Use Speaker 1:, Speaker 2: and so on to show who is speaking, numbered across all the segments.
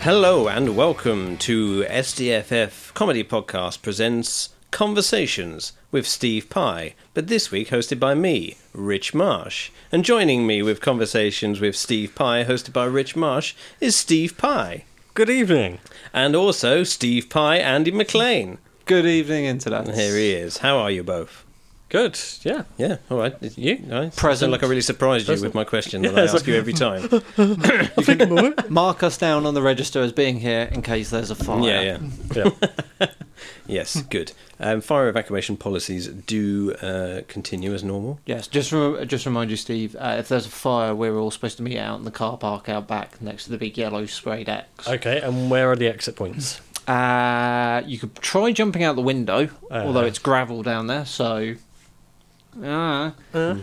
Speaker 1: Hello and welcome to SDFF Comedy Podcast presents Conversations with Steve Pye, but this week hosted by me, Rich Marsh. And joining me with Conversations with Steve Pye, hosted by Rich Marsh, is Steve Pye.
Speaker 2: Good evening.
Speaker 1: And also Steve Pye, Andy McLean.
Speaker 3: Good evening, internet.
Speaker 1: Here he is. How are you both?
Speaker 2: Good. Yeah.
Speaker 1: Yeah, all right. You? I
Speaker 3: Present.
Speaker 1: Sound like I really surprised you with my question that I
Speaker 2: it's Oh,
Speaker 1: ask you every time.
Speaker 3: Mark us down on the register as being here in case there's a fire.
Speaker 1: Yeah, yeah.
Speaker 2: Yeah.
Speaker 1: Yes, good. Um, fire evacuation policies do uh, continue as normal.
Speaker 3: Yes, just rem- just remind you, Steve. Uh, if there's a fire, we're all supposed to meet out in the car park out back next to the big yellow sprayed X.
Speaker 2: okay. And where are the exit points?
Speaker 3: Uh, you could try jumping out the window,
Speaker 1: Uh-huh.
Speaker 2: Uh.
Speaker 3: although it's gravel down there, so. Uh,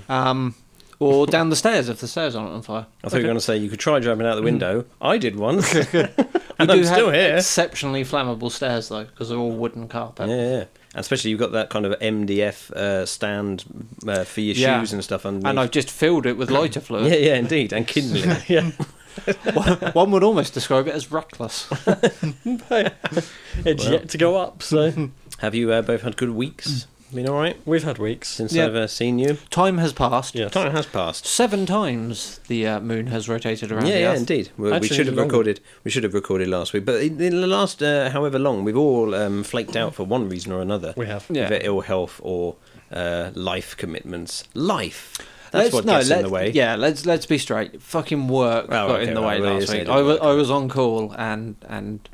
Speaker 3: um, or down the stairs if the stairs aren't on fire.
Speaker 1: I thought you were going to say you could try driving out the window. I did once, and
Speaker 3: Mm-hmm. We
Speaker 1: I'm still here.
Speaker 3: exceptionally flammable stairs though, because they're all wooden carpet.
Speaker 1: Yeah, yeah. And especially you've got that kind of MDF uh, stand uh, for your
Speaker 3: Yeah.
Speaker 1: shoes and stuff underneath.
Speaker 3: And I've just filled it with lighter fluid.
Speaker 1: yeah, yeah, indeed, and kindling.
Speaker 2: yeah.
Speaker 3: One would almost describe it as reckless.
Speaker 2: It's yet to go up. So
Speaker 1: Have you uh, both had good weeks? Been all right
Speaker 2: we've had weeks.
Speaker 1: since
Speaker 3: Mm. Yeah.
Speaker 1: I've uh, seen you.
Speaker 3: Time has passed.
Speaker 2: Yes.
Speaker 1: Time has passed.
Speaker 3: Seven times the uh, moon has rotated around
Speaker 1: yeah,
Speaker 3: the
Speaker 1: yeah,
Speaker 3: Earth.
Speaker 1: indeed. We, we
Speaker 2: Actually,
Speaker 1: should have
Speaker 2: longer.
Speaker 1: recorded. We should have recorded last week, but in in the last, uh, however long, we've all um, flaked
Speaker 3: Mm.
Speaker 1: out for one reason or another.
Speaker 2: We have.
Speaker 3: Yeah.
Speaker 1: Either ill health or uh, life commitments. Life. That's what
Speaker 3: no,
Speaker 1: gets in
Speaker 3: let-
Speaker 1: the way.
Speaker 3: Yeah, let's let's be straight. Fucking work
Speaker 1: Oh,
Speaker 3: got
Speaker 1: okay,
Speaker 3: in the
Speaker 1: well,
Speaker 3: way
Speaker 1: well,
Speaker 3: last
Speaker 1: yes, it
Speaker 3: week.
Speaker 1: did
Speaker 3: I was
Speaker 1: work
Speaker 3: I was on call and and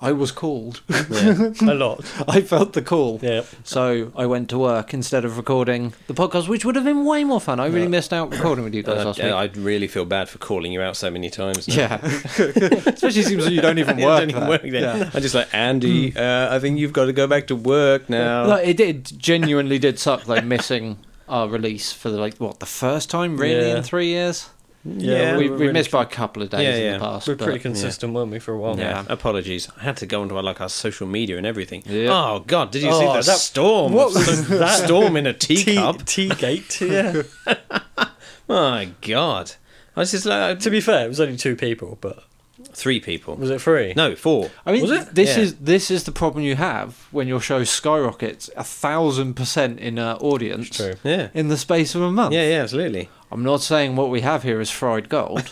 Speaker 3: I was called.
Speaker 1: Yeah.
Speaker 2: A lot.
Speaker 3: I felt the call.
Speaker 2: Yeah.
Speaker 3: So I went to work instead of recording the podcast, which would have been way more fun. I really missed out recording with you guys
Speaker 1: Uh,
Speaker 3: last week.
Speaker 1: I really feel bad for calling you out so many times. Now.
Speaker 3: yeah, especially seems like you don't even
Speaker 1: I
Speaker 3: work.
Speaker 1: don't even
Speaker 3: there.
Speaker 1: work there. I'm just like Andy.
Speaker 3: Hmm.
Speaker 1: Uh, I think you've got to go back to work now.
Speaker 3: No, it did genuinely did suck though missing our release for the, like what the first time really
Speaker 2: Yeah.
Speaker 3: in three years.
Speaker 1: Yeah,
Speaker 3: we,
Speaker 1: we're
Speaker 3: we missed by a couple of days
Speaker 1: Yeah, yeah.
Speaker 3: in the past.
Speaker 2: We're
Speaker 3: but-
Speaker 2: pretty consistent, weren't we, for a while?
Speaker 1: yeah.
Speaker 3: Yeah.
Speaker 1: apologies. I had to go onto our, like our social media and everything.
Speaker 3: Yeah.
Speaker 1: Oh God, did you
Speaker 2: Oh,
Speaker 1: see the
Speaker 2: that-
Speaker 1: storm?
Speaker 2: what was that?
Speaker 1: storm in a teacup?
Speaker 2: Tea, tea gate. Yeah.
Speaker 1: My God, I was just like uh,
Speaker 2: to be fair, it was only two people, but
Speaker 1: three people.
Speaker 2: was it three?
Speaker 1: No, four.
Speaker 3: I mean,
Speaker 2: Was it?
Speaker 3: this
Speaker 1: Yeah.
Speaker 3: is this is the problem you have when your show skyrockets a thousand percent in uh, audience
Speaker 2: It's true.
Speaker 1: Yeah,
Speaker 3: in the space of a month.
Speaker 1: yeah, yeah. Absolutely.
Speaker 3: I'm not saying what we have here is fried gold.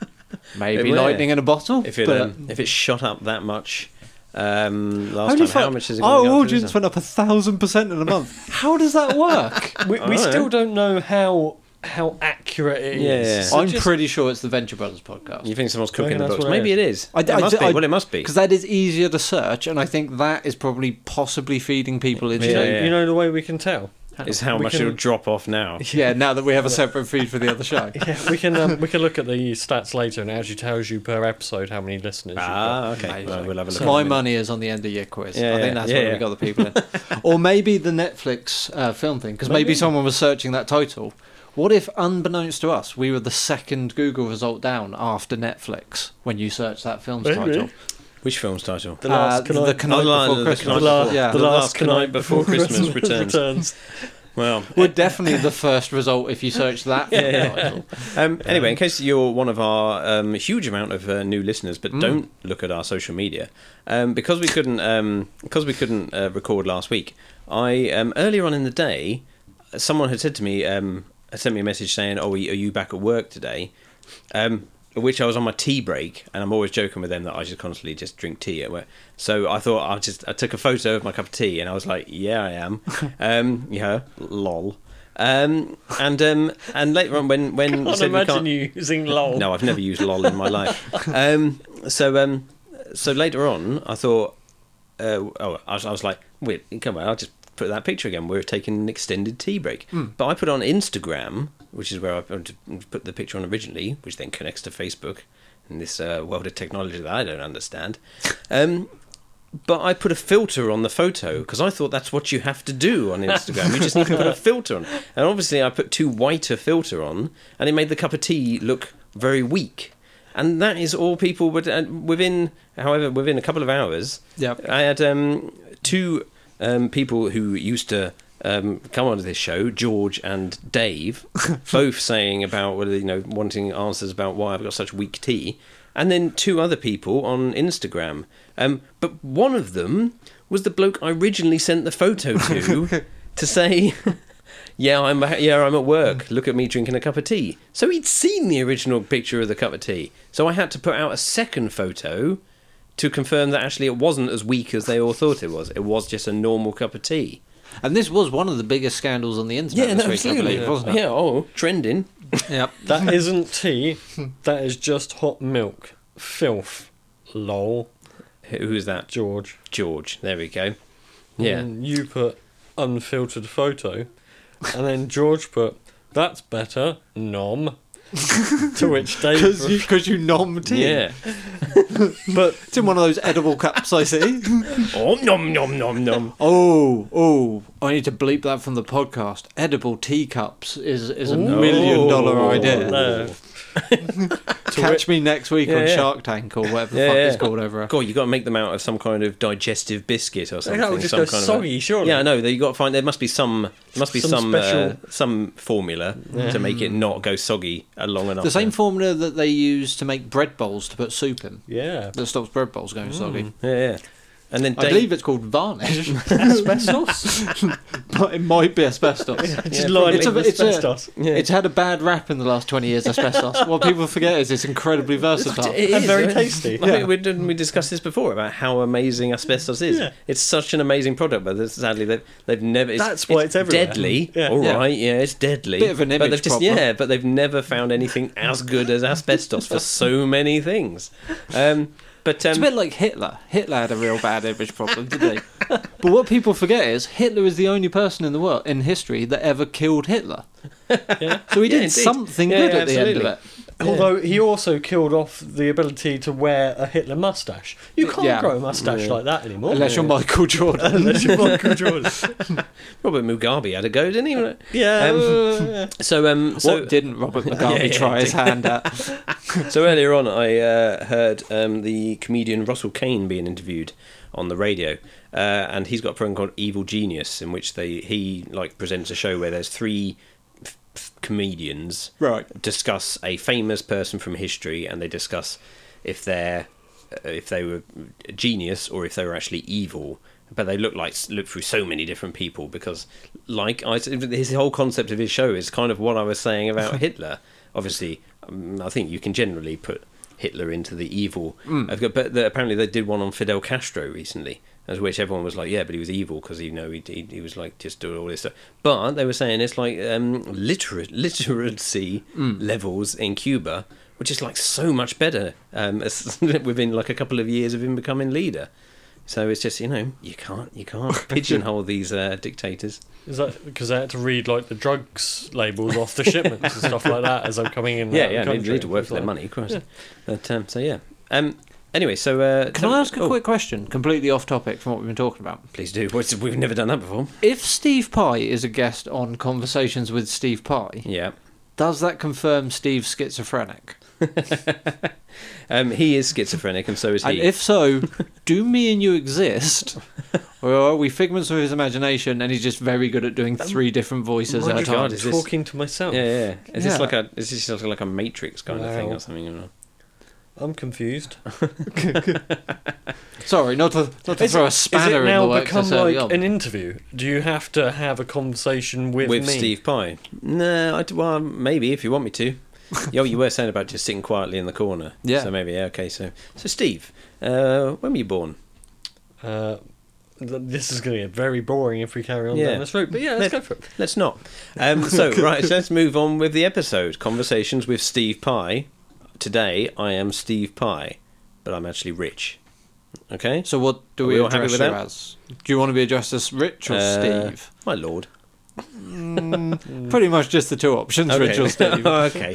Speaker 3: Maybe
Speaker 1: Yeah.
Speaker 3: lightning in a bottle.
Speaker 1: If it
Speaker 3: but uh,
Speaker 1: um, if it shot up that much um, last
Speaker 3: Only
Speaker 1: time, how
Speaker 3: for-
Speaker 1: much is it?
Speaker 3: our
Speaker 1: gonna go up to
Speaker 3: audience
Speaker 1: this
Speaker 3: went up a thousand percent in a month. How does that work?
Speaker 2: We,
Speaker 1: I
Speaker 2: we
Speaker 1: don't
Speaker 2: still
Speaker 1: know.
Speaker 2: don't know how how accurate it is.
Speaker 1: Yeah.
Speaker 2: So
Speaker 3: I'm
Speaker 2: just-
Speaker 3: pretty sure it's the Venture Brothers
Speaker 1: time?
Speaker 3: podcast.
Speaker 1: You think someone's
Speaker 2: I
Speaker 1: cooking
Speaker 2: reckon
Speaker 1: the
Speaker 2: that's
Speaker 1: books?
Speaker 2: what it
Speaker 1: Maybe it is.
Speaker 3: I-
Speaker 1: it
Speaker 3: I-
Speaker 1: must
Speaker 3: I-
Speaker 1: be. Well, it must be.
Speaker 3: because that is easier to search, and I think that is probably possibly feeding people into.
Speaker 2: you know,
Speaker 1: Yeah, yeah.
Speaker 2: you know the way we can tell.
Speaker 1: Is how
Speaker 2: We
Speaker 1: much
Speaker 2: can-
Speaker 1: it'll drop off now.
Speaker 3: Yeah, now that we have a separate feed for the other show.
Speaker 2: Yeah, we can um, we can look at the stats later, and it actually tells you per episode how many listeners.
Speaker 1: Ah, okay.
Speaker 3: Amazing.
Speaker 1: Well, we'll have a look.
Speaker 3: So
Speaker 1: at
Speaker 3: my
Speaker 1: it.
Speaker 3: money is on the end of year quiz.
Speaker 1: Yeah,
Speaker 3: I
Speaker 1: yeah,
Speaker 3: think that's
Speaker 1: yeah,
Speaker 3: where
Speaker 1: yeah.
Speaker 3: we got the people in. or maybe the Netflix uh, film thing, because maybe.
Speaker 2: Maybe.
Speaker 3: someone was searching that title. What if, unbeknownst to us, we were the second Google result down after Netflix when you search that film's
Speaker 2: Really?
Speaker 3: title?
Speaker 1: Which film's title?
Speaker 2: The last
Speaker 3: Uh,
Speaker 2: Can I-
Speaker 3: the Knight
Speaker 1: Oh, the-
Speaker 3: Before
Speaker 1: the
Speaker 3: Christmas.
Speaker 1: Knight Before-
Speaker 3: yeah.
Speaker 1: The last night before Christmas returns. Well, um,
Speaker 3: we're definitely the first result if you search that film title.
Speaker 1: um, anyway, in case you're one of our um, huge amount of uh, new listeners, but
Speaker 3: Mm.
Speaker 1: don't look at our social media, um, because we couldn't um, because we couldn't uh, record last week. I um, earlier on in the day, someone had said to me, um, had sent me a message saying, "Oh, are you are you back at work today?" Um, which I was on my tea break, and I'm always joking with them that I just constantly just drink tea at work. So I thought I just I took a photo of my cup of tea, and I was like, "Yeah, I am." um, yeah, lol. Um, and um, and later on, when when
Speaker 2: I
Speaker 1: said
Speaker 2: can
Speaker 1: we
Speaker 2: imagine
Speaker 1: can't-
Speaker 2: you using lol.
Speaker 1: no, I've never used lol in my life. Um, so um, so later on, I thought, uh, oh, I was, I was like, wait, come on, I'll just put that picture again. We're taking an extended tea break, but I put on Instagram, which is where I put put the picture on originally, which then connects to Facebook in this uh, world of technology that I don't understand. Um, but I put a filter on the photo because I thought that's what you have to do on Instagram. You just need to put a filter on. And obviously, I put too white a filter on, and it made the cup of tea look very weak. And that is all people would. And within, however, within a couple of hours,
Speaker 3: Yep.
Speaker 1: I had um, two um, people who used to um, come on to this show, George and Dave, both saying about whether you know wanting answers about why I've got such weak tea, and then two other people on Instagram. Um, but one of them was the bloke I originally sent the photo to to say. Yeah, I'm yeah, I'm at work. Look at me drinking a cup of tea. So he'd seen the original picture of the cup of tea. So I had to put out a second photo to confirm that actually it wasn't as weak as they all thought it was. It was just a normal cup of tea.
Speaker 3: And this was one of the biggest scandals on the internet this week, I believe, wasn't it?
Speaker 1: Yeah, oh, trending.
Speaker 3: Yep.
Speaker 2: That isn't tea. That is just hot milk. Filth. Lol.
Speaker 1: Who is that?
Speaker 2: George.
Speaker 1: George. There we go. Yeah.
Speaker 3: Mm.
Speaker 2: And you put unfiltered photo. And then George put, that's better. Nom. to which Dave.
Speaker 3: Because you, 'cause you nom tea.
Speaker 1: Yeah.
Speaker 2: But
Speaker 3: It's in one of those edible cups I see.
Speaker 1: Oh, nom nom nom nom.
Speaker 3: Oh, oh! I need to bleep that from the podcast. Edible teacups is is a
Speaker 2: Ooh.
Speaker 3: million dollar
Speaker 1: Oh,
Speaker 3: idea.
Speaker 2: no.
Speaker 3: Catch me next week
Speaker 1: Yeah,
Speaker 3: on
Speaker 1: yeah.
Speaker 3: Shark Tank or whatever the
Speaker 1: Yeah,
Speaker 3: fuck
Speaker 1: yeah.
Speaker 3: it's called over.
Speaker 1: God, you got to make them out of some kind of digestive biscuit or something.
Speaker 2: that would just
Speaker 1: some
Speaker 2: go
Speaker 1: kind of a-
Speaker 2: soggy, surely.
Speaker 1: Yeah, I know. You got to find there must be some there must be some
Speaker 2: Some
Speaker 1: some, uh,
Speaker 2: special-
Speaker 1: some formula to make it not go soggy uh, long enough.
Speaker 3: The same formula that they use to make bread bowls to put soup in
Speaker 2: Yeah.
Speaker 3: that stops bread bowls going soggy.
Speaker 1: Yeah, yeah. And then
Speaker 3: I
Speaker 1: Mm. Dave-
Speaker 3: believe it's called varnish. asbestos, but it might be asbestos.
Speaker 2: Just
Speaker 1: Yeah, probably.
Speaker 2: line it
Speaker 3: It's a-
Speaker 2: with
Speaker 3: it's a-
Speaker 2: asbestos.
Speaker 1: Yeah.
Speaker 3: It's had a bad rap in the last twenty years. Asbestos. what people forget is it's incredibly versatile.
Speaker 1: It
Speaker 2: And
Speaker 1: is,
Speaker 2: very
Speaker 1: right?
Speaker 2: tasty.
Speaker 1: I think we, didn't we discussed this before about how amazing asbestos is?
Speaker 2: Yeah.
Speaker 1: It's such an amazing product, but there's- sadly they've, they've never. It's,
Speaker 2: That's why it's everywhere.
Speaker 1: deadly.
Speaker 2: Yeah.
Speaker 1: All right,
Speaker 3: Yeah.
Speaker 1: yeah. it's deadly.
Speaker 3: Bit of an
Speaker 1: but
Speaker 3: image
Speaker 1: they've just,
Speaker 3: problem.
Speaker 1: Yeah, but they've never found anything as good as asbestos for so many things. Um, but um,
Speaker 3: It's a bit like Hitler. Hitler had a real bad image problem, didn't he? But what people forget is Hitler is the only person in the world in history that ever killed Hitler. So he
Speaker 1: Yeah,
Speaker 3: did
Speaker 1: indeed.
Speaker 3: something
Speaker 1: Yeah,
Speaker 3: good
Speaker 1: yeah,
Speaker 3: at the end of it.
Speaker 2: Although he also killed off the ability to wear a Hitler mustache. You can't
Speaker 3: Yeah.
Speaker 2: grow a mustache like that anymore.
Speaker 3: Unless you're Michael Jordan.
Speaker 2: Unless you're Michael Jordan.
Speaker 1: Robert Mugabe had a go, didn't he?
Speaker 2: Yeah.
Speaker 1: Um,
Speaker 2: uh, yeah.
Speaker 1: So, um, so
Speaker 3: what didn't Robert
Speaker 1: Yeah,
Speaker 3: Mugabe
Speaker 1: yeah,
Speaker 3: try his hand at?
Speaker 1: So earlier on, I uh, heard um, the comedian Russell Kane being interviewed on the radio, uh, and he's got a program called Evil Genius, in which they he like presents a show where there's three f- f- comedians
Speaker 3: Right.
Speaker 1: discuss a famous person from history, and they discuss if they're uh, if they were a genius or if they were actually evil. But they look like look through so many different people because, like, I, his whole concept of his show is kind of what I was saying about Hitler. Obviously, um, I think you can generally put Hitler into the evil.
Speaker 3: Mm.
Speaker 1: I've got- But the, apparently, they did one on Fidel Castro recently, as which everyone was like, "Yeah, but he was evil because you know he, he he was like just doing all this stuff." But they were saying it's like um, literate literacy
Speaker 3: Mm.
Speaker 1: levels in Cuba which is like so much better um, as, within like a couple of years of him becoming leader. So it's just you know you can't you can't pigeonhole these uh, dictators.
Speaker 2: Is that because they had to read like the drugs labels off the shipments and stuff like that as I'm coming in? and out
Speaker 1: Yeah,
Speaker 2: of
Speaker 1: yeah,
Speaker 2: the
Speaker 1: they
Speaker 2: country?
Speaker 1: need to work for their
Speaker 2: It's
Speaker 1: money, of course. But um, so yeah. Um, anyway, so uh,
Speaker 3: Can
Speaker 1: tell-
Speaker 3: I ask a
Speaker 1: oh,
Speaker 3: quick question, completely off topic from what we've been talking about?
Speaker 1: Please do. What's- We've never done that before.
Speaker 3: If Steve Pye is a guest on Conversations with Steve Pye,
Speaker 1: Yeah.
Speaker 3: does that confirm Steve's schizophrenic?
Speaker 1: Um, he is schizophrenic, and so is
Speaker 3: And
Speaker 1: he.
Speaker 3: if so, do me and you exist? Or are we figments of his imagination and he's just very good at
Speaker 2: Um,
Speaker 3: doing three different voices
Speaker 2: like,
Speaker 3: at
Speaker 2: my
Speaker 3: a
Speaker 2: God,
Speaker 3: time?
Speaker 1: is
Speaker 2: I'm
Speaker 1: this-
Speaker 2: talking to myself.
Speaker 1: yeah, yeah. Is
Speaker 3: Yeah.
Speaker 1: this like a is this sort of like a Matrix kind of thing
Speaker 2: Wow.
Speaker 1: or something? you know?
Speaker 2: I'm confused.
Speaker 3: Sorry, not to, not to throw a
Speaker 2: Is
Speaker 3: spanner
Speaker 2: it
Speaker 3: in
Speaker 2: now
Speaker 3: the works
Speaker 2: become
Speaker 3: this early
Speaker 2: like
Speaker 3: on.
Speaker 2: an interview? Do you have to have a conversation with,
Speaker 1: with
Speaker 2: me?
Speaker 1: Steve Pye. No, I d well, maybe if you want me to. Yo, you were saying about just sitting quietly in the corner.
Speaker 3: Yeah.
Speaker 1: So maybe yeah, okay. So so Steve, uh, when were you born?
Speaker 2: Uh, th- this is going to get very boring if we carry on
Speaker 1: Yeah.
Speaker 2: down this route. But yeah, let's go for it.
Speaker 1: Let's not. Um, so right, so let's move on with the episode. Conversations with Steve Pye. Today I am Steve Pye, but I'm actually rich. Okay.
Speaker 3: So what do
Speaker 1: Are
Speaker 3: we,
Speaker 1: we all happy
Speaker 3: address
Speaker 1: with
Speaker 3: you
Speaker 1: that?
Speaker 3: as? Do you want to be addressed as Rich or
Speaker 1: Uh,
Speaker 3: Steve?
Speaker 1: My lord.
Speaker 2: mm.
Speaker 3: Pretty much just the two options, Rich or Steve.
Speaker 1: Oh, okay.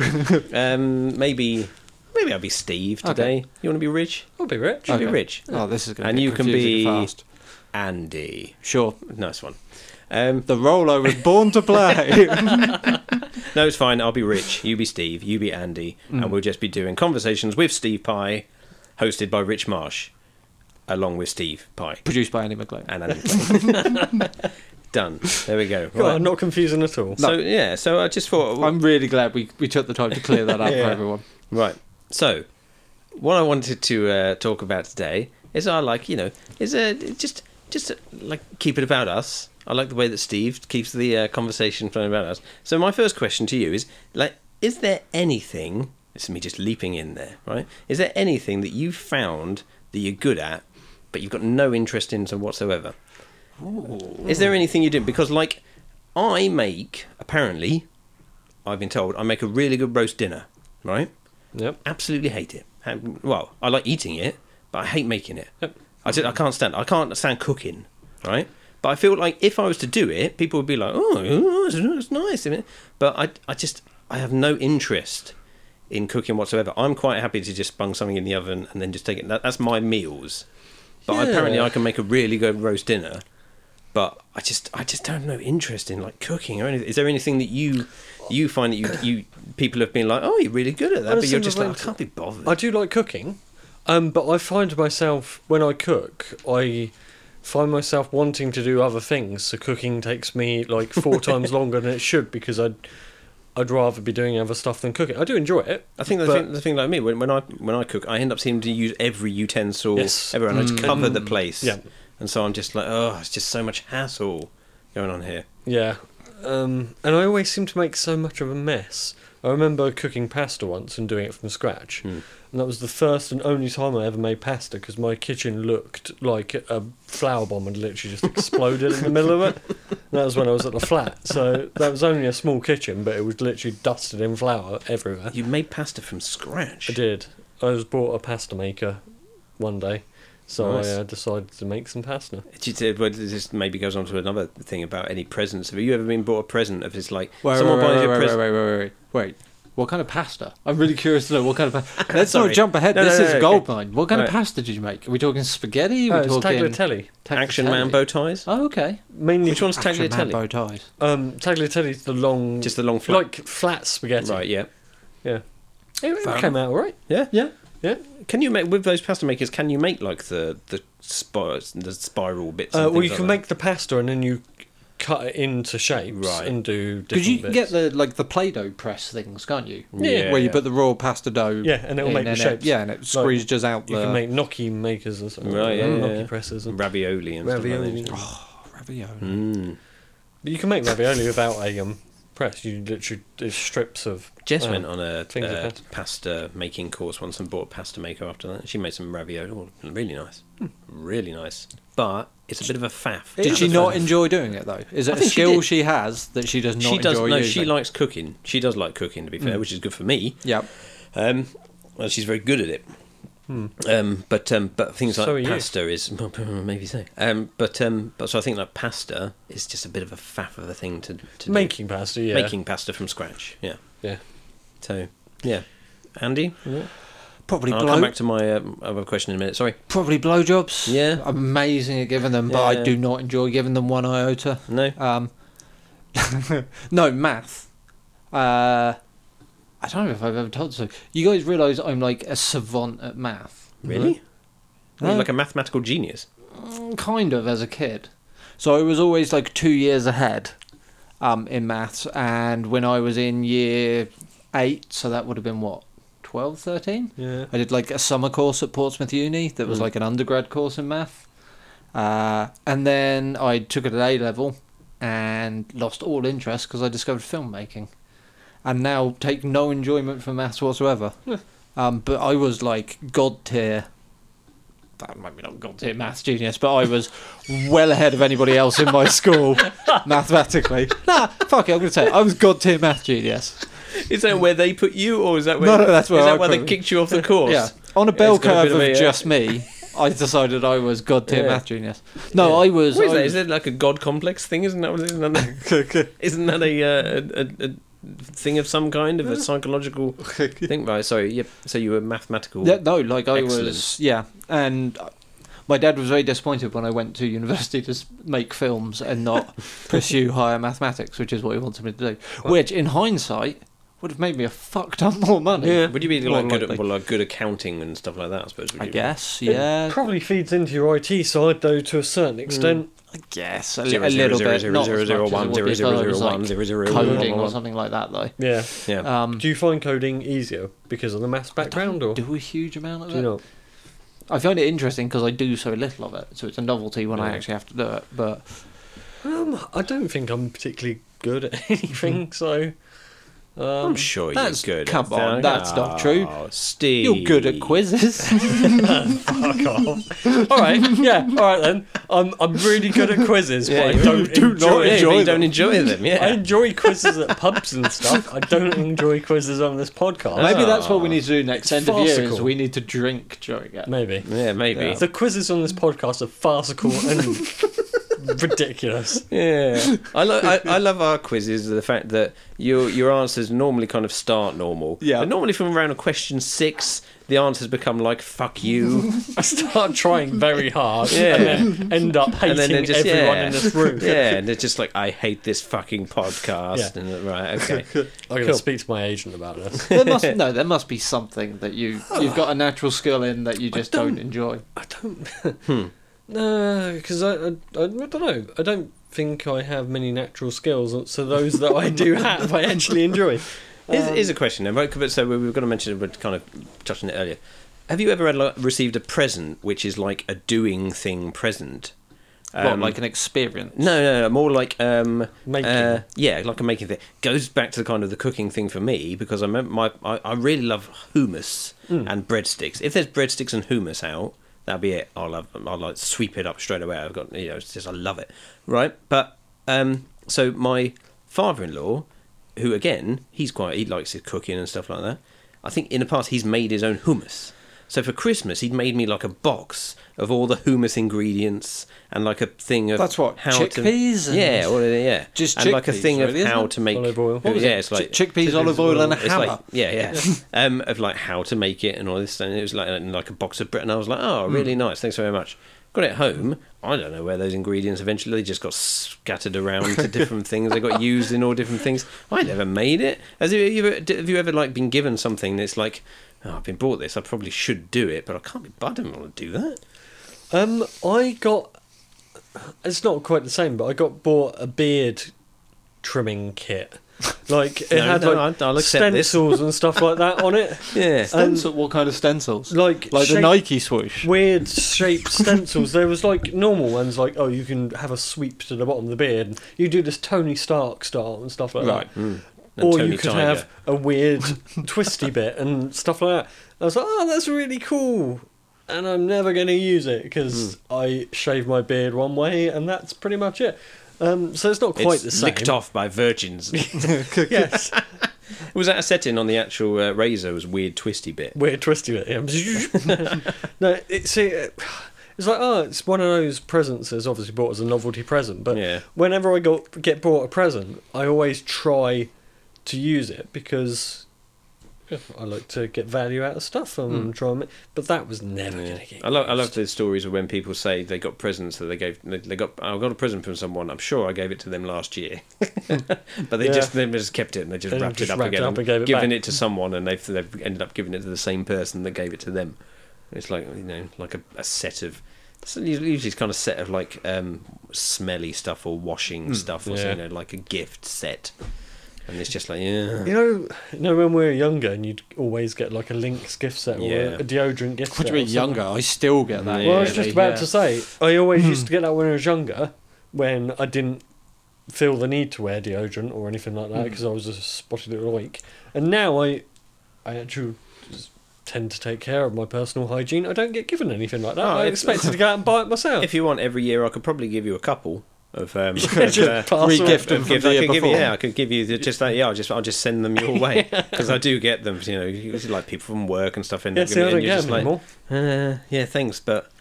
Speaker 1: Um, maybe maybe I'll be Steve today. You want to be rich?
Speaker 2: I'll be rich.
Speaker 1: Should be
Speaker 3: Okay.
Speaker 1: rich.
Speaker 3: Oh, this is going to
Speaker 1: And
Speaker 3: get
Speaker 1: you can
Speaker 3: confusing
Speaker 1: be-
Speaker 3: fast.
Speaker 1: Andy.
Speaker 3: Sure.
Speaker 1: Nice one. Um,
Speaker 3: The role I was born to play.
Speaker 1: No, it's fine. I'll be Rich. You be Steve. You be Andy, and we'll just be doing conversations with Steve Pye, hosted by Rich Marsh, along with Steve Pye
Speaker 3: Produced by Andy McLean.
Speaker 1: and Andy. Pye. Done. There we go.
Speaker 2: God,
Speaker 1: Right.
Speaker 2: not confusing at all.
Speaker 1: So yeah, so I just thought
Speaker 3: I'm really glad we, we took the time to clear that up
Speaker 2: Yeah.
Speaker 3: for everyone.
Speaker 1: Right. So, what I wanted to uh, talk about today is I like you know is a just just uh like keep it about us. I like the way that Steve keeps the uh, conversation flowing about us. So my first question to you is like, is there anything? This is me just leaping in there, right? Is there anything that you found that you're good at, but you've got no interest in so whatsoever? Is there anything you do? Because like, I make apparently, I've been told I make a really good roast dinner, right?
Speaker 2: Yep.
Speaker 1: absolutely hate it. Ha- Well, I like eating it, but I hate making it. I just, I can't stand I can't stand cooking, right? But I feel like if I was to do it, people would be like, "Oh, oh, it's, it's nice," isn't it? but I I just I have no interest in cooking whatsoever. I'm quite happy to just bung something in the oven and then just take it. That, that's my meals. But apparently,
Speaker 2: Yeah.
Speaker 1: I can make a really good roast dinner. But I just I just don't have no interest in like cooking or anything. Is there anything that you you find that you you people have been like, oh, you're really good at that,
Speaker 2: Well,
Speaker 1: but you're
Speaker 2: similar
Speaker 1: just like, I
Speaker 2: thing to-
Speaker 1: can't be bothered.
Speaker 2: I do like cooking, um, but I find myself when I cook, I find myself wanting to do other things. So cooking takes me like four times longer than it should because I'd I'd rather be doing other stuff than cooking. I do enjoy it.
Speaker 1: I think the,
Speaker 2: But-
Speaker 1: thing, the thing like me when, when I when I cook, I end up seeming to use every utensil,
Speaker 2: Yes. Mm.
Speaker 1: everyone. I just cover the place,
Speaker 2: Yeah.
Speaker 1: and so I'm just like, oh, it's just so much hassle going on here.
Speaker 2: Yeah, um, and I always seem to make so much of a mess. I remember cooking pasta once and doing it from scratch,
Speaker 1: Hmm.
Speaker 2: and that was the first and only time I ever made pasta because my kitchen looked like a flower bomb had literally just exploded in the middle of it. And that was when I was at the flat, so that was only a small kitchen, but it was literally dusted in flour everywhere.
Speaker 1: You made pasta from scratch.
Speaker 2: I did. I was bought a pasta maker one day, so
Speaker 1: Nice.
Speaker 2: I uh, decided to make some pasta.
Speaker 1: It just- it- but this maybe goes on to another thing about any presents. Have you ever been bought a present? If it's like
Speaker 3: Wait,
Speaker 1: someone
Speaker 3: wait,
Speaker 1: buys
Speaker 3: wait,
Speaker 1: you a
Speaker 3: wait,
Speaker 1: present,
Speaker 3: wait, wait, wait, wait, wait. What kind of pasta? I'm really curious to know what kind of pasta. Let's not
Speaker 1: Sorry.
Speaker 3: jump ahead.
Speaker 1: No, no,
Speaker 3: this
Speaker 1: no,
Speaker 3: is
Speaker 1: no,
Speaker 3: gold
Speaker 1: okay.
Speaker 3: mine. What kind of
Speaker 1: Right.
Speaker 3: pasta did you make? Are we talking spaghetti? Are
Speaker 2: Oh,
Speaker 3: we
Speaker 2: it's
Speaker 3: talking
Speaker 2: tagliatelle.
Speaker 1: action
Speaker 3: tagliatelle?
Speaker 1: man bow ties.
Speaker 3: Oh, okay.
Speaker 2: Mainly,
Speaker 1: Which one's
Speaker 3: Action man
Speaker 1: tagliatelle?
Speaker 3: bow ties.
Speaker 2: um, tagliatelle's the long,
Speaker 1: Just the long flat.
Speaker 2: like flat spaghetti.
Speaker 1: right, yeah,
Speaker 2: Yeah. It, it
Speaker 3: Fair
Speaker 2: came out all right.
Speaker 1: yeah,
Speaker 2: Yeah. Uh, Yeah.
Speaker 1: Can you make with those pasta makers? Can you make like the the spir- the spiral bits? and
Speaker 2: Uh, well,
Speaker 1: things
Speaker 2: you can
Speaker 1: like
Speaker 2: make the pasta and then you c- cut it into shapes
Speaker 1: Right.
Speaker 2: and do different
Speaker 3: Because you can get
Speaker 2: bits.
Speaker 3: the like the play-doh press things, can't you?
Speaker 1: that?
Speaker 2: yeah,
Speaker 3: Where you put the raw pasta dough.
Speaker 2: Yeah, and it'll
Speaker 3: in
Speaker 2: make the
Speaker 3: and it-
Speaker 2: shapes.
Speaker 3: yeah, and it squeezes out
Speaker 2: You
Speaker 3: the
Speaker 2: can make gnocchi makers or something.
Speaker 1: Right, yeah,
Speaker 2: or
Speaker 1: yeah,
Speaker 2: gnocchi
Speaker 1: yeah.
Speaker 2: presses. And
Speaker 1: ravioli and
Speaker 2: ravioli.
Speaker 1: Stuff like that.
Speaker 3: ravioli.
Speaker 1: Mm.
Speaker 2: But you can make ravioli without a um, press. You literally it's strips of.
Speaker 1: Jess
Speaker 2: um,
Speaker 1: went on a
Speaker 2: things
Speaker 1: uh,
Speaker 2: like that.
Speaker 1: pasta making course once and bought a pasta maker after that. She made some ravioli. Oh, really nice.
Speaker 2: Hmm.
Speaker 1: Really nice. But it's a bit of a faff.
Speaker 3: Did
Speaker 1: It's
Speaker 3: she
Speaker 1: a
Speaker 3: not
Speaker 1: faff.
Speaker 3: enjoy doing it though? Is
Speaker 1: I
Speaker 3: it a
Speaker 1: think she
Speaker 3: skill
Speaker 1: did.
Speaker 3: she, has that she does not
Speaker 1: She does.
Speaker 3: enjoy
Speaker 1: No,
Speaker 3: using?
Speaker 1: she likes cooking. She does like cooking, to be
Speaker 2: Hmm.
Speaker 1: fair, which is good for me.
Speaker 3: Yep.
Speaker 1: Um, well, she's very good at it. Um, but um, but things like
Speaker 2: Hmm. So are you.
Speaker 1: pasta is maybe so. Um, but um, but so I think like pasta is just a bit of a faff of a thing to, to do.
Speaker 2: Making pasta, yeah.
Speaker 1: making pasta from scratch. Yeah.
Speaker 2: Yeah.
Speaker 1: So yeah, Andy,
Speaker 3: Probably
Speaker 1: I'll come
Speaker 3: blow,
Speaker 1: back to my um, other question in a minute. Sorry.
Speaker 3: probably blowjobs.
Speaker 1: Yeah.
Speaker 3: I'm amazing at giving them, but
Speaker 1: Yeah.
Speaker 3: I do not enjoy giving them one iota.
Speaker 1: No.
Speaker 3: Um, no math. Uh, I don't know if I've ever told so. You guys realise I'm like a savant at math.
Speaker 1: Really?
Speaker 3: No.
Speaker 1: You're like a mathematical genius.
Speaker 3: Mm, Kind of as a kid. So I was always like two years ahead um, in maths, and when I was in year eight, so that would have been what, 12, 13?
Speaker 2: Yeah.
Speaker 3: I did like a summer course at Portsmouth Uni that was
Speaker 1: Mm.
Speaker 3: like an undergrad course in math. Uh, and then I took it at A level and lost all interest because I discovered filmmaking. And now take no enjoyment from maths whatsoever.
Speaker 2: Yeah.
Speaker 3: Um, but I was like god tier. That might be not god tier maths genius, but I was well ahead of anybody else in my school mathematically. Nah, fuck it, I'm going to say it. I was god tier maths genius.
Speaker 1: Is that where they put you, or is that where?
Speaker 3: No, no, that's where
Speaker 1: is that
Speaker 3: I
Speaker 1: why they
Speaker 3: put-
Speaker 1: kicked you off the course?
Speaker 3: Yeah, on a
Speaker 1: Yeah,
Speaker 3: bell
Speaker 1: it's got a
Speaker 3: curve
Speaker 1: bit
Speaker 3: of
Speaker 1: of a, yeah.
Speaker 3: just me, I decided I was god tier
Speaker 1: Yeah.
Speaker 3: math genius. No, I was.
Speaker 1: What is
Speaker 3: I
Speaker 1: that?
Speaker 3: was-
Speaker 1: Is it like a god complex thing? Isn't that? what- Isn't that, isn't that a, uh, a, a, a thing of some kind of a psychological thing? Right. Sorry. Yep. So you were mathematical.
Speaker 3: Yeah, no, like I
Speaker 1: Excellent.
Speaker 3: was. Yeah, and uh, my dad was very disappointed when I went to university to s- make films and not pursue higher mathematics, which is what he wanted me to do. Which, in hindsight, would have made me a fuck ton more money.
Speaker 2: Yeah.
Speaker 4: Would you be
Speaker 3: More
Speaker 4: like good, at,
Speaker 3: likely.
Speaker 4: well, like good accounting and stuff like that? I suppose. Would
Speaker 3: I
Speaker 4: you?
Speaker 3: guess,
Speaker 2: It
Speaker 3: yeah.
Speaker 2: Probably feeds into your IT side though to a
Speaker 1: Mm.
Speaker 2: certain extent.
Speaker 3: I guess a, li-
Speaker 4: Zero,
Speaker 3: a
Speaker 4: zero,
Speaker 3: little
Speaker 4: zero,
Speaker 3: bit.
Speaker 4: zero,
Speaker 3: not
Speaker 4: zero,
Speaker 3: as
Speaker 4: zero,
Speaker 3: much as it
Speaker 4: one,
Speaker 3: would
Speaker 4: zero,
Speaker 3: be if
Speaker 4: zero,
Speaker 3: I
Speaker 4: zero,
Speaker 3: was,
Speaker 4: one,
Speaker 3: like,
Speaker 4: zero, zero, one,
Speaker 3: coding
Speaker 4: one,
Speaker 3: or
Speaker 4: one.
Speaker 3: something like that, though.
Speaker 2: Yeah.
Speaker 4: Yeah.
Speaker 3: Um,
Speaker 2: Do you find coding easier because of the maths background, or do
Speaker 3: do a huge amount of
Speaker 2: you
Speaker 3: it.
Speaker 2: not?
Speaker 3: I find it interesting because I do so little of it, so it's a novelty when I
Speaker 4: Yeah.
Speaker 3: actually have to do it. But
Speaker 2: Um, I don't think I'm particularly good at anything. So, um,
Speaker 4: Mm-hmm. I'm sure
Speaker 3: that's-
Speaker 4: you're good.
Speaker 3: come
Speaker 4: at
Speaker 3: on,
Speaker 4: that.
Speaker 3: that's not true.
Speaker 4: Oh, Steve,
Speaker 3: you're good at quizzes.
Speaker 2: fuck off. all right, yeah, all right then. I'm I'm really good at quizzes,
Speaker 4: Yeah,
Speaker 2: but I
Speaker 4: you
Speaker 2: don't
Speaker 4: do
Speaker 2: enjoy,
Speaker 4: not enjoy
Speaker 2: them.
Speaker 4: them. Don't enjoy them.
Speaker 2: I
Speaker 4: Yeah.
Speaker 2: enjoy quizzes at pubs and stuff. I don't enjoy quizzes on this podcast.
Speaker 4: Maybe
Speaker 3: Maybe
Speaker 4: that's
Speaker 3: that's
Speaker 4: Ah.
Speaker 3: what we need to do next end of year is
Speaker 2: Farcical.
Speaker 3: we need to drink during it.
Speaker 2: Maybe.
Speaker 4: yeah, maybe.
Speaker 2: The quizzes on this podcast are farcical and ridiculous.
Speaker 4: Yeah, I, lo- I, I love our quizzes. The fact that your your answers normally kind of start normal.
Speaker 3: Yeah.
Speaker 4: but normally from around question six, the answers become like "fuck you,"
Speaker 2: I start trying very hard
Speaker 4: Yeah.
Speaker 2: and then end up hating
Speaker 4: and then they're just
Speaker 2: everyone
Speaker 4: yeah.
Speaker 2: in this room.
Speaker 4: Yeah, and they're just like, "I hate this fucking podcast."
Speaker 2: Yeah.
Speaker 4: And right, okay,
Speaker 2: I'm going to
Speaker 4: Cool.
Speaker 2: speak to my agent about this.
Speaker 3: There must no, there must be something that you you've got a natural skill in that you just don't,
Speaker 2: don't-
Speaker 3: enjoy.
Speaker 2: I don't. No, because I, I, I don't know. I don't think I have many natural skills, so those that I do have, I actually enjoy.
Speaker 4: here's,
Speaker 2: Um,
Speaker 4: here's a question. Then, right? But so we were going to mention, we kind of touched on it earlier. Have you ever had, like, received a present which is like a doing thing present?
Speaker 3: what,
Speaker 4: Um,
Speaker 3: like an experience?
Speaker 4: No, no, no, more like um,
Speaker 2: Making.
Speaker 4: uh, yeah, like a making thing. Goes back to the kind of the cooking thing for me because I remember my I, I really love hummus and breadsticks. If there's breadsticks and hummus out, that'll be it. I'll have, I'll like sweep it up straight away. I've got you know, it's just I love it, right? But um, so my father-in-law, who again he's quite he likes his cooking and stuff like that. I think in the past he's made his own hummus. So for Christmas, he'd made me like a box of all the hummus ingredients and like a thing of
Speaker 3: That's what,
Speaker 4: how to-
Speaker 3: chickpeas and-
Speaker 4: yeah, well, yeah,
Speaker 3: Just
Speaker 4: and like a
Speaker 3: chickpeas,
Speaker 4: thing
Speaker 3: really,
Speaker 4: of
Speaker 3: isn't
Speaker 4: how
Speaker 3: it?
Speaker 4: to make
Speaker 2: Olive oil.
Speaker 4: Yeah,
Speaker 2: What was it?
Speaker 4: it's like
Speaker 3: Chick- chickpeas, olive oil, and a
Speaker 4: it's
Speaker 3: hammer.
Speaker 4: like- yeah, yeah, um, of like how to make it and all this. And it was like and like a box of bread, and I was like,
Speaker 3: Hmm.
Speaker 4: oh, really nice, thanks very much. Got it home. I don't know where those ingredients eventually just got scattered around to different things. They got used in all different things. I never made it. Has you, you ever, have you ever like been given something that's like, oh, I've been bought this. I probably should do it, but I can't be. I don't want to do that.
Speaker 2: Um, I got. It's not quite the same, but I got bought a beard trimming kit. Like it
Speaker 4: No,
Speaker 2: had
Speaker 4: no,
Speaker 2: like
Speaker 4: I'll- I'll accept this.
Speaker 2: stencils and stuff like that on it.
Speaker 4: Yeah.
Speaker 3: Stencil, what kind of stencils?
Speaker 2: Like
Speaker 3: Like the
Speaker 2: shape-
Speaker 3: Nike swoosh.
Speaker 2: Weird shaped stencils. There was like normal ones, like oh, you can have a sweep to the bottom of the beard. and You do this Tony Stark style and stuff like
Speaker 3: Right.
Speaker 2: that.
Speaker 4: Mm. And
Speaker 2: or
Speaker 4: Tony
Speaker 2: you could
Speaker 4: Tiger.
Speaker 2: have a weird twisty bit and stuff like that. I was like, oh, that's really cool. And I'm never going to use it
Speaker 4: Mm.
Speaker 2: because I shave my beard one way and that's pretty much it. Um, so it's not quite
Speaker 4: it's
Speaker 2: the same.
Speaker 4: licked off by virgins.
Speaker 2: Yes.
Speaker 4: was that a setting on the actual uh, razor? Was weird twisty bit.
Speaker 2: weird twisty bit. Yeah. no, it, see, it- it's like oh, it's one of those presents that's obviously bought as a novelty present. But
Speaker 4: Yeah.
Speaker 2: whenever I got get bought a present, I always try to use it because yeah, I like to get value out of stuff and try and. ma- But that was never
Speaker 4: Hmm. Yeah.
Speaker 2: gonna get.
Speaker 4: I love I love
Speaker 2: used.
Speaker 4: the stories of when people say they got presents that they gave they, they got I got a present from someone I'm sure I gave it to them last year, but they
Speaker 2: Yeah.
Speaker 4: just they just kept it and they just
Speaker 2: They
Speaker 4: wrapped
Speaker 2: just
Speaker 4: it up
Speaker 2: wrapped it
Speaker 4: again,
Speaker 2: up and gave it
Speaker 4: giving
Speaker 2: back.
Speaker 4: it to someone and they've they've ended up giving it to the same person that gave it to them. It's like you know like a, a set of it's usually it's kind of set of like um, smelly stuff or washing stuff or
Speaker 2: Hmm. Yeah.
Speaker 4: something, you know like a gift set, and it's just like yeah
Speaker 2: You know, you know when we were younger, and you'd always get like a Lynx gift set or
Speaker 4: Yeah.
Speaker 2: a deodorant gift
Speaker 3: What
Speaker 2: set.
Speaker 3: do you
Speaker 2: or
Speaker 3: mean
Speaker 2: something.
Speaker 3: younger? I still get that.
Speaker 4: Well,
Speaker 2: Well, I was
Speaker 4: uh, Yeah, Hmm.
Speaker 2: just
Speaker 3: really,
Speaker 2: about
Speaker 3: yeah.
Speaker 2: to say, I always used to get that when I was younger, when I didn't feel the need to wear deodorant or anything like that
Speaker 4: Hmm.
Speaker 2: because I was a spotty little oink. And now I, I actually s- tend to take care of my personal hygiene. I don't get given anything like that.
Speaker 4: Oh,
Speaker 2: I
Speaker 4: it's-
Speaker 2: expected to go out and buy it myself.
Speaker 4: If you want, every year I could probably give you a couple of. Um,
Speaker 2: Yeah, just
Speaker 4: of,
Speaker 2: pass
Speaker 3: re-gift
Speaker 2: around.
Speaker 3: them
Speaker 4: of
Speaker 3: from
Speaker 4: gifts.
Speaker 3: the
Speaker 4: I
Speaker 3: year
Speaker 4: could give you,
Speaker 3: before.
Speaker 4: yeah, I could give you the- just that. Yeah, I'll just I'll just send them your way because I do get them. You know, it's like people from work and stuff. And,
Speaker 2: Yeah, see, I
Speaker 4: and
Speaker 2: don't
Speaker 4: you're
Speaker 2: get
Speaker 4: just
Speaker 2: them
Speaker 4: like,
Speaker 2: anymore.
Speaker 4: uh, yeah, thanks, but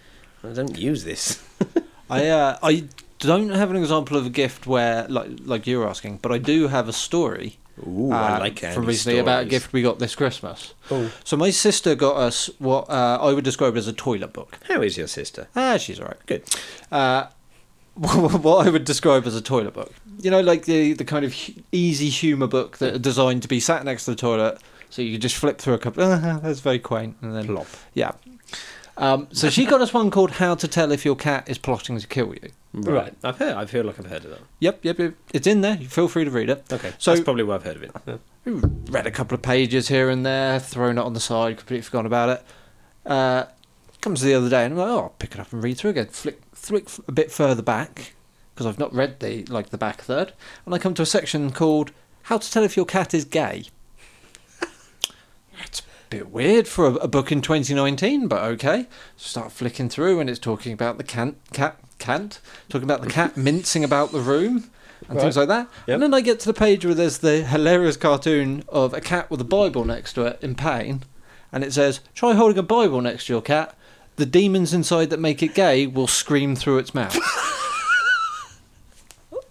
Speaker 4: I don't use this.
Speaker 3: I uh, I don't have an example of a gift where like like you're asking, but I do have a story.
Speaker 4: Ooh,
Speaker 3: uh,
Speaker 4: I like Andy's
Speaker 3: from recently about a
Speaker 4: stories.
Speaker 3: gift we got this Christmas.
Speaker 2: Oh,
Speaker 3: So my sister got us what uh, I would describe as a toilet book.
Speaker 4: How is your sister?
Speaker 3: Ah, she's all right.
Speaker 4: Good.
Speaker 3: Uh, what I would describe as a toilet book. You know, like the the kind of hu- easy humour book that are designed to be sat next to the toilet, so you just flip through a couple. Uh, that's very quaint, and then
Speaker 4: Plop.
Speaker 3: yeah. Um, so she got us one called "How to Tell If Your Cat Is Plotting to Kill You."
Speaker 4: Right.
Speaker 2: Right.
Speaker 4: I've heard. I feel like I've heard of that.
Speaker 3: Yep, yep, yep. It's in there. You feel free to read it.
Speaker 4: Okay.
Speaker 3: So-
Speaker 4: that's probably why I've heard of it.
Speaker 3: read a couple of pages here and there, thrown it on the side, completely forgotten about it. Uh, comes the other day, and I'm like, oh, I'll pick it up and read through again. Flick, flick f- a bit further back because I've not read the like the back third, and I come to a section called "How to Tell If Your Cat Is Gay." That's a bit weird for a, a book in 2019, but okay. Start flicking through, and it's talking about the cant, cat, cant, talking about the cat mincing about the room. And things like that.
Speaker 2: Yep.
Speaker 3: And then I get to the page where there's the hilarious cartoon of a cat with a Bible next to it in pain. And it says, Try holding a Bible next to your cat. The demons inside that make it gay will scream through its mouth.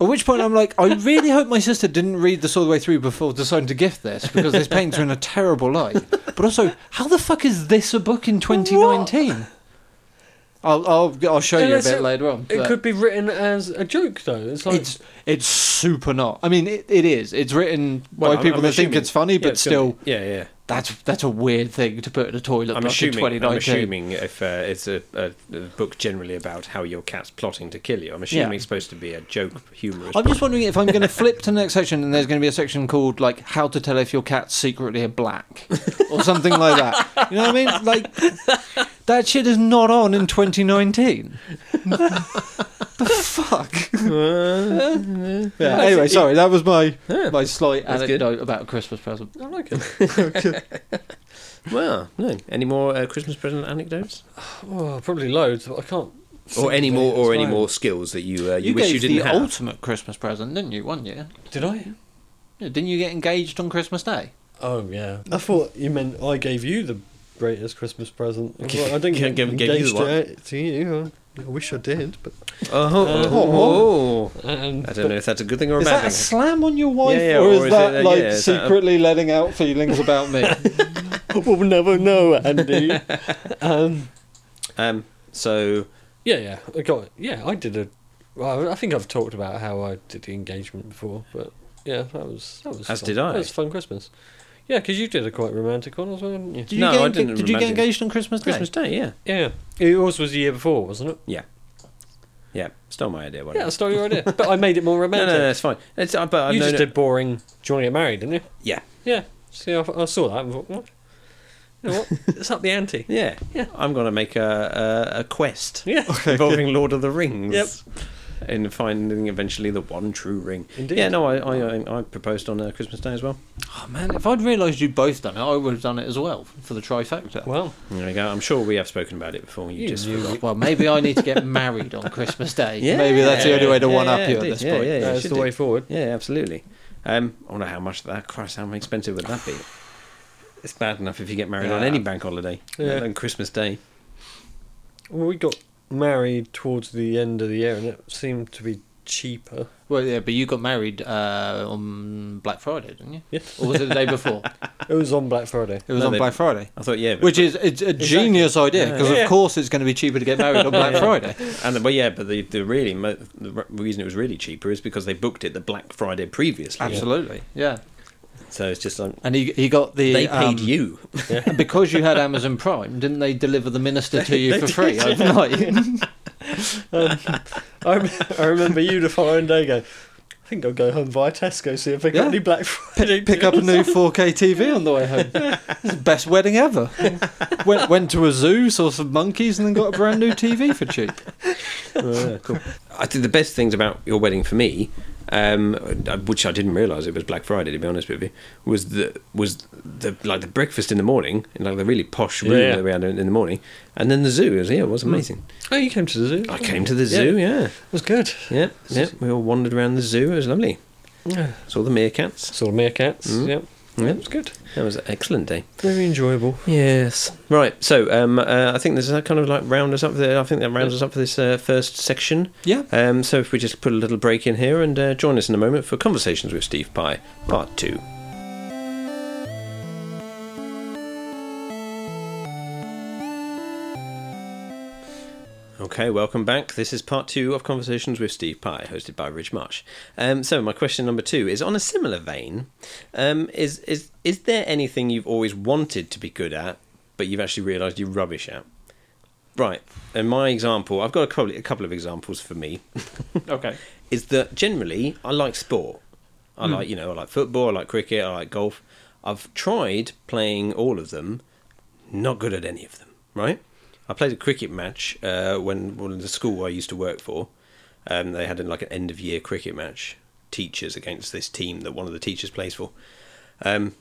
Speaker 3: At which point I'm like, I really hope my sister didn't read this all the way through before deciding to gift this because this paints her in a terrible light. But also, how the fuck is this a book in 2019? I'll, I'll I'll show you a
Speaker 2: Unless
Speaker 3: bit
Speaker 2: it-
Speaker 3: later on.
Speaker 2: It
Speaker 3: but
Speaker 2: could be written as a joke, though. It's like
Speaker 3: it's it's super not. I mean, it, it is. It's written
Speaker 4: Well,
Speaker 3: by
Speaker 4: I'm-
Speaker 3: people
Speaker 4: I'm
Speaker 3: that think
Speaker 4: assuming-
Speaker 3: it's funny,
Speaker 4: Yeah,
Speaker 3: but
Speaker 4: it's gonna
Speaker 3: still,
Speaker 4: be- yeah, yeah.
Speaker 3: that's that's a weird thing to put in a toilet.
Speaker 4: I'm
Speaker 3: book in
Speaker 4: assuming. I'm
Speaker 3: 2019.
Speaker 4: assuming if uh, it's a, a, a book generally about how your cat's plotting to kill you, I'm assuming
Speaker 3: Yeah. Oh,
Speaker 4: it's supposed to be a joke, humorous.
Speaker 3: I'm just wondering if I'm going to flip to the next section and there's going to be a section called like how to tell if your cat's secretly a black or something like that. You know what I mean? Like that shit is not on in 2019. the fuck. Yeah, anyway, sorry, that was my my slight
Speaker 4: That's good.
Speaker 3: anecdote about a Christmas present.
Speaker 2: I like it.
Speaker 4: well, no. Any more uh, Christmas present anecdotes,
Speaker 2: Oh, probably loads, but I can't. think
Speaker 4: or
Speaker 2: of
Speaker 4: any more,
Speaker 2: as
Speaker 4: or any
Speaker 2: well.
Speaker 4: more skills that you uh, you,
Speaker 3: you
Speaker 4: wish
Speaker 3: gave
Speaker 4: you didn't
Speaker 3: the
Speaker 4: have?
Speaker 3: ultimate Christmas present, didn't you? One year,
Speaker 2: Did I?
Speaker 3: Yeah, didn't you get engaged on Christmas Day?
Speaker 2: Oh yeah. I thought you meant I gave you the greatest Christmas present. I was like, I didn't get
Speaker 4: Give- give- give you
Speaker 2: engaged
Speaker 4: the
Speaker 2: to, to you. I wish I did, but
Speaker 4: Oh,
Speaker 2: Uh,
Speaker 4: oh, oh.
Speaker 2: um,
Speaker 4: I don't know if that's a good thing or a
Speaker 3: Is
Speaker 4: bad
Speaker 3: that a
Speaker 4: thing.
Speaker 3: slam on your wife,
Speaker 4: Yeah, yeah,
Speaker 3: or,
Speaker 4: or
Speaker 3: is
Speaker 4: is
Speaker 3: that
Speaker 4: it, uh,
Speaker 3: like
Speaker 4: yeah, is that a-
Speaker 3: secretly letting out feelings about me?
Speaker 2: we'll never know, Andy. um,
Speaker 4: Um, so
Speaker 2: yeah, yeah. I got. Yeah, I did a. Well, I think I've talked about how I did the engagement before, but yeah, that was that was
Speaker 4: As
Speaker 2: fun.
Speaker 4: did I.
Speaker 2: That was a fun Christmas. Yeah, because you did a quite romantic one as well, didn't you?
Speaker 3: Did you
Speaker 4: No,
Speaker 3: get
Speaker 4: I
Speaker 3: enga-
Speaker 4: didn't
Speaker 3: Did you get
Speaker 4: imagine.
Speaker 3: engaged on Christmas Day?
Speaker 4: Christmas Day, yeah,
Speaker 2: Yeah, yours was the year before, wasn't it?
Speaker 4: yeah, stole my idea.
Speaker 2: Yeah,
Speaker 4: Whatever.
Speaker 2: I stole your idea, but I made it more
Speaker 4: no, no,
Speaker 2: romantic.
Speaker 4: no, it's fine. It's, uh, but I've
Speaker 2: you
Speaker 4: known
Speaker 2: just
Speaker 4: it-
Speaker 2: did boring. Do you want to get married? Didn't you?
Speaker 4: Yeah,
Speaker 2: Yeah. See, I, I saw that and thought, what? You know what? it's up the ante.
Speaker 4: yeah,
Speaker 2: Yeah.
Speaker 4: I'm gonna make a a, a quest
Speaker 2: Yeah.
Speaker 4: involving Lord of the Rings. And finding eventually the one true ring.
Speaker 2: Indeed.
Speaker 4: Yeah, no, I I, I, I proposed on uh, Christmas Day as well.
Speaker 3: Oh man, if I'd realised you'd both done it, I would have done it as well for the trifecta. Well,
Speaker 2: Well,
Speaker 4: There you go. I'm sure we have spoken about it before. You,
Speaker 2: You
Speaker 4: just
Speaker 2: knew
Speaker 4: forgot.
Speaker 3: maybe I need to get married on Christmas Day. maybe that's the only way to
Speaker 4: yeah,
Speaker 3: one up
Speaker 4: yeah,
Speaker 3: you at
Speaker 4: indeed.
Speaker 3: this
Speaker 4: yeah,
Speaker 3: point.
Speaker 4: Yeah, yeah,
Speaker 2: that's
Speaker 4: should
Speaker 2: the
Speaker 4: do.
Speaker 2: way forward.
Speaker 4: Yeah, absolutely. Um, I wonder how much that. Christ, how expensive would that be? It's bad enough if you get married on
Speaker 3: Yeah.
Speaker 4: any bank holiday,
Speaker 2: Yeah.
Speaker 4: on Christmas Day.
Speaker 2: Well, we got married towards the end of the year, and it seemed to be cheaper.
Speaker 3: Well, yeah, but you got married uh, on Black Friday, didn't you?
Speaker 2: Yeah.
Speaker 3: Or was it the day before?
Speaker 2: It was on Black Friday.
Speaker 3: It was
Speaker 4: No,
Speaker 3: on
Speaker 4: they-
Speaker 3: Black Friday.
Speaker 4: I thought, yeah, but,
Speaker 3: Which is it's a genius idea because
Speaker 2: Yeah.
Speaker 3: of course it's going to be cheaper to get married on Black Friday.
Speaker 4: and the, well, yeah, but the, the really mo- the re- reason it was really cheaper is because they booked it the Black Friday previously.
Speaker 3: Absolutely, yeah.
Speaker 4: So it's just like
Speaker 3: And he he got the
Speaker 4: they paid
Speaker 3: um,
Speaker 4: you.
Speaker 3: And because you had Amazon Prime, didn't they deliver the minister to you
Speaker 4: They
Speaker 3: for
Speaker 4: did,
Speaker 3: free overnight?
Speaker 2: Um, I, rem- I remember you the following day going, I think I'll go home via Tesco, see if they got
Speaker 3: Yeah.
Speaker 2: any Black Friday.
Speaker 3: Pick up a new 4K TV on the way home. It's the best wedding ever. Went went to a zoo, saw some monkeys, and then got a brand new TV for cheap.
Speaker 4: Oh, I think the best things about your wedding for me, um, which I didn't realise it was Black Friday to be honest with you, was the was the like the breakfast in the morning, in like the really posh room
Speaker 2: Yeah.
Speaker 4: that we had in in the morning, and then the zoo. It was, yeah, it
Speaker 3: Hmm.
Speaker 4: was amazing.
Speaker 2: Oh, you came to the zoo.
Speaker 4: I came to the zoo. Yeah,
Speaker 2: It was good.
Speaker 4: yeah, yeah. We all wandered around the zoo. It was lovely.
Speaker 2: Yeah.
Speaker 4: Saw the meerkats.
Speaker 2: Saw the meerkats.
Speaker 4: Mm.
Speaker 2: Yep.
Speaker 4: Yeah,
Speaker 2: It was good.
Speaker 4: that was an excellent day.
Speaker 2: Very enjoyable.
Speaker 4: Yes. Right. So um, uh, I think this is that kind of like round us up. There. I think that rounds us up for this uh, first section.
Speaker 3: Yeah.
Speaker 4: Um, so if we just put a little break in here and uh, join us in a moment for Conversations with Steve Pye, part two. Okay, welcome back. This is part two of Conversations with Steve Pye, hosted by Rich Marsh. Um, so, my question number two is on a similar vein. Um, is is is there anything you've always wanted to be good at, but you've actually realised you're rubbish at? Right. In my example, I've got a, probably a couple of examples for me.
Speaker 3: Okay.
Speaker 4: is that generally I like sport. I like you know I like football, I like cricket, I like golf. I've tried playing all of them, not good at any of them. Right? I played a cricket match uh, when well, in the school I used to work for. Um, they had like an end of year cricket match, teachers against this team that one of the teachers plays for. Um,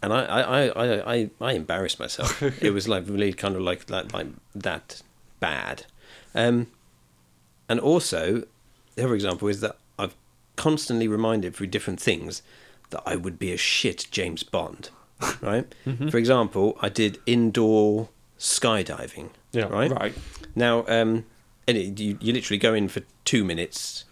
Speaker 4: and I, I, I, I, I embarrassed myself. it was like really kind of like like, like that bad. Um, and also, the other example is that I've constantly reminded through different things that I would be a shit James Bond, right? For example, I did indoor skydiving,
Speaker 2: Yeah,
Speaker 4: right?
Speaker 3: right.
Speaker 4: Now, um, and it, you, you literally go in for two minutes.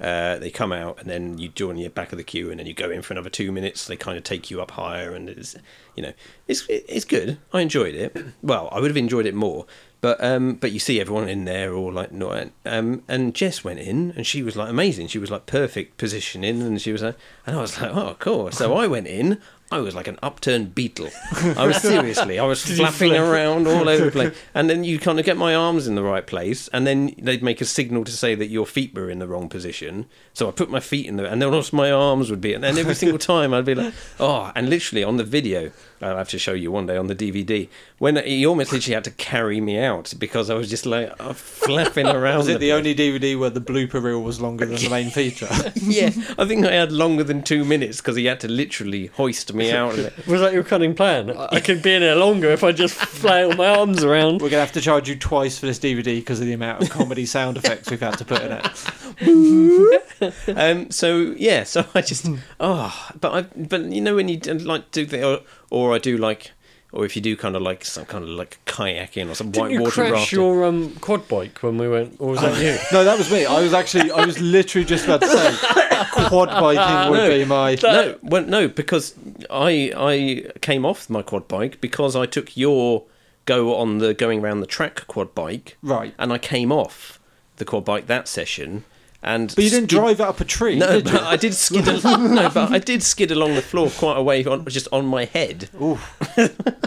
Speaker 4: Uh, they come out and then you join the back of the queue and then you go in for another two minutes. They kind of take you up higher and it's, you know, it's it's good. I enjoyed it. Well, I would have enjoyed it more, but um, but you see everyone in there all like not. Um, and Jess went in and she was like amazing. She was like perfect positioning and she was like, and I was like, oh cool. So I went in. I was like an upturned beetle. I was seriously, I was flapping around all over the place. And then you kind of get my arms in the right place, and then they'd make a signal to say that your feet were in the wrong position. So I put my feet in the, and then also my arms would be, and then every single time I'd be like, oh, and literally on the video, I'll have to show you one day on the DVD, when he almost literally had to carry me out because I was just like uh, flapping around.
Speaker 3: Was it the
Speaker 4: place.
Speaker 3: only DVD where the blooper reel was longer than the main feature?
Speaker 4: Yeah, I think I had longer than two minutes because he had to literally hoist me out of it.
Speaker 2: Was that your cunning plan? I, I could be in there longer if I just flail my arms around.
Speaker 3: We're gonna have to charge you twice for this DVD because of the amount of comedy sound effects we've had to put in it.
Speaker 4: um, so yeah, so I just oh, but I but you know when you do, like do the or, or I do like or if you do kind of like some kind of like kayaking or some
Speaker 2: Didn't
Speaker 4: white
Speaker 2: you
Speaker 4: water
Speaker 2: crash
Speaker 4: rafting.
Speaker 2: your um, quad bike when we went, or was that you?
Speaker 3: No, that was me. I was actually, I was literally just about to say, quad biking would be my.
Speaker 4: no, well, no, because I I came off my quad bike because I took your go on the going around the track quad bike,
Speaker 3: Right.
Speaker 4: and I came off the quad bike that session, and
Speaker 3: But you didn't
Speaker 4: skid-
Speaker 3: drive it up a tree,
Speaker 4: No,
Speaker 3: did
Speaker 4: but I did skid. al- no, but I did skid along the floor quite a way, on, just on my head.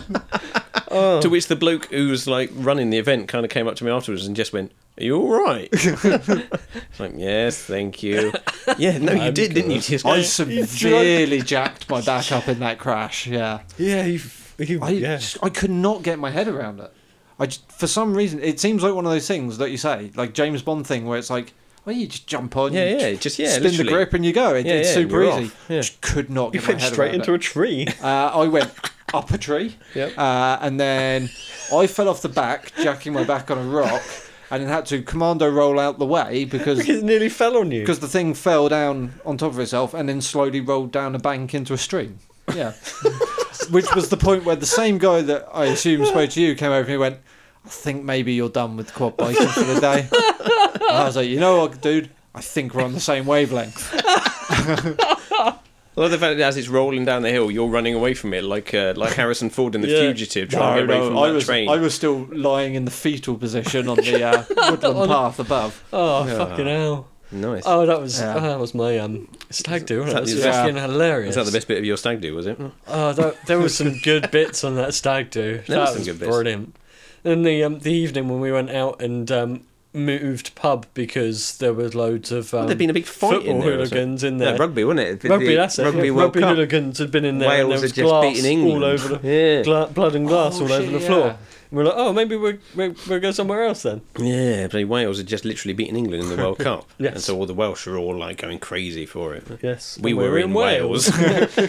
Speaker 4: To which the bloke who was like running the event kind of came up to me afterwards and just went, "Are you all right?" it's like, "Yes, thank you." Yeah, no, you
Speaker 2: I'm
Speaker 4: did, didn't you? Just
Speaker 3: I
Speaker 2: drunk.
Speaker 3: severely jacked my back up in that crash. Yeah,
Speaker 2: Yeah, you. you
Speaker 3: I just- I could not get my head around it. I just, for some reason it seems like one of those things that you say, like James Bond thing, where it's like, well, you just jump on,
Speaker 4: Yeah,
Speaker 3: you
Speaker 4: yeah,
Speaker 3: j-
Speaker 4: just- yeah,
Speaker 3: spin
Speaker 4: literally.
Speaker 3: the grip and you go. It,
Speaker 4: Yeah,
Speaker 3: it's
Speaker 4: yeah, and
Speaker 3: super
Speaker 4: you're
Speaker 3: easy.
Speaker 4: off. Yeah.
Speaker 3: Just could not get my
Speaker 2: went
Speaker 3: head
Speaker 2: straight
Speaker 3: around
Speaker 2: into
Speaker 3: it.
Speaker 2: a tree.
Speaker 3: Uh, I went up a tree,
Speaker 2: Yep.
Speaker 3: uh, and then I fell off the back, jacking my back on a rock, and then had to commando roll out the way because
Speaker 2: Because it nearly fell on you.
Speaker 3: because the thing fell down on top of itself and then slowly rolled down a bank into a stream. Yeah, which was the point where the same guy that I assume spoke to you came over and he went, "I think maybe you're done with quad biking for the day." And I was like, "You know what, dude." I think we're on the same wavelength.
Speaker 4: I love the fact that as it's rolling down the hill, you're running away from it like uh, like Harrison Ford in The
Speaker 2: Yeah.
Speaker 4: Fugitive, trying to get away from
Speaker 3: I
Speaker 4: that
Speaker 3: was
Speaker 4: train.
Speaker 3: I was still lying in the fetal position on the uh, woodland path above.
Speaker 2: Oh
Speaker 4: Yeah.
Speaker 2: fucking hell!
Speaker 4: nice.
Speaker 2: Oh, that was
Speaker 3: Yeah.
Speaker 2: oh, that was my um stag do. Wasn't it?
Speaker 4: that
Speaker 2: That was
Speaker 4: the-
Speaker 3: yeah.
Speaker 2: fucking hilarious.
Speaker 4: was that the best bit of your stag do? Was it?
Speaker 2: Oh, that, there were some good bits on that stag do.
Speaker 4: There
Speaker 2: that
Speaker 4: were
Speaker 2: was
Speaker 4: some good bits.
Speaker 2: brilliant. And the um, the evening when we went out and um, moved pub because there was loads of um,
Speaker 4: There'd been a big fight
Speaker 2: football
Speaker 4: in there. or something.
Speaker 2: hooligans in
Speaker 4: No,
Speaker 2: there.
Speaker 4: rugby, wasn't it? The-
Speaker 2: Rugby,
Speaker 4: the
Speaker 2: that's it.
Speaker 4: Rugby
Speaker 2: yeah.
Speaker 4: World
Speaker 2: rugby
Speaker 4: Cup.
Speaker 2: hooligans had been in there. and there
Speaker 4: Wales
Speaker 2: was
Speaker 4: had just
Speaker 2: glass
Speaker 4: beaten England.
Speaker 2: all over the
Speaker 4: yeah.
Speaker 2: gla- blood and glass
Speaker 3: Oh,
Speaker 2: all over
Speaker 3: shit,
Speaker 2: the floor.
Speaker 3: yeah.
Speaker 2: And we're like, oh, maybe we'll, we'll, we'll go somewhere else then.
Speaker 4: Yeah, bloody Wales had just literally beaten England in the World Cup.
Speaker 2: Yes.
Speaker 4: And so all the Welsh are all like going crazy for it.
Speaker 2: Yes,
Speaker 4: We
Speaker 2: and
Speaker 4: were, in Wales,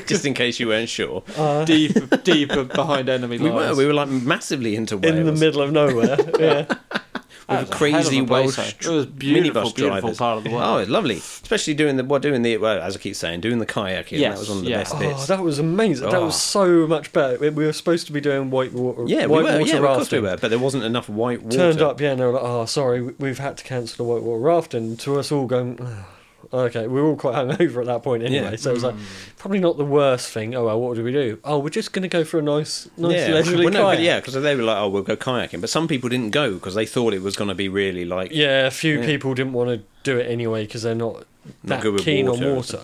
Speaker 4: just in case you weren't sure.
Speaker 2: Uh,
Speaker 3: Deep, deep behind enemy
Speaker 4: We
Speaker 3: lines.
Speaker 4: were, we were like massively into Wales.
Speaker 2: in the middle of nowhere. yeah.
Speaker 4: With
Speaker 3: That was a
Speaker 4: crazy
Speaker 3: hell of a place,
Speaker 4: Welsh
Speaker 3: though. It was beautiful,
Speaker 4: minibus
Speaker 3: beautiful
Speaker 4: drivers.
Speaker 3: part of the world.
Speaker 4: Oh, it's lovely. Especially doing the, well, doing the, well, as I keep saying, doing the kayaking.
Speaker 3: Yes,
Speaker 4: that was one of the
Speaker 3: yeah.
Speaker 4: best
Speaker 2: Oh,
Speaker 4: bits.
Speaker 2: that was amazing. That was
Speaker 4: Oh.
Speaker 2: so much better. We we were supposed to be doing white water,
Speaker 4: yeah, we
Speaker 2: white
Speaker 4: were.
Speaker 2: water
Speaker 4: Yeah, of course we
Speaker 2: rafting.
Speaker 4: were. But there wasn't enough white water.
Speaker 2: Turned up, yeah, and they were like, "Oh, sorry, we- we've had to cancel the white water rafting." To us all, going, "Oh, okay, we were all quite hungover at that point anyway,
Speaker 4: Yeah. Mm.
Speaker 2: so it was like probably not the worst thing. Oh well, what do we do? Oh, we're just going to go for a nice, nice
Speaker 4: yeah,
Speaker 2: leisurely
Speaker 4: well, no, but
Speaker 2: kayak.
Speaker 4: yeah, because they were like, "Oh, we'll go kayaking," but some people didn't go because they thought it was going to be really like
Speaker 2: Yeah, a few
Speaker 4: Yeah.
Speaker 2: people didn't want to do it anyway because they're not,
Speaker 4: Not
Speaker 2: that
Speaker 4: good with
Speaker 2: keen
Speaker 4: water.
Speaker 2: on water.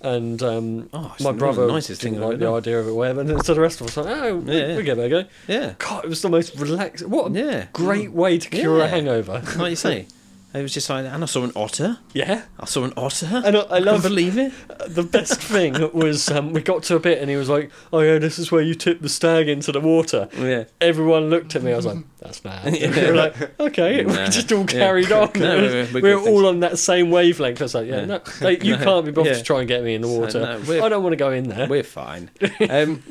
Speaker 2: And um,
Speaker 4: Oh, it's
Speaker 2: my
Speaker 4: one of the
Speaker 2: brother
Speaker 4: nicest thing
Speaker 2: didn't
Speaker 4: I've
Speaker 2: like the
Speaker 4: ever
Speaker 2: idea of it, whatever. And then so the rest of us were like, oh, we,
Speaker 4: Yeah.
Speaker 2: we give it a go.
Speaker 4: yeah,
Speaker 2: God, it was the most relaxed. What a
Speaker 4: yeah,
Speaker 2: great way to cure a
Speaker 4: Yeah.
Speaker 2: hangover.
Speaker 4: like you say, it was just like, and I saw an otter.
Speaker 2: yeah.
Speaker 4: I saw an otter.
Speaker 2: And I, I
Speaker 4: can't
Speaker 2: love
Speaker 4: believe it.
Speaker 2: the best thing was um, we got to a bit and he was like, "Oh yeah, this is where you tip the stag into the water."
Speaker 4: Yeah.
Speaker 2: Everyone looked at me. I was like, "That's bad."
Speaker 4: Yeah.
Speaker 2: we were like, "Okay,we we
Speaker 4: Nah.
Speaker 2: just all
Speaker 4: Yeah.
Speaker 2: carried on.
Speaker 4: No,
Speaker 2: It was- we
Speaker 4: we're- we're
Speaker 2: were
Speaker 4: good, thanks.
Speaker 2: all on that same wavelength." I was like, "Yeah,
Speaker 4: Yeah.
Speaker 2: no, like, you
Speaker 4: No.
Speaker 2: can't be bothered
Speaker 4: Yeah.
Speaker 2: to try and get me in the
Speaker 4: So,
Speaker 2: water.
Speaker 4: Uh,
Speaker 2: Oh,
Speaker 4: no, we're-
Speaker 2: I don't want to go in there."
Speaker 4: We're fine. Um,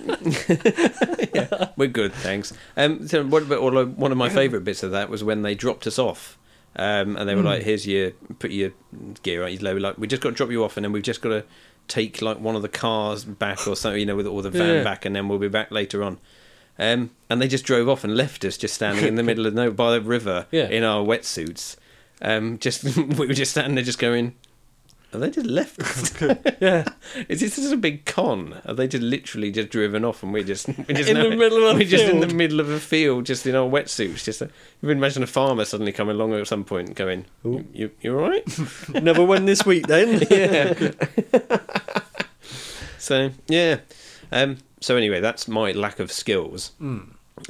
Speaker 4: yeah, we're good, thanks. Um, so what, but all- one of my favourite bits of that was when they dropped us off, um, and they
Speaker 2: Hmm.
Speaker 4: were like, "Here's your put your gear on." They were like, "We just got to drop you off, and then we've just got to take like one of the cars back or something, you know, with all the van
Speaker 2: Yeah.
Speaker 4: back, and then we'll be back later on." Um, and they just drove off and left us just standing in the middle of no by the river
Speaker 2: Yeah.
Speaker 4: in our wetsuits. Um, just we were just standing there, just going. Are they just left us?"
Speaker 2: yeah,
Speaker 4: Is this just a big con? Are they just literally just driven off and we're just we're just,
Speaker 2: In the middle of a
Speaker 4: we're just in the
Speaker 2: field.
Speaker 4: middle of a field, just in our wetsuits? Just a, you can imagine a farmer suddenly coming along at some point, and going,
Speaker 2: Ooh.
Speaker 4: "You you all right?"
Speaker 2: never win this week then.
Speaker 4: yeah. so yeah. Um, so anyway, that's my lack of skills.
Speaker 2: Hmm.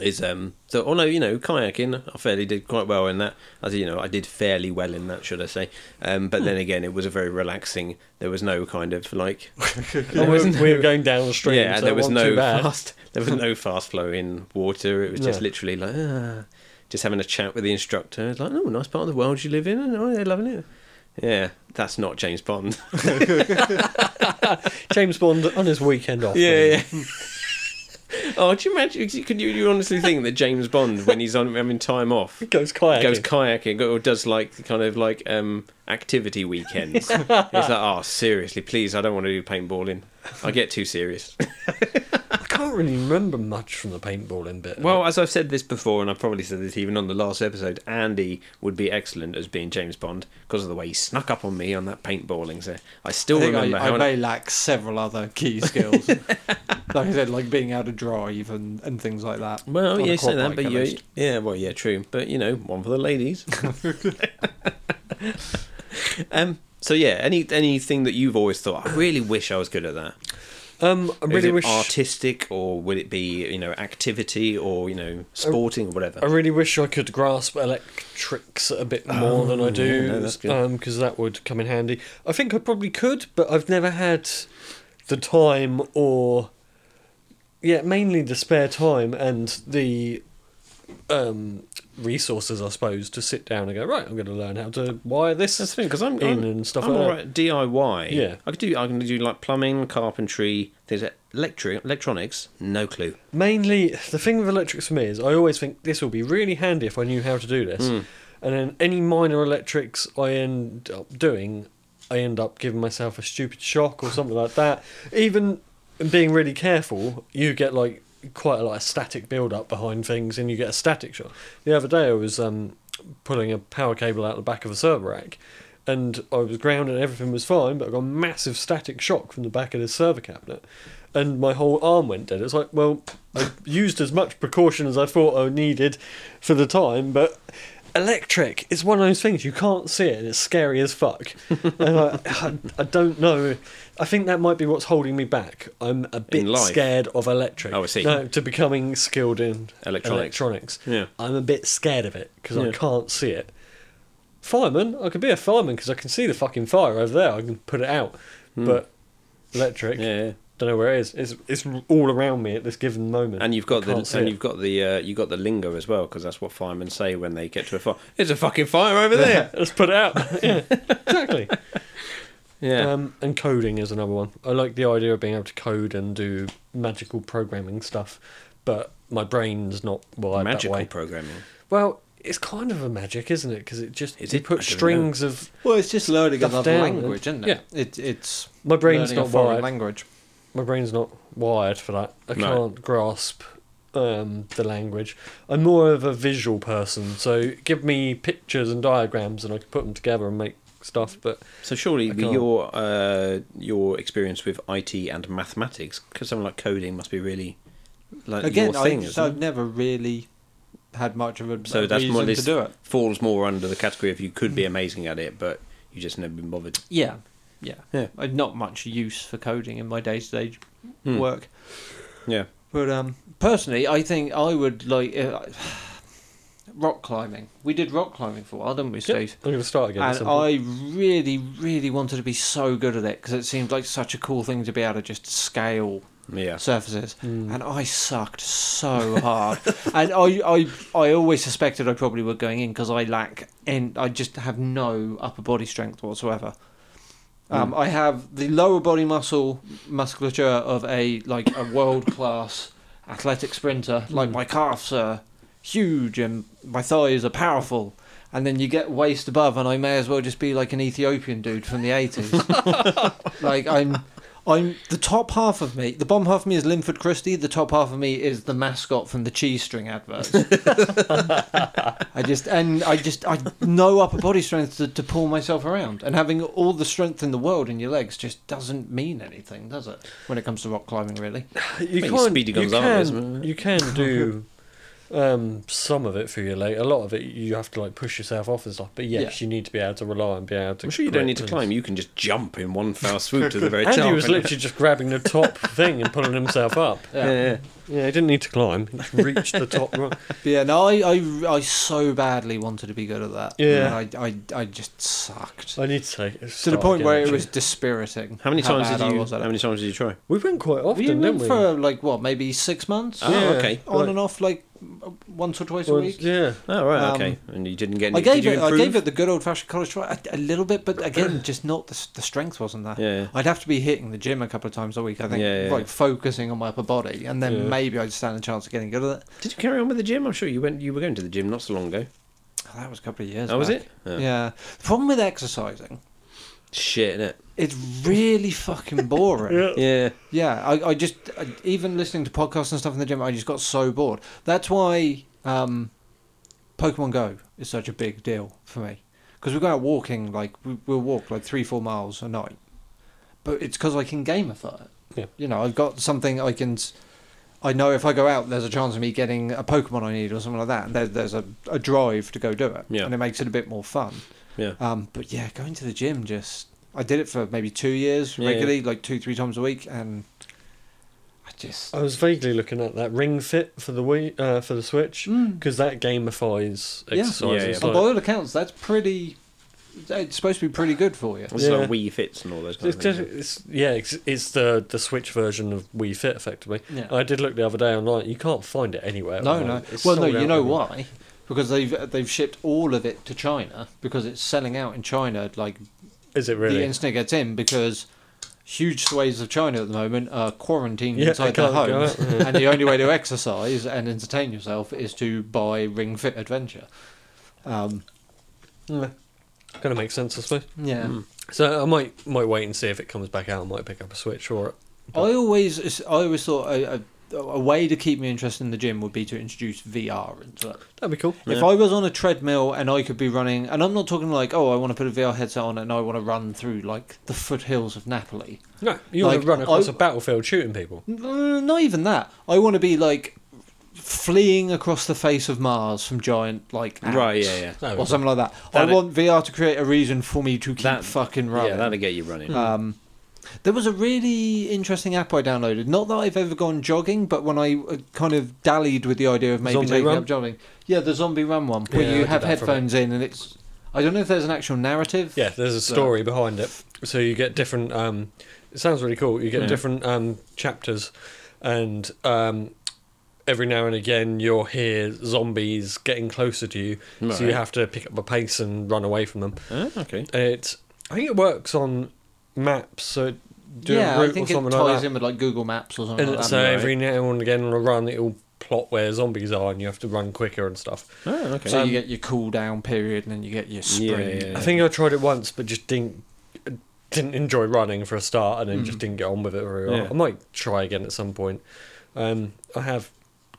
Speaker 4: Is um. So although you know kayaking, I fairly did quite well in that. As you know, I did fairly well in that, should I say? Um, but
Speaker 2: Hmm.
Speaker 4: then again, it was a very relaxing. There was no kind of like.
Speaker 2: We were- we were going downstream.
Speaker 4: Yeah,
Speaker 2: so
Speaker 4: there was
Speaker 2: it wasn't
Speaker 4: no
Speaker 2: too bad.
Speaker 4: fast. There was no fast flowing water. It was just
Speaker 2: No.
Speaker 4: literally like ah, just having a chat with the instructor. It's like, oh, nice part of the world you live in, and oh, they're loving it. Yeah, that's not James Bond.
Speaker 2: James Bond on his weekend off.
Speaker 4: yeah, yeah. oh, do you imagine? Could you, you honestly think that James Bond, when he's on having time off,
Speaker 2: goes kayaking.
Speaker 4: goes kayaking or does like kind of like um activity weekends? it's like, oh, seriously, please, I don't want to do paintballing. I get too serious.
Speaker 2: I can't really remember much from the paintballing
Speaker 3: Uh,
Speaker 2: bit.
Speaker 4: Well, as I've said this before, and I probably said this even on the last episode, Andy would be excellent as being James Bond because of the way he snuck up on me on that paintballing. So I still
Speaker 3: I, think
Speaker 4: remember
Speaker 3: I,
Speaker 4: how.
Speaker 3: I may lack several other key skills. like I said, like being able to drive and, and things like that.
Speaker 4: well,
Speaker 3: On a
Speaker 4: yeah, say
Speaker 3: quad
Speaker 4: that,
Speaker 3: bike,
Speaker 4: but
Speaker 3: at
Speaker 4: you,
Speaker 3: least.
Speaker 4: yeah, well, yeah, true, but you know, one for the ladies. um. So yeah, any anything that you've always thought, I really wish I was good at that.
Speaker 2: um, I
Speaker 4: Is
Speaker 2: really
Speaker 4: it
Speaker 2: wish.
Speaker 4: artistic, or would it be you know activity, or you know sporting, or whatever?
Speaker 2: I really wish I could grasp electrics a bit more than I
Speaker 4: Oh, yeah, no,
Speaker 2: do,
Speaker 4: that's good.
Speaker 2: because that would come in handy. I think I probably could, but I've never had the time or, yeah, mainly the spare time and the um, resources, I suppose, to sit down and go right. I'm going to learn how to wire this
Speaker 4: That's the thing because I'm,
Speaker 2: in
Speaker 4: I'm
Speaker 2: and stuff
Speaker 4: I'm
Speaker 2: like
Speaker 4: all
Speaker 2: that.
Speaker 4: right at DIY.
Speaker 2: Yeah.
Speaker 4: I could do. I can do like plumbing, carpentry, things. like Electric, electronics, no clue.
Speaker 2: Mainly, the thing with electrics for me is I always think this will be really handy if I knew how to do this. And then any minor electrics I end up doing, I end up giving myself a stupid shock or something like that. Even being really careful, you get like quite a lot of static build up behind things and you get a static shock. The other day I was um, pulling a power cable out the back of a server rack and I was grounded and everything was fine, but I got a massive static shock from the back of this server cabinet and my whole arm went dead. It's like, well, I used as much precaution as I thought I needed for the time, but electric is one of those things you can't see it and it's scary as fuck. and I, I, I don't know. I think that might be what's holding me back. I'm a bit
Speaker 4: life?
Speaker 2: scared of electric.
Speaker 4: Oh, I see.
Speaker 2: No, to becoming skilled in
Speaker 4: Electronics.
Speaker 2: electronics.
Speaker 4: Yeah.
Speaker 2: I'm a bit scared of it because
Speaker 4: Yeah.
Speaker 2: I can't see it. Fireman, I could be a fireman because I can see the fucking fire over there. I can put it out. But electric,
Speaker 4: Hmm. Yeah,
Speaker 2: don't know where it is. It's it's all around me at this given moment.
Speaker 4: and you've got the
Speaker 2: Can't see
Speaker 4: and
Speaker 2: it.
Speaker 4: you've got the uh, you got the lingo as well because that's what firemen say when they get to a fire. There's a fucking fire over there.
Speaker 2: Let's put it out. yeah, exactly.
Speaker 4: Yeah,
Speaker 2: Um, and coding is another one. I like the idea of being able to code and do magical programming stuff, but my brain's not wired
Speaker 4: magical
Speaker 2: that way.
Speaker 4: programming.
Speaker 2: well, it's kind of a magic, isn't it? Because it just
Speaker 4: Is
Speaker 2: you
Speaker 4: it? I
Speaker 2: put
Speaker 4: don't know.
Speaker 2: strings of
Speaker 3: Well, it's just learning
Speaker 2: Stuff
Speaker 3: another
Speaker 2: down,
Speaker 3: language, isn't it?
Speaker 2: yeah.
Speaker 3: It, it's
Speaker 2: my brain's
Speaker 3: learning a
Speaker 2: not
Speaker 3: foreign
Speaker 2: wired.
Speaker 3: language.
Speaker 2: my brain's not wired for that. I
Speaker 4: No.
Speaker 2: can't grasp um, the language. I'm more of a visual person, so give me pictures and diagrams, and I can put them together and make stuff, but
Speaker 4: So surely
Speaker 2: I
Speaker 4: the-
Speaker 2: can't.
Speaker 4: your uh, your experience with IT and mathematics, because something like coding must be really like
Speaker 3: Again,
Speaker 4: your
Speaker 3: I,
Speaker 4: thing.
Speaker 3: just,
Speaker 4: isn't
Speaker 3: I've
Speaker 4: it?
Speaker 3: never really had much of a
Speaker 4: So
Speaker 3: a
Speaker 4: that's more
Speaker 3: reason
Speaker 4: this-
Speaker 3: to do it.
Speaker 4: Falls more under the category of you could be amazing at it, but you just never been bothered.
Speaker 3: Yeah, yeah.
Speaker 4: Yeah.
Speaker 3: I've not much use for coding in my day-to-day
Speaker 4: Hmm.
Speaker 3: work.
Speaker 4: Yeah.
Speaker 3: But um, personally, I think I would like uh, rock climbing. We did rock climbing for a while, didn't we, Steve?
Speaker 2: I'm going to start again. at
Speaker 3: And
Speaker 2: some point.
Speaker 3: I really, really wanted to be so good at it because it seemed like such a cool thing to be able to just scale
Speaker 4: Yeah.
Speaker 3: surfaces.
Speaker 2: Mm.
Speaker 3: And I sucked so hard. and I, I, I always suspected I probably were going in because I lack, and I just have no upper body strength whatsoever. Um, I have the lower body muscle musculature of a like a world class athletic sprinter. Like
Speaker 2: Mm.
Speaker 3: my calves are huge and my thighs are powerful. And then you get waist above, and I may as well just be like an Ethiopian dude from the eighties. like I'm, I'm the top half of me. The bottom half of me is Linford Christie. The top half of me is the mascot from the cheese string adverts. I just and I just I no upper body strength to, to pull myself around, and having all the strength in the world in your legs just doesn't mean anything, does it? When it comes to rock climbing, really.
Speaker 2: you
Speaker 4: Maybe
Speaker 2: can't-
Speaker 4: Speedy
Speaker 2: you
Speaker 4: Gonzales,
Speaker 2: can-
Speaker 4: uh,
Speaker 2: You can do um, some of it for your leg. A lot of it you have to like push yourself off and stuff. But yes, you need to be able to rely and be able to.
Speaker 4: I'm sure you don't
Speaker 2: grip
Speaker 4: need to
Speaker 2: and-
Speaker 4: climb. You can just jump in one foul swoop to the very top.
Speaker 2: Andy was
Speaker 4: and-
Speaker 2: literally just grabbing the top thing and pulling himself up.
Speaker 4: Yeah, yeah.
Speaker 2: Yeah, he didn't need to climb. He just reached the top. Right.
Speaker 3: But yeah, no, I, I, I so badly wanted to be good at that.
Speaker 2: Yeah.
Speaker 3: And I, I, I just sucked.
Speaker 2: I need to take it.
Speaker 3: to the point where it was dispiriting.
Speaker 4: oh, How many times
Speaker 3: bad
Speaker 4: did
Speaker 3: I
Speaker 4: you?
Speaker 3: was at
Speaker 4: How
Speaker 3: it.
Speaker 4: many times did you try?
Speaker 2: We went quite often,
Speaker 3: We
Speaker 2: didn't
Speaker 3: went
Speaker 2: we?
Speaker 3: for like what, maybe six months?
Speaker 4: Oh,
Speaker 2: Yeah.
Speaker 4: okay.
Speaker 3: On
Speaker 2: Right.
Speaker 3: and off, like w- once or twice a
Speaker 2: Once-
Speaker 3: week.
Speaker 2: yeah.
Speaker 4: Oh right,
Speaker 3: Um,
Speaker 4: okay. And you didn't get. Any,
Speaker 3: I gave
Speaker 4: did you
Speaker 3: it. I
Speaker 4: improve?
Speaker 3: gave it the good old fashioned college try a, a little bit, but again, just not the, s- the strength wasn't there.
Speaker 4: Yeah.
Speaker 3: I'd have to be hitting the gym a couple of times a week. I think,
Speaker 4: Yeah, yeah,
Speaker 3: like
Speaker 4: yeah.
Speaker 3: focusing on my upper body, and then
Speaker 2: Yeah.
Speaker 3: maybe I'd stand a chance of getting good at it.
Speaker 4: Did you carry on with the gym? I'm sure you went. You were going to the gym not so long ago.
Speaker 3: Oh, that was a couple of years.
Speaker 4: Oh, was
Speaker 3: back.
Speaker 4: it? Yeah.
Speaker 3: yeah. The problem with exercising,
Speaker 4: Shit, innit?
Speaker 3: it's really fucking boring.
Speaker 4: Yeah.
Speaker 3: Yeah, I, I just I, even listening to podcasts and stuff in the gym, I just got so bored. That's why um, Pokemon Go is such a big deal for me because we go out walking like we, we'll walk like three four miles a night, but it's because I can gamify it.
Speaker 2: Yeah.
Speaker 3: You know, I've got something I can. s- I know if I go out, there's a chance of me getting a Pokemon I need or something like that, and there, there's a, a drive to go do it,
Speaker 4: Yeah.
Speaker 3: and it makes it a bit more fun.
Speaker 4: Yeah.
Speaker 3: Um, but yeah, going to the gym just I did it for maybe two years
Speaker 4: Yeah, yeah.
Speaker 3: regularly, like two three times a week, and I just
Speaker 2: I was vaguely looking at that Ring Fit for the Wii, uh, for the Switch
Speaker 3: Mm.
Speaker 2: because that gamifies
Speaker 3: Yeah.
Speaker 2: exercise.
Speaker 4: Yeah,
Speaker 2: It's
Speaker 4: yeah.
Speaker 3: on
Speaker 2: like-
Speaker 3: by all accounts that's pretty. It's supposed to be pretty good for you.
Speaker 4: It's
Speaker 2: Yeah.
Speaker 4: like Wii Fits and all those kind
Speaker 2: It's
Speaker 4: of
Speaker 2: just,
Speaker 4: things.
Speaker 2: it's, yeah, it's, it's the the Switch version of Wii Fit, effectively.
Speaker 3: Yeah.
Speaker 2: I did look the other day online. You can't find it anywhere.
Speaker 3: No,
Speaker 2: online.
Speaker 3: no.
Speaker 2: It's
Speaker 3: Well, no,
Speaker 2: sold
Speaker 3: you
Speaker 2: out
Speaker 3: know
Speaker 2: everywhere.
Speaker 3: why? Because they've they've shipped all of it to China because it's selling out in China like
Speaker 2: Is it really?
Speaker 3: the instant it gets in because huge swathes of China at the moment are quarantined
Speaker 2: Yeah, they
Speaker 3: inside their
Speaker 2: can't go
Speaker 3: homes,
Speaker 2: out,
Speaker 3: and the only way to exercise and entertain yourself is to buy Ring Fit Adventure. Um,
Speaker 2: Kind of makes sense, I suppose.
Speaker 3: yeah,
Speaker 2: Hmm. So I might might wait and see if it comes back out. I might pick up a Switch or
Speaker 3: I always I always thought a, a, a way to keep me interested in the gym would be to introduce VR into it.
Speaker 2: that'd be cool.
Speaker 3: If I was on a treadmill and I could be running, and I'm not talking like, oh, I want to put a VR headset on and I want to run through like the foothills of Napoli.
Speaker 2: No, you
Speaker 3: Like,
Speaker 2: want to run across
Speaker 3: I-
Speaker 2: a battlefield shooting people.
Speaker 3: Mm, Not even that. I want to be like fleeing across the face of Mars from giant like ants
Speaker 4: Right, yeah, yeah.
Speaker 2: No,
Speaker 3: or something like that.
Speaker 4: That-
Speaker 3: I want VR to create a reason for me to keep
Speaker 4: That-
Speaker 3: fucking
Speaker 4: Yeah,
Speaker 3: running.
Speaker 4: that'll get you running.
Speaker 2: Hmm.
Speaker 3: Um, there was a really interesting app I downloaded. Not that I've ever gone jogging, but when I uh, kind of dallied with the idea of maybe
Speaker 2: Zombie
Speaker 3: taking
Speaker 2: Run?
Speaker 3: up jogging. Yeah, the zombie run one
Speaker 2: Yeah, I
Speaker 3: where you
Speaker 2: did
Speaker 3: have
Speaker 2: that for a bit.
Speaker 3: headphones in and it's. I don't know if there's an actual narrative.
Speaker 2: Yeah, there's a story behind it. So you get different. Um, it sounds really cool. You get
Speaker 4: Yeah.
Speaker 2: different um, chapters, and um, every now and again you'll hear zombies getting closer to you. So you
Speaker 4: Right.
Speaker 2: have to pick up a pace and run away from them.
Speaker 4: Oh, okay.
Speaker 2: And it's I think it works on maps. So do
Speaker 3: yeah,
Speaker 2: a route
Speaker 3: I think
Speaker 2: or
Speaker 3: it
Speaker 2: something
Speaker 3: ties
Speaker 2: like that.
Speaker 3: in with like Google Maps or something.
Speaker 2: and
Speaker 3: like that.
Speaker 2: so every now and again on a run, it'll plot where zombies are, and you have to run quicker and stuff.
Speaker 4: Oh, okay.
Speaker 3: So
Speaker 2: Um,
Speaker 3: you get your cool down period and then you get your
Speaker 4: Yeah,
Speaker 3: sprint.
Speaker 4: yeah, yeah.
Speaker 2: I think I tried it once, but just didn't didn't enjoy running for a start, and then just didn't get on with it very well.
Speaker 4: Yeah.
Speaker 2: I might try again at some point. Um, I have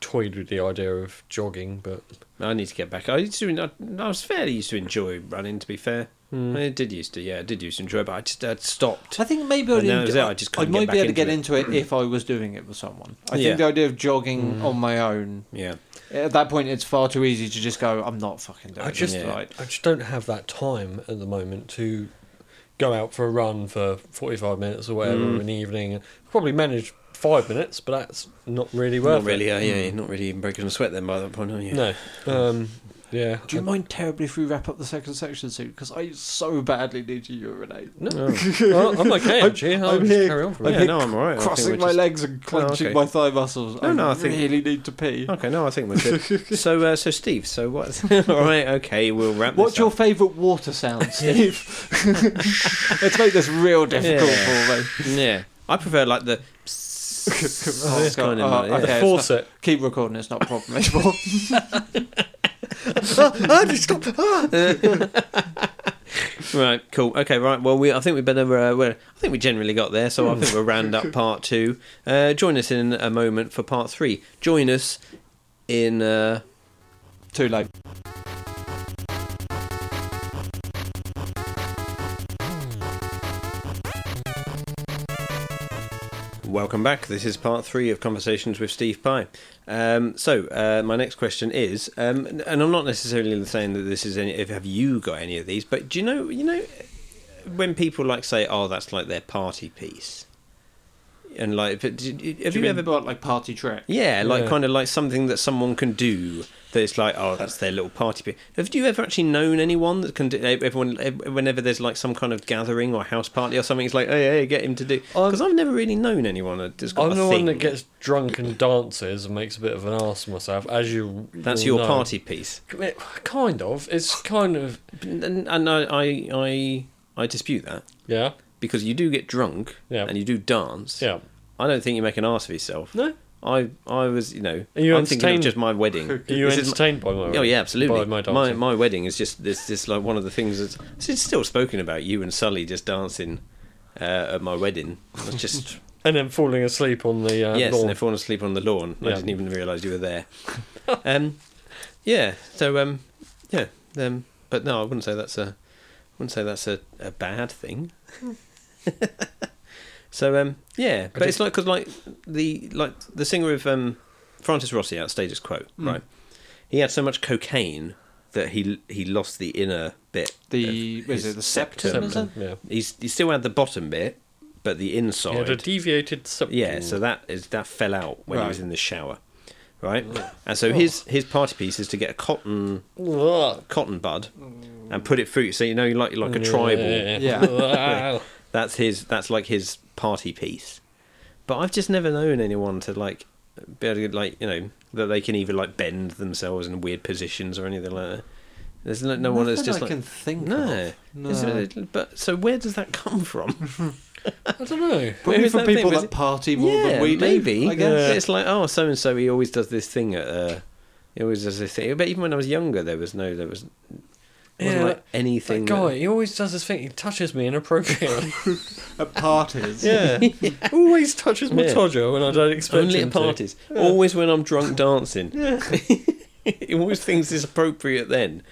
Speaker 2: toyed with the idea of jogging, but
Speaker 4: I need to get back. I used to. I, I was fairly used to enjoy running. To be fair,
Speaker 3: Hmm.
Speaker 4: I did used to, yeah, I did used to enjoy it, but I just I'd stopped.
Speaker 3: I think maybe
Speaker 4: And
Speaker 3: I,
Speaker 4: then it
Speaker 3: didn't,
Speaker 4: was out, I
Speaker 3: I
Speaker 4: just couldn't get
Speaker 3: might
Speaker 4: back
Speaker 3: be able to
Speaker 4: into Mm.
Speaker 3: get into it if I was doing it with someone. I
Speaker 4: Yeah. Mm.
Speaker 3: think the idea of jogging on my own
Speaker 4: Yeah,
Speaker 3: at that point, it's far too easy to just go. I'm not fucking doing
Speaker 2: I just,
Speaker 3: this
Speaker 4: Yeah.
Speaker 3: right.
Speaker 2: I just don't have that time at the moment to go out for a run for 45 minutes or whatever in the evening. Probably manage five minutes, but that's not really worth
Speaker 4: not really.
Speaker 2: it.
Speaker 4: Uh, yeah, you're not really even breaking a sweat then by that point, are you?
Speaker 2: No. Um, yeah.
Speaker 3: Do you mind terribly if we wrap up the second section soon? Because I so badly need to urinate.
Speaker 2: No. Well, I'm okay, actually. I'll
Speaker 3: I'm
Speaker 2: just
Speaker 3: here-
Speaker 2: carry on from
Speaker 4: Yeah,
Speaker 2: here.
Speaker 4: no, I'm all right. I think
Speaker 3: Crossing
Speaker 4: we're
Speaker 3: my
Speaker 4: just- Oh,
Speaker 3: legs and clenching
Speaker 4: okay.
Speaker 3: my thigh muscles.
Speaker 4: No,
Speaker 3: I
Speaker 4: no, I think- Oh,
Speaker 3: really need to pee.
Speaker 4: Okay, no, I think we're good. so, uh, so Steve, so what? all right, okay, we'll wrap.
Speaker 3: What's
Speaker 4: this
Speaker 3: your
Speaker 4: up.
Speaker 3: favourite water sound, Steve? Let's make this real difficult
Speaker 4: Yeah.
Speaker 3: for me.
Speaker 4: Yeah, I prefer like the.
Speaker 3: God.
Speaker 4: it's kind of
Speaker 3: Oh,
Speaker 4: like, yeah.
Speaker 3: okay. it's
Speaker 2: Force it.
Speaker 3: Keep recording, it's not a problem anymore.
Speaker 4: Right, cool. Okay, right. Well, we I think we better. Uh, well, I think we generally got there, so I think we'll round up part two. Uh, join us in a moment for part three. Join us in. Uh,
Speaker 3: Too late.
Speaker 4: Welcome back. This is part three of Conversations with Steve Pye. Um, so, uh, my next question is, um, and I'm not necessarily saying that this is any. If have you got any of these? But do you know, you know, when people like say, "Oh, that's like their party piece," and like, but did, have
Speaker 3: Do
Speaker 4: you,
Speaker 3: you
Speaker 4: ever?
Speaker 3: ever bought like party trick?
Speaker 4: Yeah, like
Speaker 2: Yeah.
Speaker 4: kind of like something that someone can do. That it's like, oh, that's their little party piece. Have you ever actually known anyone that can do? e-, Everyone, ev- whenever there's like some kind of gathering or house party or something, it's like, hey, hey, get him to do. Because I've never really known anyone that's got
Speaker 2: I'm
Speaker 4: a
Speaker 2: the one
Speaker 4: thing.
Speaker 2: that gets drunk and dances and makes a bit of an ass of myself, as you.
Speaker 4: That's
Speaker 2: you'll
Speaker 4: your
Speaker 2: know.
Speaker 4: party piece,
Speaker 2: Kind of. It's kind of.
Speaker 4: and, and I, I, I, I dispute that
Speaker 2: Yeah.
Speaker 4: because you do get drunk
Speaker 2: Yeah.
Speaker 4: and you do dance.
Speaker 2: Yeah.
Speaker 4: I don't think you make an ass of yourself.
Speaker 2: No.
Speaker 4: I, I was, you know,
Speaker 2: Are you
Speaker 4: I'm thinking of
Speaker 2: entertained?
Speaker 4: just my wedding.
Speaker 2: Are you
Speaker 4: This is my-
Speaker 2: entertained by my
Speaker 4: Oh yeah, absolutely.
Speaker 2: By my
Speaker 4: My,
Speaker 2: dancing?
Speaker 4: my wedding is just this this like one of the things that's it's still spoken about. You and Sully just dancing uh, at my wedding. It's just
Speaker 2: And then falling asleep on the uh,
Speaker 4: yes,
Speaker 2: lawn.
Speaker 4: and they're falling asleep on the lawn. I
Speaker 2: Yeah.
Speaker 4: didn't even realise you were there. um, yeah. So um, yeah. Um, but no, I wouldn't say that's a wouldn't say that's a, a bad thing. so um, yeah, but
Speaker 2: did-
Speaker 4: it's like because like the like the singer of um, Francis Rossi out status quo,
Speaker 2: Mm.
Speaker 4: right? He had so much cocaine that he he lost the inner bit.
Speaker 3: The
Speaker 4: of
Speaker 3: was
Speaker 4: his
Speaker 3: it the septum?
Speaker 2: Something,
Speaker 3: is it?
Speaker 2: yeah.
Speaker 4: He's he still had the bottom bit, but the inside.
Speaker 2: He had a deviated septum.
Speaker 4: Yeah, so that is that fell out when he was
Speaker 3: Mm. Right.
Speaker 4: in the shower, right? And so his his party piece is to get a cotton
Speaker 2: Ugh.
Speaker 4: cotton bud and put it through. So you know, you like like a tribal.
Speaker 2: Yeah.
Speaker 4: That's his. That's like his party piece. But I've just never known anyone to like be able to like you know that they can either like bend themselves in weird positions or anything like that. There's no, no one that's
Speaker 3: Nothing
Speaker 4: just
Speaker 3: I
Speaker 4: like
Speaker 3: can think
Speaker 4: no.
Speaker 3: of.
Speaker 4: Is
Speaker 3: No.
Speaker 4: it- but so where does that come from?
Speaker 2: I don't know.
Speaker 4: Where
Speaker 3: Probably
Speaker 4: is
Speaker 3: for
Speaker 4: that thing?
Speaker 3: people
Speaker 4: Was
Speaker 3: that
Speaker 4: it-
Speaker 3: party more than we do,
Speaker 4: maybe.
Speaker 3: I guess.
Speaker 2: Yeah.
Speaker 4: It's like, oh, so and so, he always does this thing at. Uh, he always does this thing. But even when I was younger, there was no, there was, wasn't
Speaker 2: Yeah,
Speaker 4: like anything.
Speaker 2: That guy, he always does this thing. He touches me inappropriately.
Speaker 3: At parties.
Speaker 2: yeah. always touches my
Speaker 4: Yeah.
Speaker 2: todger when I don't
Speaker 4: that-
Speaker 2: expect
Speaker 4: only
Speaker 2: him
Speaker 4: at
Speaker 2: to.
Speaker 4: parties. Always when I'm drunk dancing. he always thinks it's appropriate then.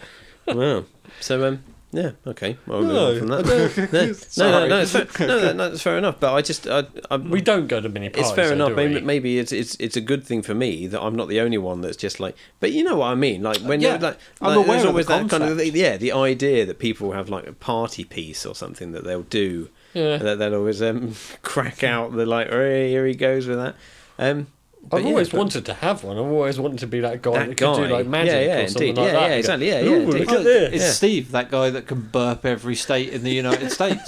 Speaker 4: Wow. So um. Yeah. Okay. Well, we'll
Speaker 2: No,
Speaker 4: move on from that. No, no, no,
Speaker 3: Sorry.
Speaker 4: no, it's fair, no, no, no, it's fair enough. But I just, I, I,
Speaker 2: We don't go to mini parties.
Speaker 4: It's fair
Speaker 2: though,
Speaker 4: enough.
Speaker 2: do
Speaker 4: Maybe,
Speaker 2: we?
Speaker 4: maybe it's it's it's a good thing for me that I'm not the only one that's just like. But you know what I mean. Like when
Speaker 3: Yeah,
Speaker 4: like, like
Speaker 3: I'm aware
Speaker 4: there's
Speaker 3: of the
Speaker 4: always that kind of
Speaker 3: concept.
Speaker 4: yeah the idea that people have like a party piece or something that they'll do.
Speaker 2: Yeah.
Speaker 4: That they'll always um, crack out the like hey, here he goes with that. Um, but
Speaker 2: I've
Speaker 4: yeah,
Speaker 2: always
Speaker 4: but
Speaker 2: wanted to have one. I've always wanted to be that guy
Speaker 4: That
Speaker 2: that, can
Speaker 4: guy.
Speaker 2: do like magic
Speaker 4: Yeah, yeah,
Speaker 2: or something
Speaker 4: indeed.
Speaker 2: like
Speaker 4: Yeah,
Speaker 2: that.
Speaker 4: yeah,
Speaker 2: You go,
Speaker 4: exactly. Yeah, yeah,
Speaker 2: Ooh,
Speaker 4: indeed.
Speaker 2: look
Speaker 3: Oh,
Speaker 2: at this.
Speaker 3: It's
Speaker 4: Yeah.
Speaker 3: Steve, that guy that can burp every state in the United States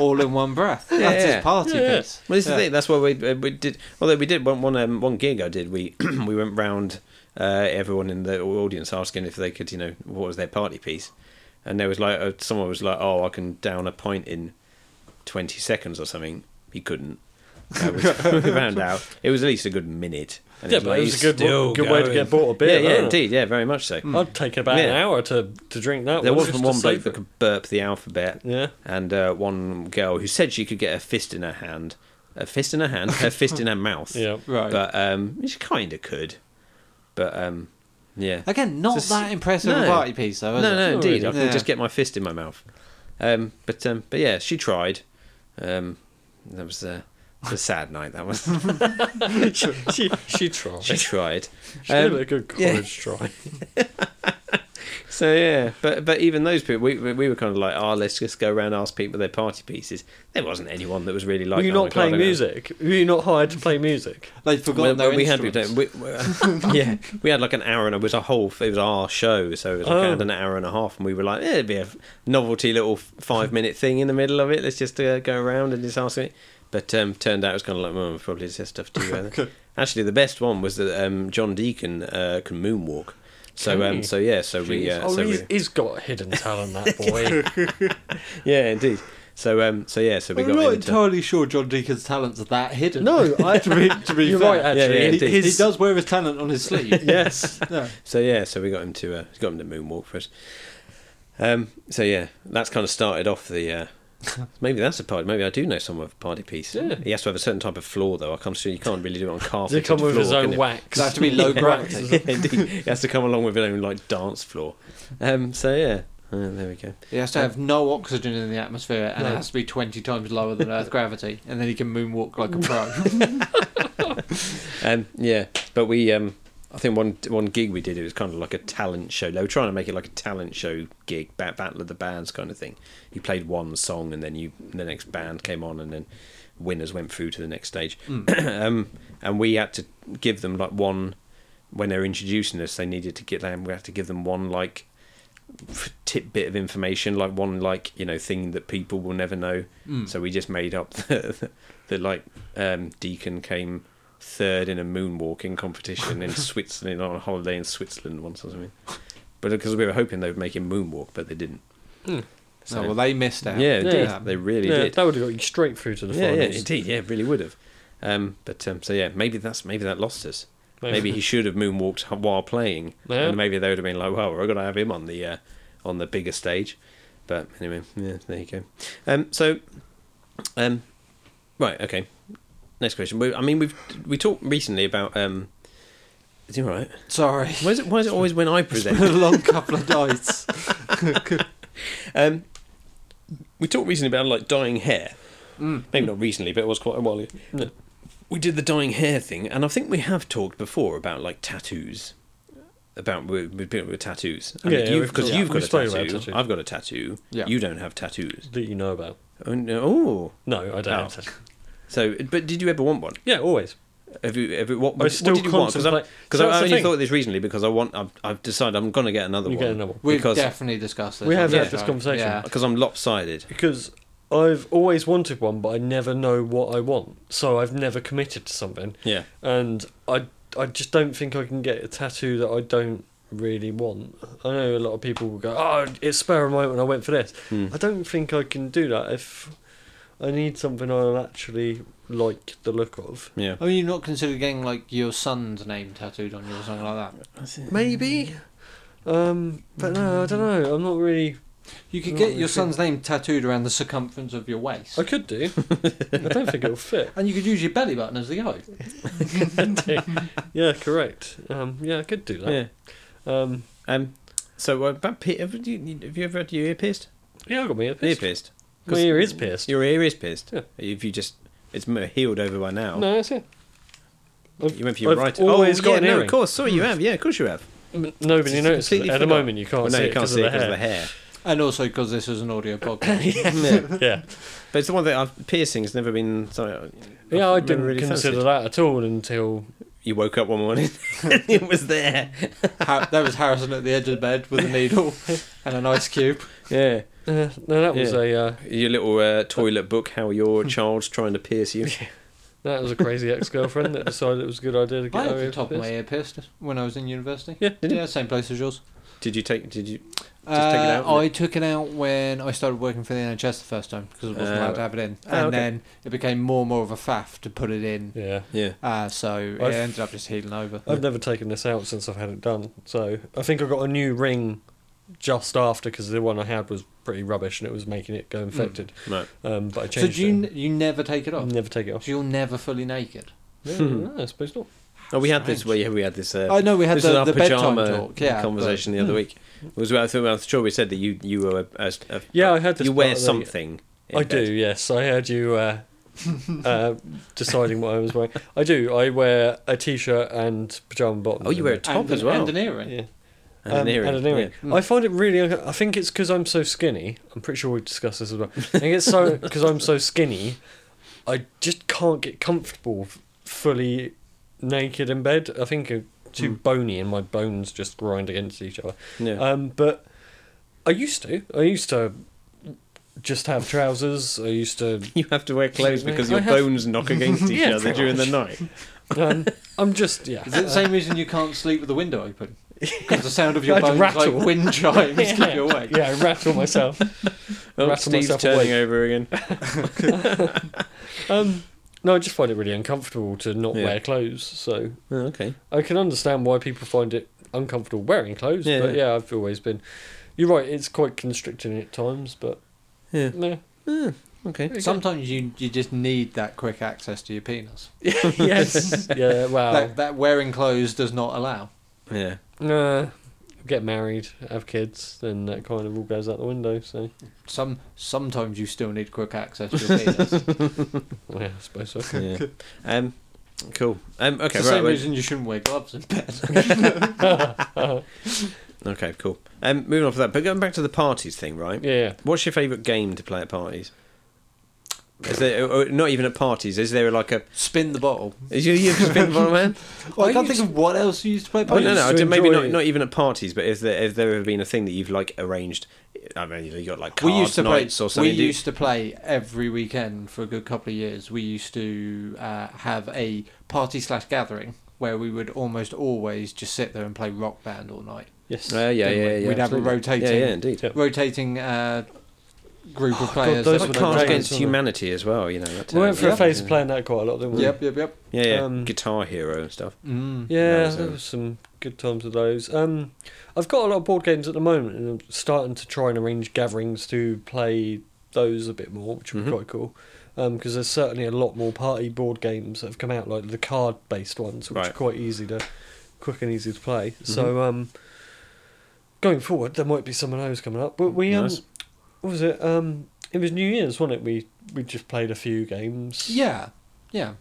Speaker 3: all in one breath. That's
Speaker 4: yeah.
Speaker 3: his party
Speaker 2: Yeah, yeah.
Speaker 3: piece.
Speaker 4: Well, this
Speaker 3: Yeah.
Speaker 4: is the thing. That's why we uh, we did. Although we did one one um, one gig, I did. We we went round uh, everyone in the audience asking if they could, you know, what was their party piece, and there was like uh, someone was like, "Oh, I can down a pint in twenty seconds or something." He couldn't. Uh, we we found out it was at least a good minute. And
Speaker 2: Yeah,
Speaker 4: was
Speaker 2: but
Speaker 4: like,
Speaker 2: it was
Speaker 4: "He's
Speaker 2: a good-
Speaker 4: still
Speaker 2: good way to
Speaker 4: going."
Speaker 2: get bought a beer,
Speaker 4: Yeah, yeah,
Speaker 2: wasn't it?
Speaker 4: indeed, yeah, very much so.
Speaker 2: I'd take about an
Speaker 4: Yeah.
Speaker 2: hour to, to drink that
Speaker 4: There
Speaker 2: one.
Speaker 4: was
Speaker 2: Oh, just to
Speaker 4: one bloke
Speaker 2: save
Speaker 4: that
Speaker 2: it.
Speaker 4: could burp the alphabet,
Speaker 2: Yeah.
Speaker 4: and uh, one girl who said she could get a fist in her hand, a fist in her hand, a fist in her mouth.
Speaker 2: Yeah.
Speaker 3: Right.
Speaker 4: But um, she kind of could, but um, yeah.
Speaker 3: Again, not
Speaker 4: It's a s-
Speaker 3: that impressive a
Speaker 4: No.
Speaker 3: party piece, though,
Speaker 4: No,
Speaker 3: is it?
Speaker 4: no, indeed, I
Speaker 3: really.
Speaker 4: can
Speaker 3: Yeah.
Speaker 4: just get my fist in my mouth. Um, but um, but yeah, she tried. Um, that was a, it was a sad night. That was
Speaker 2: she, she, she tried.
Speaker 4: she
Speaker 2: She,
Speaker 4: tried.
Speaker 2: gave
Speaker 4: Um,
Speaker 2: it a good
Speaker 4: yeah.
Speaker 2: college try.
Speaker 4: So yeah, but but even those people, we we we were kind of like, oh, let's just go around and ask people their party pieces. There wasn't anyone that was really like.
Speaker 2: Were you
Speaker 4: "Oh my
Speaker 2: not
Speaker 4: God,
Speaker 2: playing
Speaker 4: I don't know."
Speaker 2: music? Were you not hired to play music?
Speaker 3: They'd
Speaker 4: Well,
Speaker 3: forgotten
Speaker 4: well,
Speaker 3: their
Speaker 4: we had we,
Speaker 3: instruments.
Speaker 4: we, we- yeah we had like an hour and it was a whole it was our show so it was like
Speaker 2: Oh.
Speaker 4: around an hour and a half and we were like eh, it'd be a novelty little five minute thing in the middle of it let's just uh, go around and just ask it but um, turned out it was kind of like well, probably just stuff to do uh, actually the best one was that um, John Deacon uh, can moonwalk so
Speaker 2: Can
Speaker 4: um,
Speaker 2: he?
Speaker 4: so yeah so we uh,
Speaker 2: oh,
Speaker 4: so
Speaker 2: he's,
Speaker 4: we,
Speaker 2: he's got hidden talent, that boy.
Speaker 4: yeah indeed so um so yeah so we
Speaker 3: I'm
Speaker 4: got
Speaker 3: not
Speaker 4: into-
Speaker 3: entirely sure John Deacon's talents are that hidden.
Speaker 2: no, I,
Speaker 3: to be, to be
Speaker 2: you're
Speaker 3: fair.
Speaker 2: right. Actually,
Speaker 4: yeah,
Speaker 3: He,
Speaker 4: indeed.
Speaker 3: he does wear his talent on his sleeve.
Speaker 2: Yes,
Speaker 3: yeah.
Speaker 4: So yeah, so we got him to uh, got him to moonwalk for us. Um, so yeah, that's kind of started off the. Uh, maybe that's a party. Maybe I do know someone with a party piece.
Speaker 2: Yeah.
Speaker 4: He has to have a certain type of floor though. I come soon. You can't really do it on
Speaker 2: does he
Speaker 4: carpet.
Speaker 2: come with his
Speaker 4: floor,
Speaker 2: own
Speaker 4: can
Speaker 2: wax?
Speaker 3: That has to be low
Speaker 2: Yeah.
Speaker 3: gravity.
Speaker 4: you? Yeah, indeed. He has to come along with his own like dance floor. Um, so yeah, Uh, there we go.
Speaker 3: He has to have no oxygen in the atmosphere, and it has to be twenty times lower than Earth gravity, and then he can moonwalk like a pro.
Speaker 4: Um, yeah, but we. Um, I think one one gig we did it was kind of like a talent show. They were trying to make it like a talent show gig, ba- battle of the bands kind of thing. You played one song and then you the next band came on and then winners went through to the next stage. um, and we had to give them like one when they were introducing us. They needed to get them. We had to give them one like f- tidbit of information, like one like you know thing that people will never know.
Speaker 2: Mm.
Speaker 4: So we just made up that that, like um, Deacon came third in a moonwalking competition in Switzerland on a holiday in Switzerland once or something. But because we were hoping they would make him moonwalk, but they didn't.
Speaker 3: So well, they missed out.
Speaker 4: yeah, indeed,
Speaker 2: Yeah.
Speaker 4: they really
Speaker 2: Yeah,
Speaker 4: did.
Speaker 2: that would have got you straight through to the
Speaker 4: Yeah, yeah,
Speaker 2: finals.
Speaker 4: indeed, yeah, really would have. Um, but um, so yeah, maybe that's maybe that lost us.
Speaker 2: Maybe.
Speaker 4: Maybe he should have moonwalked while playing,
Speaker 2: Yeah.
Speaker 4: and maybe they would have been like, "Well, we're going to have him on the uh, on the bigger stage." But anyway, yeah, there you go. Um, so, um, right, okay. Next question. We, I mean, we've we talked recently about. Um, is he all right?
Speaker 3: Sorry.
Speaker 4: Why is it? Why is it always when I
Speaker 3: It's
Speaker 4: present?
Speaker 3: been a long couple of nights.
Speaker 4: Um, we talked recently about like dyeing hair.
Speaker 2: Mm.
Speaker 4: Maybe not recently, but it was quite a while ago. We did the dyeing hair thing, and I think we have talked before about like tattoos. About with, with, people with tattoos, I
Speaker 2: Yeah,
Speaker 4: mean,
Speaker 2: yeah,
Speaker 4: you've,
Speaker 2: we've
Speaker 4: because
Speaker 2: talked-
Speaker 4: you've
Speaker 2: we've
Speaker 4: got a
Speaker 2: spoken about
Speaker 4: tattoo.
Speaker 2: tattoos.
Speaker 4: I've got a tattoo.
Speaker 3: Yeah.
Speaker 4: You don't have tattoos.
Speaker 2: That you know about?
Speaker 4: Oh, no. oh.
Speaker 2: No, I don't.
Speaker 4: Oh.
Speaker 2: have to-
Speaker 4: so but did you ever want one?
Speaker 2: Yeah, always.
Speaker 4: Have you ever what?
Speaker 2: I
Speaker 4: what
Speaker 2: still
Speaker 4: did you want? Because I,
Speaker 2: contemplate-
Speaker 4: 'cause
Speaker 2: So
Speaker 4: I
Speaker 2: that's the
Speaker 4: only
Speaker 2: thing.
Speaker 4: thought of this recently because I want. I've, I've decided I'm going to get another
Speaker 2: You
Speaker 4: one.
Speaker 2: get another one.
Speaker 3: We've
Speaker 4: because
Speaker 3: definitely discussed this.
Speaker 2: We have
Speaker 3: on
Speaker 4: had
Speaker 3: the
Speaker 2: this
Speaker 3: show.
Speaker 2: conversation.
Speaker 3: Yeah.
Speaker 4: because I'm lopsided.
Speaker 2: because I've always wanted one, but I never know what I want, so I've never committed to something,
Speaker 4: Yeah.
Speaker 2: and I I just don't think I can get a tattoo that I don't really want. I know a lot of people will go, "Oh, it's spare a moment, I went for this."
Speaker 4: Hmm.
Speaker 2: I don't think I can do that if I need something I'll actually like the look of.
Speaker 4: Yeah.
Speaker 3: I mean, you've not considered getting like your son's name tattooed on you or something like that.
Speaker 2: Maybe. Um, but no, I don't know. I'm not really.
Speaker 3: You could
Speaker 2: Not
Speaker 3: get
Speaker 2: really
Speaker 3: your
Speaker 2: sure.
Speaker 3: son's name tattooed around the circumference of your waist,
Speaker 2: I could do. I don't think it'll fit.
Speaker 3: and you could use your belly button as the eye.
Speaker 2: Yeah, correct. Um, yeah, I could do
Speaker 4: Yeah.
Speaker 2: that. Um,
Speaker 4: Um, so uh, about pe- have you have you ever had your ear pierced?
Speaker 2: yeah, I got my ear
Speaker 4: Ear
Speaker 2: pierced.
Speaker 4: pierced.
Speaker 2: My ear is pierced.
Speaker 4: Your ear is pierced.
Speaker 2: Yeah.
Speaker 4: If you just, it's m- healed over by now.
Speaker 2: No, that's it. I've-
Speaker 4: You went for your
Speaker 2: I've
Speaker 4: right.
Speaker 2: always
Speaker 4: oh,
Speaker 2: got
Speaker 4: yeah,
Speaker 2: an
Speaker 4: no,
Speaker 2: earring.
Speaker 4: of course. Sorry, you have. Yeah, of course you have.
Speaker 2: M- Nobody noticed. At
Speaker 4: Completely
Speaker 2: the
Speaker 4: forgot.
Speaker 2: moment, you can't
Speaker 4: Well,
Speaker 2: see
Speaker 4: no,
Speaker 2: it
Speaker 4: you can't
Speaker 2: because
Speaker 4: see
Speaker 2: of,
Speaker 4: it because of
Speaker 2: the
Speaker 4: the hair.
Speaker 3: And also because this is an audio podcast.
Speaker 4: Yeah.
Speaker 2: hair.
Speaker 4: But it's the one that I've, piercing's never been. Sorry,
Speaker 2: Yeah, yeah. I
Speaker 4: I've never
Speaker 2: didn't consider
Speaker 4: fancied.
Speaker 2: that at all until
Speaker 4: You woke up one morning, it was there.
Speaker 3: Har- there was Harrison at the edge of the bed with a needle and an ice cube.
Speaker 4: Yeah,
Speaker 2: uh, no, that was
Speaker 4: Yeah.
Speaker 2: a uh,
Speaker 4: your little uh, toilet book. How
Speaker 2: Hmm.
Speaker 4: your child's trying to pierce you.
Speaker 2: that was a crazy ex-girlfriend that decided it was a good idea to
Speaker 3: I
Speaker 2: get
Speaker 3: had
Speaker 2: her
Speaker 3: the
Speaker 2: ear
Speaker 3: top of my
Speaker 2: pierced.
Speaker 3: ear pierced when I was in university.
Speaker 4: Yeah, did you?
Speaker 3: yeah, same place as yours.
Speaker 4: Did you take? Did you?
Speaker 3: uh,
Speaker 4: take it out,
Speaker 3: I
Speaker 4: really?
Speaker 3: took it out when I started working for the NHS the first time because I wasn't
Speaker 4: Uh,
Speaker 3: allowed to have it in,
Speaker 4: oh,
Speaker 3: and
Speaker 4: okay.
Speaker 3: then it became more and more of a faff to put it in.
Speaker 2: Yeah,
Speaker 4: Yeah.
Speaker 3: Uh, so
Speaker 2: I've-
Speaker 3: it ended up just healing over.
Speaker 2: I've never taken this out since I've had it done. So I think I got a new ring just after because the one I had was pretty rubbish and it was making it go
Speaker 4: Hmm.
Speaker 2: infected.
Speaker 4: Right.
Speaker 2: Um, but I
Speaker 3: So
Speaker 2: changed
Speaker 3: do you, n- you never take it
Speaker 2: it.
Speaker 3: off?
Speaker 2: Never take it off. Hmm.
Speaker 3: So you're never fully naked?
Speaker 2: Yeah, no, I suppose not.
Speaker 4: Oh, we had this. Well, yeah, we had this. Uh,
Speaker 2: Oh,
Speaker 3: I know we had
Speaker 4: this was
Speaker 3: the-
Speaker 4: our
Speaker 3: the bedtime
Speaker 4: pajama
Speaker 3: talk, yeah,
Speaker 4: conversation the
Speaker 2: hmm.
Speaker 4: other week. It was I think I'm sure we said that you you were a, a- a-
Speaker 2: Yeah, I had this
Speaker 4: you wear
Speaker 2: part of the-
Speaker 4: something. in
Speaker 2: I
Speaker 4: bed.
Speaker 2: do, yes. I heard you uh, uh, deciding what I was wearing. I do. I wear a t-shirt and pajama bottoms.
Speaker 4: Oh, you wear a top
Speaker 3: and,
Speaker 4: as well.
Speaker 3: And an earring.
Speaker 2: Yeah.
Speaker 4: And an
Speaker 2: Um,
Speaker 4: earring,
Speaker 2: and an earring. I find it really. unco- I think it's because I'm so skinny. I'm pretty sure we discussed this as well. I think it's so because I'm so skinny. I just can't get comfortable f- fully naked in bed. I think I'm too
Speaker 4: Hmm.
Speaker 2: bony, and my bones just grind against each other.
Speaker 4: Yeah.
Speaker 2: Um, but I used to. I used to just have trousers. I used to.
Speaker 4: you have to wear clothes because
Speaker 2: I
Speaker 4: your
Speaker 2: have-
Speaker 4: bones knock against each
Speaker 2: Yeah,
Speaker 4: other
Speaker 2: pretty
Speaker 4: during the night.
Speaker 2: Um, I'm just yeah.
Speaker 3: Is it the same reason you can't sleep with the window open? Because the sound of your
Speaker 2: I'd
Speaker 3: bones
Speaker 2: rattle.
Speaker 3: like wind chimes keep you awake.
Speaker 2: Uh, Yeah, I rattle myself.
Speaker 4: Oh,
Speaker 2: Rattle
Speaker 4: Steve's
Speaker 2: myself
Speaker 4: turning
Speaker 2: awake.
Speaker 4: over again.
Speaker 2: Um, no, I just find it really uncomfortable to not
Speaker 4: Yeah.
Speaker 2: wear clothes. So
Speaker 4: Oh, okay.
Speaker 2: I can understand why people find it uncomfortable wearing clothes,
Speaker 4: Yeah.
Speaker 2: but yeah, I've always been. You're right; it's quite constricting at times, but
Speaker 4: Yeah.
Speaker 2: no.
Speaker 4: Okay.
Speaker 3: Sometimes you, you just need that quick access to your penis.
Speaker 2: yes, yeah. Wow.
Speaker 3: That, that wearing clothes does not allow.
Speaker 4: Yeah.
Speaker 2: Nah, get married, have kids, then that kind of all goes out the window. So
Speaker 3: Some sometimes you still need quick access to your penis. It's
Speaker 2: yeah, I suppose so.
Speaker 4: Yeah. Um. Cool. Um.
Speaker 3: the
Speaker 4: Okay. right.
Speaker 3: same
Speaker 4: well-
Speaker 3: reason you shouldn't wear gloves in bed.
Speaker 4: Okay. Cool. Um. Moving on from that, but going back to the parties thing, right?
Speaker 2: Yeah.
Speaker 4: What's your favourite game to play at parties? Is there or not even at parties? Is there like a?
Speaker 3: Spin the bottle.
Speaker 4: Is you you've just been one man?
Speaker 3: Well, I
Speaker 2: I
Speaker 3: can't think
Speaker 2: used-
Speaker 3: of what else you used to play.
Speaker 4: Well,
Speaker 3: poker.
Speaker 4: no, no.
Speaker 2: used to
Speaker 4: I- Maybe
Speaker 2: enjoy-
Speaker 4: not. Not even at parties. But is there has there ever been a thing that you've like arranged? I mean, you got like
Speaker 3: we
Speaker 4: cards
Speaker 3: used to play.
Speaker 4: nights or
Speaker 3: we
Speaker 4: something. do you-
Speaker 3: used to play every weekend for a good couple of years. We used to uh, have a party slash gathering where we would almost always just sit there and play rock band all night,
Speaker 2: Yes.
Speaker 4: Uh, yeah, yeah,
Speaker 3: didn't we?
Speaker 4: yeah.
Speaker 3: We'd have a
Speaker 4: absolutely.
Speaker 3: rotating-
Speaker 4: Yeah, Oh, yeah, indeed.
Speaker 2: Yeah.
Speaker 3: rotating uh, group of
Speaker 2: God,
Speaker 3: players.
Speaker 2: those
Speaker 4: Like
Speaker 2: were the
Speaker 4: Cards
Speaker 2: days,
Speaker 4: Against
Speaker 2: wasn't it?
Speaker 4: Humanity as well. You know. That
Speaker 2: we went
Speaker 4: turns
Speaker 2: for
Speaker 4: out,
Speaker 2: a phase
Speaker 4: yeah.
Speaker 2: of playing that quite a lot, didn't we?
Speaker 3: Yep, yep, yep.
Speaker 4: Yeah, yeah.
Speaker 2: Um,
Speaker 4: Guitar Hero and stuff.
Speaker 3: Mm.
Speaker 2: Yeah,
Speaker 4: was,
Speaker 2: there
Speaker 4: um,
Speaker 2: was some good times with those. Um, I've got a lot of board games at the moment, and I'm starting to try and arrange gatherings to play those a bit more, which would be
Speaker 4: Mhm.
Speaker 2: quite cool. Because there's certainly a lot more party board games that have come out, like the card-based ones, which are
Speaker 4: Right. Mm-hmm.
Speaker 2: quite easy to, quick and easy to play. So um, going forward, there might be some of those coming up. But we, um,
Speaker 4: Nice.
Speaker 2: what was it? Um, it was New Year's, wasn't it? We we just played a few games.
Speaker 3: Yeah, yeah.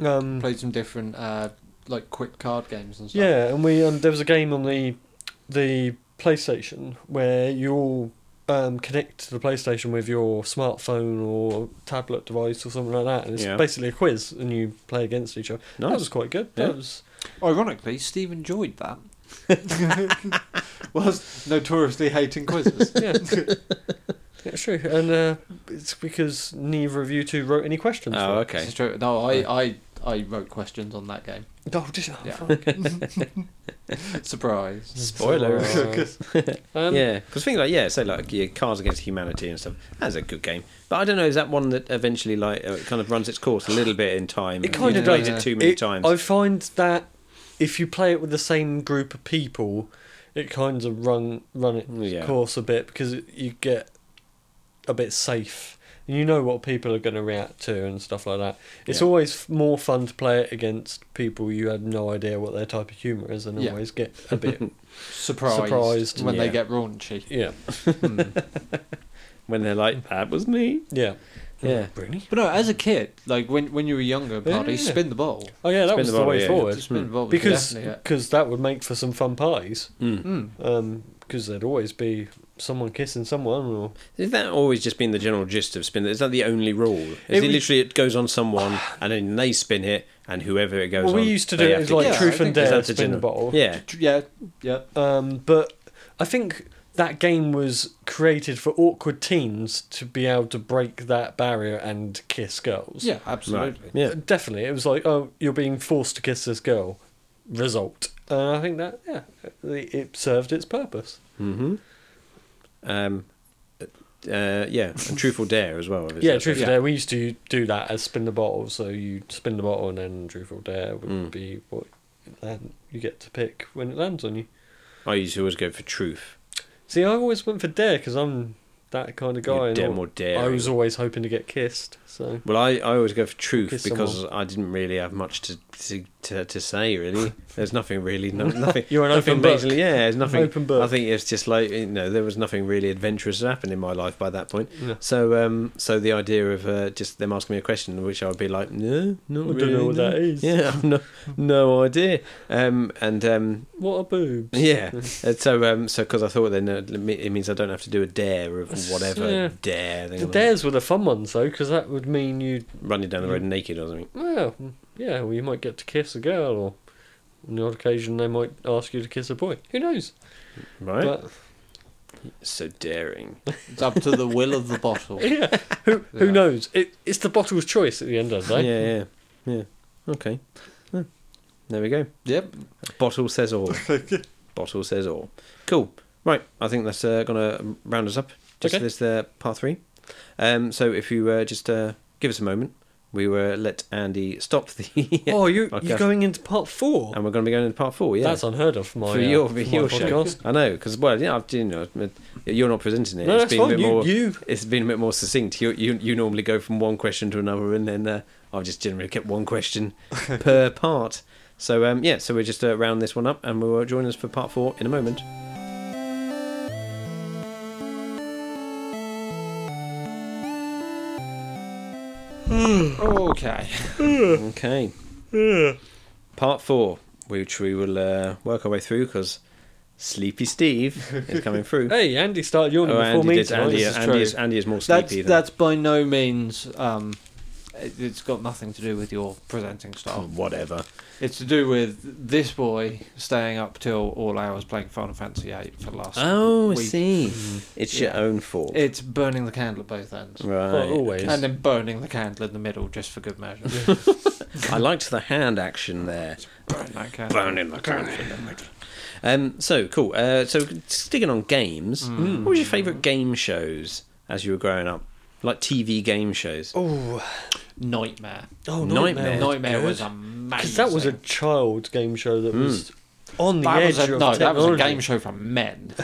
Speaker 2: Um,
Speaker 3: Played some different uh, like quick card games and stuff.
Speaker 2: Yeah, and we um, there was a game on the the PlayStation where you all um, connect to the PlayStation with your smartphone or tablet device or something like that, and it's
Speaker 4: Yeah.
Speaker 2: basically a quiz, and you play against each other. That
Speaker 4: Nice.
Speaker 2: was quite good.
Speaker 4: Yeah.
Speaker 2: That was
Speaker 3: Ironically, Steve enjoyed that. Whilst notoriously hating quizzes.
Speaker 2: yeah. yeah, true, and uh, it's because neither of you two wrote any questions.
Speaker 4: Oh,
Speaker 2: right?
Speaker 4: okay.
Speaker 3: This is true. No, I, I, I wrote questions on that game.
Speaker 2: Oh, did I?
Speaker 3: Yeah.
Speaker 2: Fuck.
Speaker 3: Surprise.
Speaker 4: Spoiler.
Speaker 2: Um,
Speaker 4: yeah, because things like yeah, say like yeah, Cards Against Humanity and stuff. That's a good game, but I don't know. Is that one that eventually like uh, kind of runs its course a little bit in time?
Speaker 2: It kinda
Speaker 4: You've played
Speaker 2: does.
Speaker 4: it too many
Speaker 2: It-
Speaker 4: times.
Speaker 2: I find that if you play it with the same group of people, it kind of run run its
Speaker 4: Mm, Yeah.
Speaker 2: course a bit because it, you get a bit safe. And you know what people are going to react to and stuff like that. It's
Speaker 4: Yeah.
Speaker 2: always f- more fun to play it against people you had no idea what their type of humour is, and
Speaker 3: Yeah.
Speaker 2: always get a bit
Speaker 3: Surprised,
Speaker 2: Surprised,
Speaker 3: when they
Speaker 4: yeah. Hmm.
Speaker 3: get raunchy.
Speaker 2: yeah
Speaker 4: when they're like, "That was me."
Speaker 2: yeah
Speaker 4: Yeah.
Speaker 2: really
Speaker 3: But no, as a kid, like when when you were younger, parties,
Speaker 2: Yeah.
Speaker 3: spin the ball.
Speaker 2: oh yeah that
Speaker 4: Spin
Speaker 2: was
Speaker 4: the
Speaker 2: the,
Speaker 4: bottle,
Speaker 2: way
Speaker 4: yeah.
Speaker 2: forward
Speaker 3: Spin the ball was
Speaker 2: because
Speaker 3: definitely it.
Speaker 2: because that would make for some fun parties
Speaker 4: Mm.
Speaker 3: Mm.
Speaker 2: because there'd always be someone kissing someone or
Speaker 4: Is that always just been the general gist of spin? Is that the only rule? Is it,
Speaker 2: It was-
Speaker 4: literally it goes on someone and then they spin it and whoever it goes
Speaker 2: Well,
Speaker 4: on?
Speaker 2: we used to do
Speaker 4: they
Speaker 2: it
Speaker 4: have
Speaker 2: as
Speaker 4: to
Speaker 2: like
Speaker 4: guess?
Speaker 3: Yeah,
Speaker 2: truth
Speaker 3: I
Speaker 2: and
Speaker 3: think
Speaker 4: Is
Speaker 2: dare
Speaker 4: that the
Speaker 2: spin the
Speaker 4: general-
Speaker 2: bottle.
Speaker 4: Yeah.
Speaker 3: Tr- Yeah, yeah.
Speaker 2: Um, but I think that game was created for awkward teens to be able to break that barrier and kiss girls. Uh,
Speaker 3: Yeah, absolutely.
Speaker 4: Right. Yeah.
Speaker 2: Definitely. It was like, oh, you're being forced to kiss this girl. Result. And I think that, yeah, it it served its purpose.
Speaker 4: Mm-hmm. Um. Uh, yeah, and truth or dare as well. obviously.
Speaker 2: yeah, truth
Speaker 3: yeah.
Speaker 2: or dare. We used to do that as spin the bottle. So you spin the bottle and then truth or dare would
Speaker 4: Mm.
Speaker 2: be what then you get to pick when it lands on you.
Speaker 4: I used to always go for truth.
Speaker 2: See, I always went for dare because I'm that kind of
Speaker 4: You're
Speaker 2: guy. and
Speaker 4: damn
Speaker 2: I-
Speaker 4: or dare.
Speaker 2: I was always hoping to get kissed. So
Speaker 4: Well, I, I always go for truth
Speaker 2: Kiss
Speaker 4: because I didn't really have much to to, to, to say really. There's nothing really, no, nothing.
Speaker 2: You're an
Speaker 4: nothing
Speaker 2: open book.
Speaker 4: amazingly- Yeah, there's nothing.
Speaker 2: Open book.
Speaker 4: I think it's just like you know, there was nothing really adventurous that happened in my life by that point.
Speaker 2: No.
Speaker 4: So, um, so the idea of uh, just them asking me a question, which I would be like, no, not
Speaker 2: I don't
Speaker 4: really,
Speaker 2: know what
Speaker 4: no.
Speaker 2: that is.
Speaker 4: Yeah, I've no, no idea. Um, and um,
Speaker 2: What are boobs?
Speaker 4: yeah, Uh, so um, so because I thought then uh, it me- it means I don't have to do a dare of whatever
Speaker 2: Yeah.
Speaker 4: dare. Thing
Speaker 2: The
Speaker 4: like-
Speaker 2: dares were Mm. the fun ones though, because that would mean you'd
Speaker 4: running down the road naked or something.
Speaker 2: well, yeah, well you might get to kiss a girl, or on the odd occasion they might ask you to kiss a boy. Who knows?
Speaker 4: Right,
Speaker 2: But
Speaker 4: so daring.
Speaker 3: It's up to the will of the bottle.
Speaker 2: yeah, who who
Speaker 3: Yeah.
Speaker 2: knows? It, it's the bottle's choice at the end of the
Speaker 4: Yeah,
Speaker 2: day.
Speaker 4: yeah, yeah. Okay, Yeah. there we go.
Speaker 3: Yep.
Speaker 4: Bottle says all. Bottle says all. Cool. Right, I think that's uh, gonna round us up. Just
Speaker 2: Okay.
Speaker 4: this uh, part three. Um, so if you uh, just uh, give us a moment, we will uh, let Andy stop the.
Speaker 2: Oh, you
Speaker 4: podcast.
Speaker 2: you're going into part four.
Speaker 4: And we're going to be going into part four. Yeah.
Speaker 2: That's unheard of. for My
Speaker 4: for
Speaker 2: uh,
Speaker 4: your, for
Speaker 2: my
Speaker 4: your show.
Speaker 2: podcast.
Speaker 4: I know because well, yeah, I've, you know, you're not presenting it.
Speaker 2: No,
Speaker 4: It's
Speaker 2: that's
Speaker 4: been a
Speaker 2: fine.
Speaker 4: bit
Speaker 2: You,
Speaker 4: more.
Speaker 2: you
Speaker 4: It's been a bit more succinct. You, you you normally go from one question to another, and then uh, I've just generally kept one question per part. So um, yeah, so we're just uh, round this one up, and we'll uh, join us for part four in a moment.
Speaker 3: Okay.
Speaker 4: Okay. Part four, which we will uh, work our way through because Sleepy Steve is coming through.
Speaker 2: Hey, Andy started yawning
Speaker 4: oh,
Speaker 2: before
Speaker 4: Andy,
Speaker 2: me.
Speaker 4: did,
Speaker 2: tonight.
Speaker 4: Andy,
Speaker 3: This is
Speaker 4: Andy,
Speaker 3: true.
Speaker 4: is, Andy is more
Speaker 3: That's
Speaker 4: sleepy. than
Speaker 3: that's by no means. Um, it, it's got nothing to do with your presenting
Speaker 4: oh,
Speaker 3: style.
Speaker 4: whatever.
Speaker 3: It's to do with this boy staying up till all hours playing Final Fantasy VIII for the last.
Speaker 4: Oh, I
Speaker 3: week.
Speaker 4: see. It's your own fault.
Speaker 3: It's burning the candle at both ends.
Speaker 4: Right.
Speaker 2: Well, always.
Speaker 3: And then burning the candle in the middle just for good measure.
Speaker 4: I liked the hand action there.
Speaker 3: Burn that candle.
Speaker 4: Burning the Um, so cool. Uh, so sticking on games,
Speaker 2: Mm.
Speaker 4: what was your favourite game shows as you were growing up? Like TV game shows.
Speaker 2: Oh,
Speaker 3: Nightmare.
Speaker 2: oh,
Speaker 4: Nightmare.
Speaker 2: nightmare!
Speaker 3: Nightmare was
Speaker 2: because
Speaker 3: amazing.
Speaker 2: that was a child game show that was on the
Speaker 3: Hmm. That
Speaker 2: edge
Speaker 3: was a,
Speaker 2: of
Speaker 3: no,
Speaker 2: technology.
Speaker 3: that was a game show for men.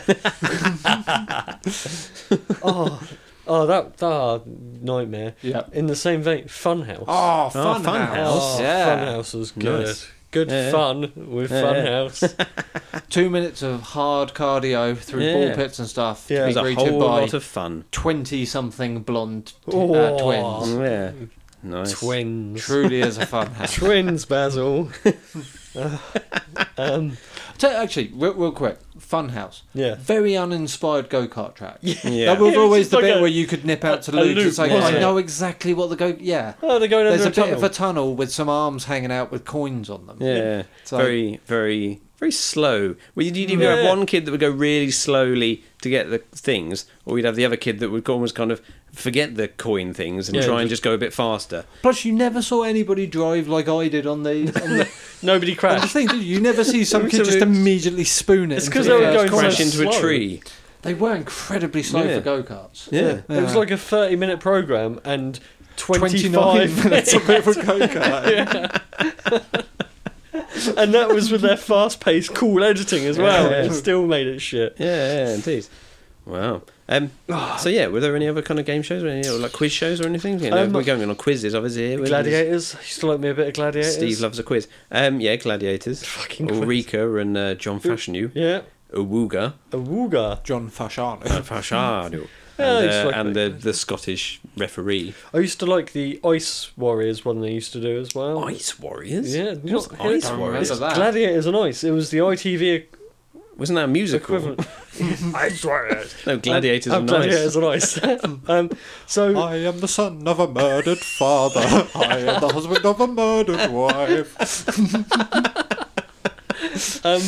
Speaker 2: oh, oh, that, that oh, nightmare.
Speaker 3: Yeah.
Speaker 2: In the same vein, Funhouse.
Speaker 3: Oh,
Speaker 4: Oh,
Speaker 3: fun
Speaker 4: Funhouse.
Speaker 3: house.
Speaker 2: Oh,
Speaker 3: Yeah.
Speaker 2: Funhouse was good.
Speaker 4: Nice.
Speaker 2: Good
Speaker 4: Yeah, yeah.
Speaker 2: fun with
Speaker 4: Yeah, yeah.
Speaker 2: Funhouse.
Speaker 3: Two minutes of hard cardio through
Speaker 4: Yeah.
Speaker 3: ball pits and stuff
Speaker 2: Yeah.
Speaker 4: It
Speaker 3: to be
Speaker 4: was a
Speaker 3: greeted
Speaker 4: whole
Speaker 3: by
Speaker 4: lot of fun.
Speaker 3: 20 something blonde t-
Speaker 2: Oh.
Speaker 3: uh, twins.
Speaker 4: Yeah.
Speaker 2: Mm.
Speaker 4: Nice.
Speaker 2: Twins.
Speaker 3: Truly is a fun house.
Speaker 2: Twins, Basil. Uh, um,
Speaker 3: T- actually, real, real quick, fun house.
Speaker 2: yeah.
Speaker 3: Very uninspired go kart track.
Speaker 4: Yeah.
Speaker 3: That was
Speaker 2: It was
Speaker 3: always
Speaker 2: just
Speaker 3: the
Speaker 2: like
Speaker 3: bit
Speaker 2: a-
Speaker 3: where you could nip out to
Speaker 2: a- a
Speaker 3: Luke's.
Speaker 2: loop,
Speaker 3: It's like,
Speaker 4: wasn't
Speaker 3: I
Speaker 4: it?
Speaker 3: know exactly what the go. Yeah.
Speaker 2: Oh, they're going
Speaker 3: There's a
Speaker 2: under a,
Speaker 3: bit of
Speaker 2: tunnel.
Speaker 3: a tunnel with some arms hanging out with coins on them.
Speaker 4: Yeah.
Speaker 3: So-
Speaker 4: very, very, very slow. Well, you'd you'd either have
Speaker 2: Yeah.
Speaker 4: one kid that would go really slowly to get the things, or you'd have the other kid that would almost kind of forget the coin things and
Speaker 2: Yeah,
Speaker 4: try and
Speaker 2: just-
Speaker 4: just go a bit faster.
Speaker 3: Plus, you never saw anybody drive like I did on the. On the
Speaker 2: Nobody
Speaker 3: I'm
Speaker 2: crashed.
Speaker 3: just thinking, you never see some kid just
Speaker 2: Absolute-
Speaker 3: immediately spoon it.
Speaker 2: It's
Speaker 3: into
Speaker 2: 'cause
Speaker 3: the
Speaker 2: they were
Speaker 3: first
Speaker 2: going
Speaker 3: corner.
Speaker 4: Crash into a
Speaker 2: slow.
Speaker 4: tree.
Speaker 3: They were incredibly slow
Speaker 4: Yeah.
Speaker 3: for go karts.
Speaker 4: Yeah.
Speaker 2: It was like a 30 minute program and 25
Speaker 3: 25 minutes of it for go kart.
Speaker 2: and that was with their fast paced, cool editing as well.
Speaker 4: Yeah.
Speaker 2: It still made it shit.
Speaker 4: Yeah, yeah, indeed. Wow. Um,
Speaker 2: Ah.
Speaker 4: so yeah, were there any other kind of game shows, or any or like quiz shows, or anything? You know,
Speaker 2: Um,
Speaker 4: we're going on quizzes, obviously. Here, we're-
Speaker 2: Gladiators. Used to like me a bit of Gladiators.
Speaker 4: Steve loves a quiz. Um, yeah, Gladiators.
Speaker 2: Fucking quiz.
Speaker 4: Ulrika and uh, John Fashanu.
Speaker 2: Yeah.
Speaker 4: Awooga.
Speaker 2: A Wooga.
Speaker 3: John Fashano.
Speaker 4: Uh, Fashanu.
Speaker 2: Yeah,
Speaker 4: And,
Speaker 2: it's
Speaker 4: uh,
Speaker 2: like
Speaker 4: and the,
Speaker 2: that.
Speaker 4: the Scottish referee.
Speaker 2: I used to like the Ice Warriors one they used to do as well.
Speaker 4: Ice Warriors?
Speaker 2: Oh. Yeah,
Speaker 4: What's
Speaker 2: not
Speaker 4: Ice
Speaker 2: Ice
Speaker 4: Warriors?
Speaker 3: Remember that.
Speaker 2: Gladiators and Ice. It was the ITV
Speaker 4: Wasn't that a musical?
Speaker 2: e- equivalent. Ice Warriors.
Speaker 4: No, Gladiators
Speaker 2: Um,
Speaker 4: and Ice.
Speaker 2: Gladiators and Ice. um, so
Speaker 5: I am the son of a murdered father. I am the husband of a murdered wife.
Speaker 2: um,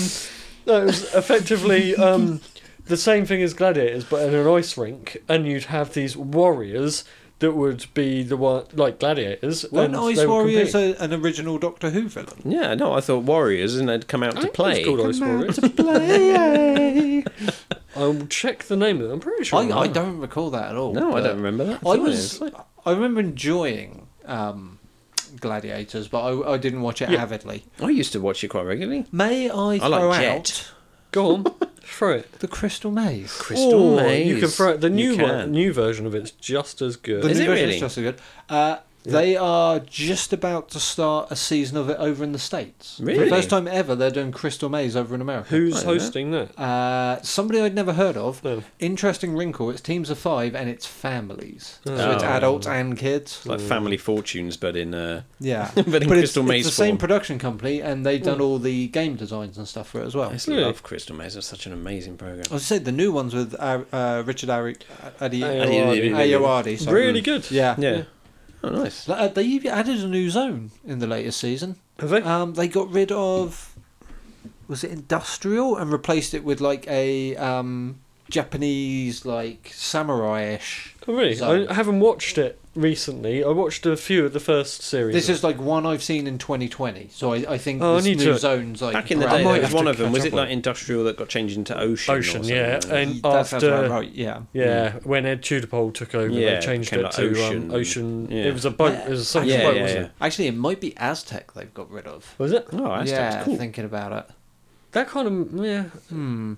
Speaker 2: no, it was effectively um, the same thing as gladiators, but in an ice rink, and you'd have these warriors that would be the one like gladiators.
Speaker 3: Weren't
Speaker 2: and
Speaker 3: Ice
Speaker 2: they would
Speaker 3: Warriors
Speaker 2: compete.
Speaker 3: a, an original Doctor Who villain?
Speaker 4: Yeah, no, I thought Warriors and they'd come out to
Speaker 2: It's
Speaker 4: play.
Speaker 2: called Ice Warriors.
Speaker 3: Play.
Speaker 2: I'll check the name of it. I'm pretty
Speaker 3: I,
Speaker 2: sure.
Speaker 3: I don't recall that at all.
Speaker 4: No, I
Speaker 2: uh,
Speaker 3: but
Speaker 4: don't remember that.
Speaker 3: I
Speaker 4: thought it
Speaker 3: was. I remember enjoying um, Gladiators, but I, I didn't watch it
Speaker 2: Yeah.
Speaker 3: avidly.
Speaker 4: I used to watch it quite regularly.
Speaker 3: May I
Speaker 4: I
Speaker 3: throw
Speaker 4: like
Speaker 3: out
Speaker 4: Jet.
Speaker 2: Go on, throw it.
Speaker 3: the Crystal Maze?
Speaker 4: Crystal
Speaker 2: Or
Speaker 4: Maze.
Speaker 2: You can throw it. The
Speaker 4: You
Speaker 2: new one,
Speaker 4: can.
Speaker 2: new version of it's just as good.
Speaker 4: Is
Speaker 3: new
Speaker 4: it
Speaker 3: version's
Speaker 4: really?
Speaker 3: Just as good. Uh, They are just about to start a season of it over in the States. For
Speaker 4: Really?
Speaker 3: the first time ever, they're doing Crystal Maze over in America.
Speaker 2: Who's
Speaker 4: Right, yeah.
Speaker 2: hosting that?
Speaker 3: Uh, somebody I'd never heard of.
Speaker 2: No.
Speaker 3: Interesting wrinkle. It's teams of five and it's families. So it's
Speaker 4: Oh.
Speaker 3: adults and kids.
Speaker 4: It's
Speaker 2: Mm.
Speaker 4: like Family Fortunes, but in uh,
Speaker 3: Yeah.
Speaker 4: but in
Speaker 3: it's,
Speaker 4: Crystal Maze
Speaker 3: it's the same
Speaker 4: form.
Speaker 3: production company and they've done all the game designs and stuff for it as well. Oh,
Speaker 4: I just
Speaker 2: Really?
Speaker 4: love Crystal Maze. It's such an amazing program.
Speaker 3: I said the new ones with uh, uh, Richard Ari- Adi-
Speaker 4: Ayoade.
Speaker 3: Ayoade. sorry.
Speaker 2: Really good.
Speaker 3: Yeah.
Speaker 4: yeah. Oh, nice.
Speaker 3: Uh, They added a new zone in the latest season.
Speaker 2: Have they?
Speaker 3: Um, they got rid of was it industrial and replaced it with like a um, Japanese like samurai-ish.
Speaker 2: Oh, really?
Speaker 3: So-
Speaker 2: I haven't watched it recently. I watched a few of the first series.
Speaker 3: This is like one I've seen in 2020, so I, I think
Speaker 2: Oh, I
Speaker 3: this
Speaker 2: need
Speaker 3: new
Speaker 2: to-
Speaker 3: zone's like
Speaker 4: Back in the
Speaker 3: brand-
Speaker 4: day,
Speaker 2: might
Speaker 4: there
Speaker 2: have
Speaker 4: was
Speaker 2: to
Speaker 4: one of them.
Speaker 2: catch
Speaker 4: Was
Speaker 2: up
Speaker 4: it
Speaker 2: on
Speaker 4: like industrial that got changed into ocean?
Speaker 2: Ocean,
Speaker 4: or something?
Speaker 2: yeah, and-
Speaker 3: That sounds
Speaker 2: after-
Speaker 3: about right, yeah.
Speaker 2: Yeah,
Speaker 3: Hmm.
Speaker 2: when Ed Tudor took over,
Speaker 4: Yeah,
Speaker 2: they changed it
Speaker 4: became like
Speaker 2: to
Speaker 4: Ocean.
Speaker 2: Um, ocean.
Speaker 4: Yeah.
Speaker 2: It was a boat. It was a
Speaker 4: yeah,
Speaker 2: sunken
Speaker 4: yeah,
Speaker 2: boat,
Speaker 4: yeah.
Speaker 2: wasn't it?
Speaker 3: Actually, it might be Aztec they've got rid of.
Speaker 2: Was it?
Speaker 4: Oh, that's
Speaker 3: yeah,
Speaker 4: cool.
Speaker 3: thinking about it.
Speaker 2: That kind of yeah.
Speaker 3: Hmm.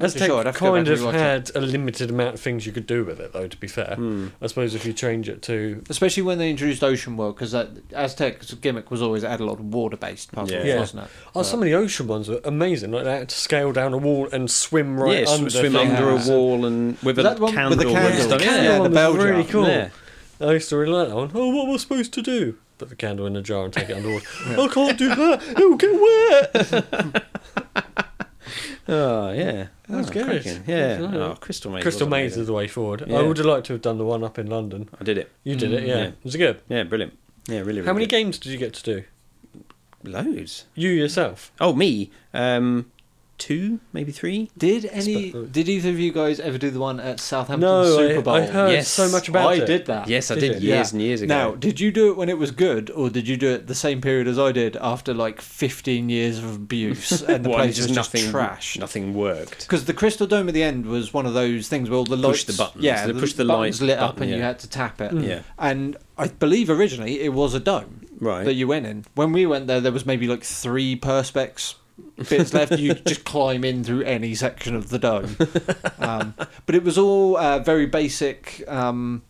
Speaker 3: Not too
Speaker 2: Aztec
Speaker 3: sure, I'd have to go
Speaker 2: kind
Speaker 3: back
Speaker 2: of
Speaker 3: and rewatch it.
Speaker 2: had a limited amount of things you could do with it, though. To be fair,
Speaker 4: Hmm.
Speaker 2: I suppose if you change it to
Speaker 3: Especially when they introduced Ocean World, because Aztec's gimmick was always add a lot of water-based puzzles,
Speaker 4: Yeah.
Speaker 3: wasn't it?
Speaker 2: oh, some of the ocean ones were amazing. Like they had to scale down a wall and swim right
Speaker 4: yeah, sw-
Speaker 2: under.
Speaker 4: swim
Speaker 2: things.
Speaker 4: under a
Speaker 3: Yeah.
Speaker 4: wall and with a
Speaker 3: That
Speaker 4: candle,
Speaker 3: one with the
Speaker 4: and
Speaker 3: candle.
Speaker 4: stuff.
Speaker 3: Yeah,
Speaker 4: Yeah,
Speaker 3: the
Speaker 2: one was
Speaker 3: bell
Speaker 2: really
Speaker 3: jar.
Speaker 2: cool.
Speaker 4: Yeah.
Speaker 2: I used to rely on that one. Oh, what am I supposed to do? Put the candle in a jar and take it underwater. I can't do that. It will get wet.
Speaker 4: Oh, yeah.
Speaker 2: That's
Speaker 4: Oh,
Speaker 2: good.
Speaker 4: cracking. Yeah.
Speaker 2: That's
Speaker 4: Oh,
Speaker 2: alright.
Speaker 4: Crystal Maze.
Speaker 2: Crystal
Speaker 4: was
Speaker 2: Maze is
Speaker 4: amazing.
Speaker 2: the way forward.
Speaker 4: Yeah.
Speaker 2: I would have liked to have done the one up in London.
Speaker 4: I did it.
Speaker 2: You did it,
Speaker 3: Mm.
Speaker 2: yeah.
Speaker 4: Yeah.
Speaker 2: Was it good?
Speaker 4: Yeah, brilliant. Yeah, really. really
Speaker 2: How many
Speaker 4: good.
Speaker 2: games did you get to do?
Speaker 4: Loads.
Speaker 2: You yourself?
Speaker 4: Oh, me. Um, two, maybe three.
Speaker 3: Did any? Did either of you guys ever do the one at Southampton
Speaker 2: no, I-
Speaker 3: Super Bowl?
Speaker 2: I, heard
Speaker 4: Yes.
Speaker 2: so much about
Speaker 3: I
Speaker 2: it.
Speaker 3: did that.
Speaker 4: Yes, I
Speaker 2: Did
Speaker 4: did,
Speaker 2: you?
Speaker 4: years
Speaker 3: Yeah.
Speaker 4: and years ago.
Speaker 3: Now, did you do it when it was good, or did you do it the same period as I did after like 15 years of abuse and the
Speaker 4: One,
Speaker 3: place was
Speaker 4: nothing,
Speaker 3: just trashed?
Speaker 4: Nothing worked.
Speaker 3: Because the Crystal Dome at the end was one of those things where all the lights,
Speaker 4: Push the buttons.
Speaker 3: yeah,
Speaker 4: They push the
Speaker 3: buttons
Speaker 4: light
Speaker 3: lit up
Speaker 4: button,
Speaker 3: and you
Speaker 4: yeah. Mm.
Speaker 3: had to tap it.
Speaker 4: Yeah.
Speaker 3: And I believe originally it was a dome
Speaker 4: Right.
Speaker 3: that you went in. When we went there, there was maybe like three perspex bits left. You could just climb in through any section of the dome. Um, but it was all uh, very basic. Um,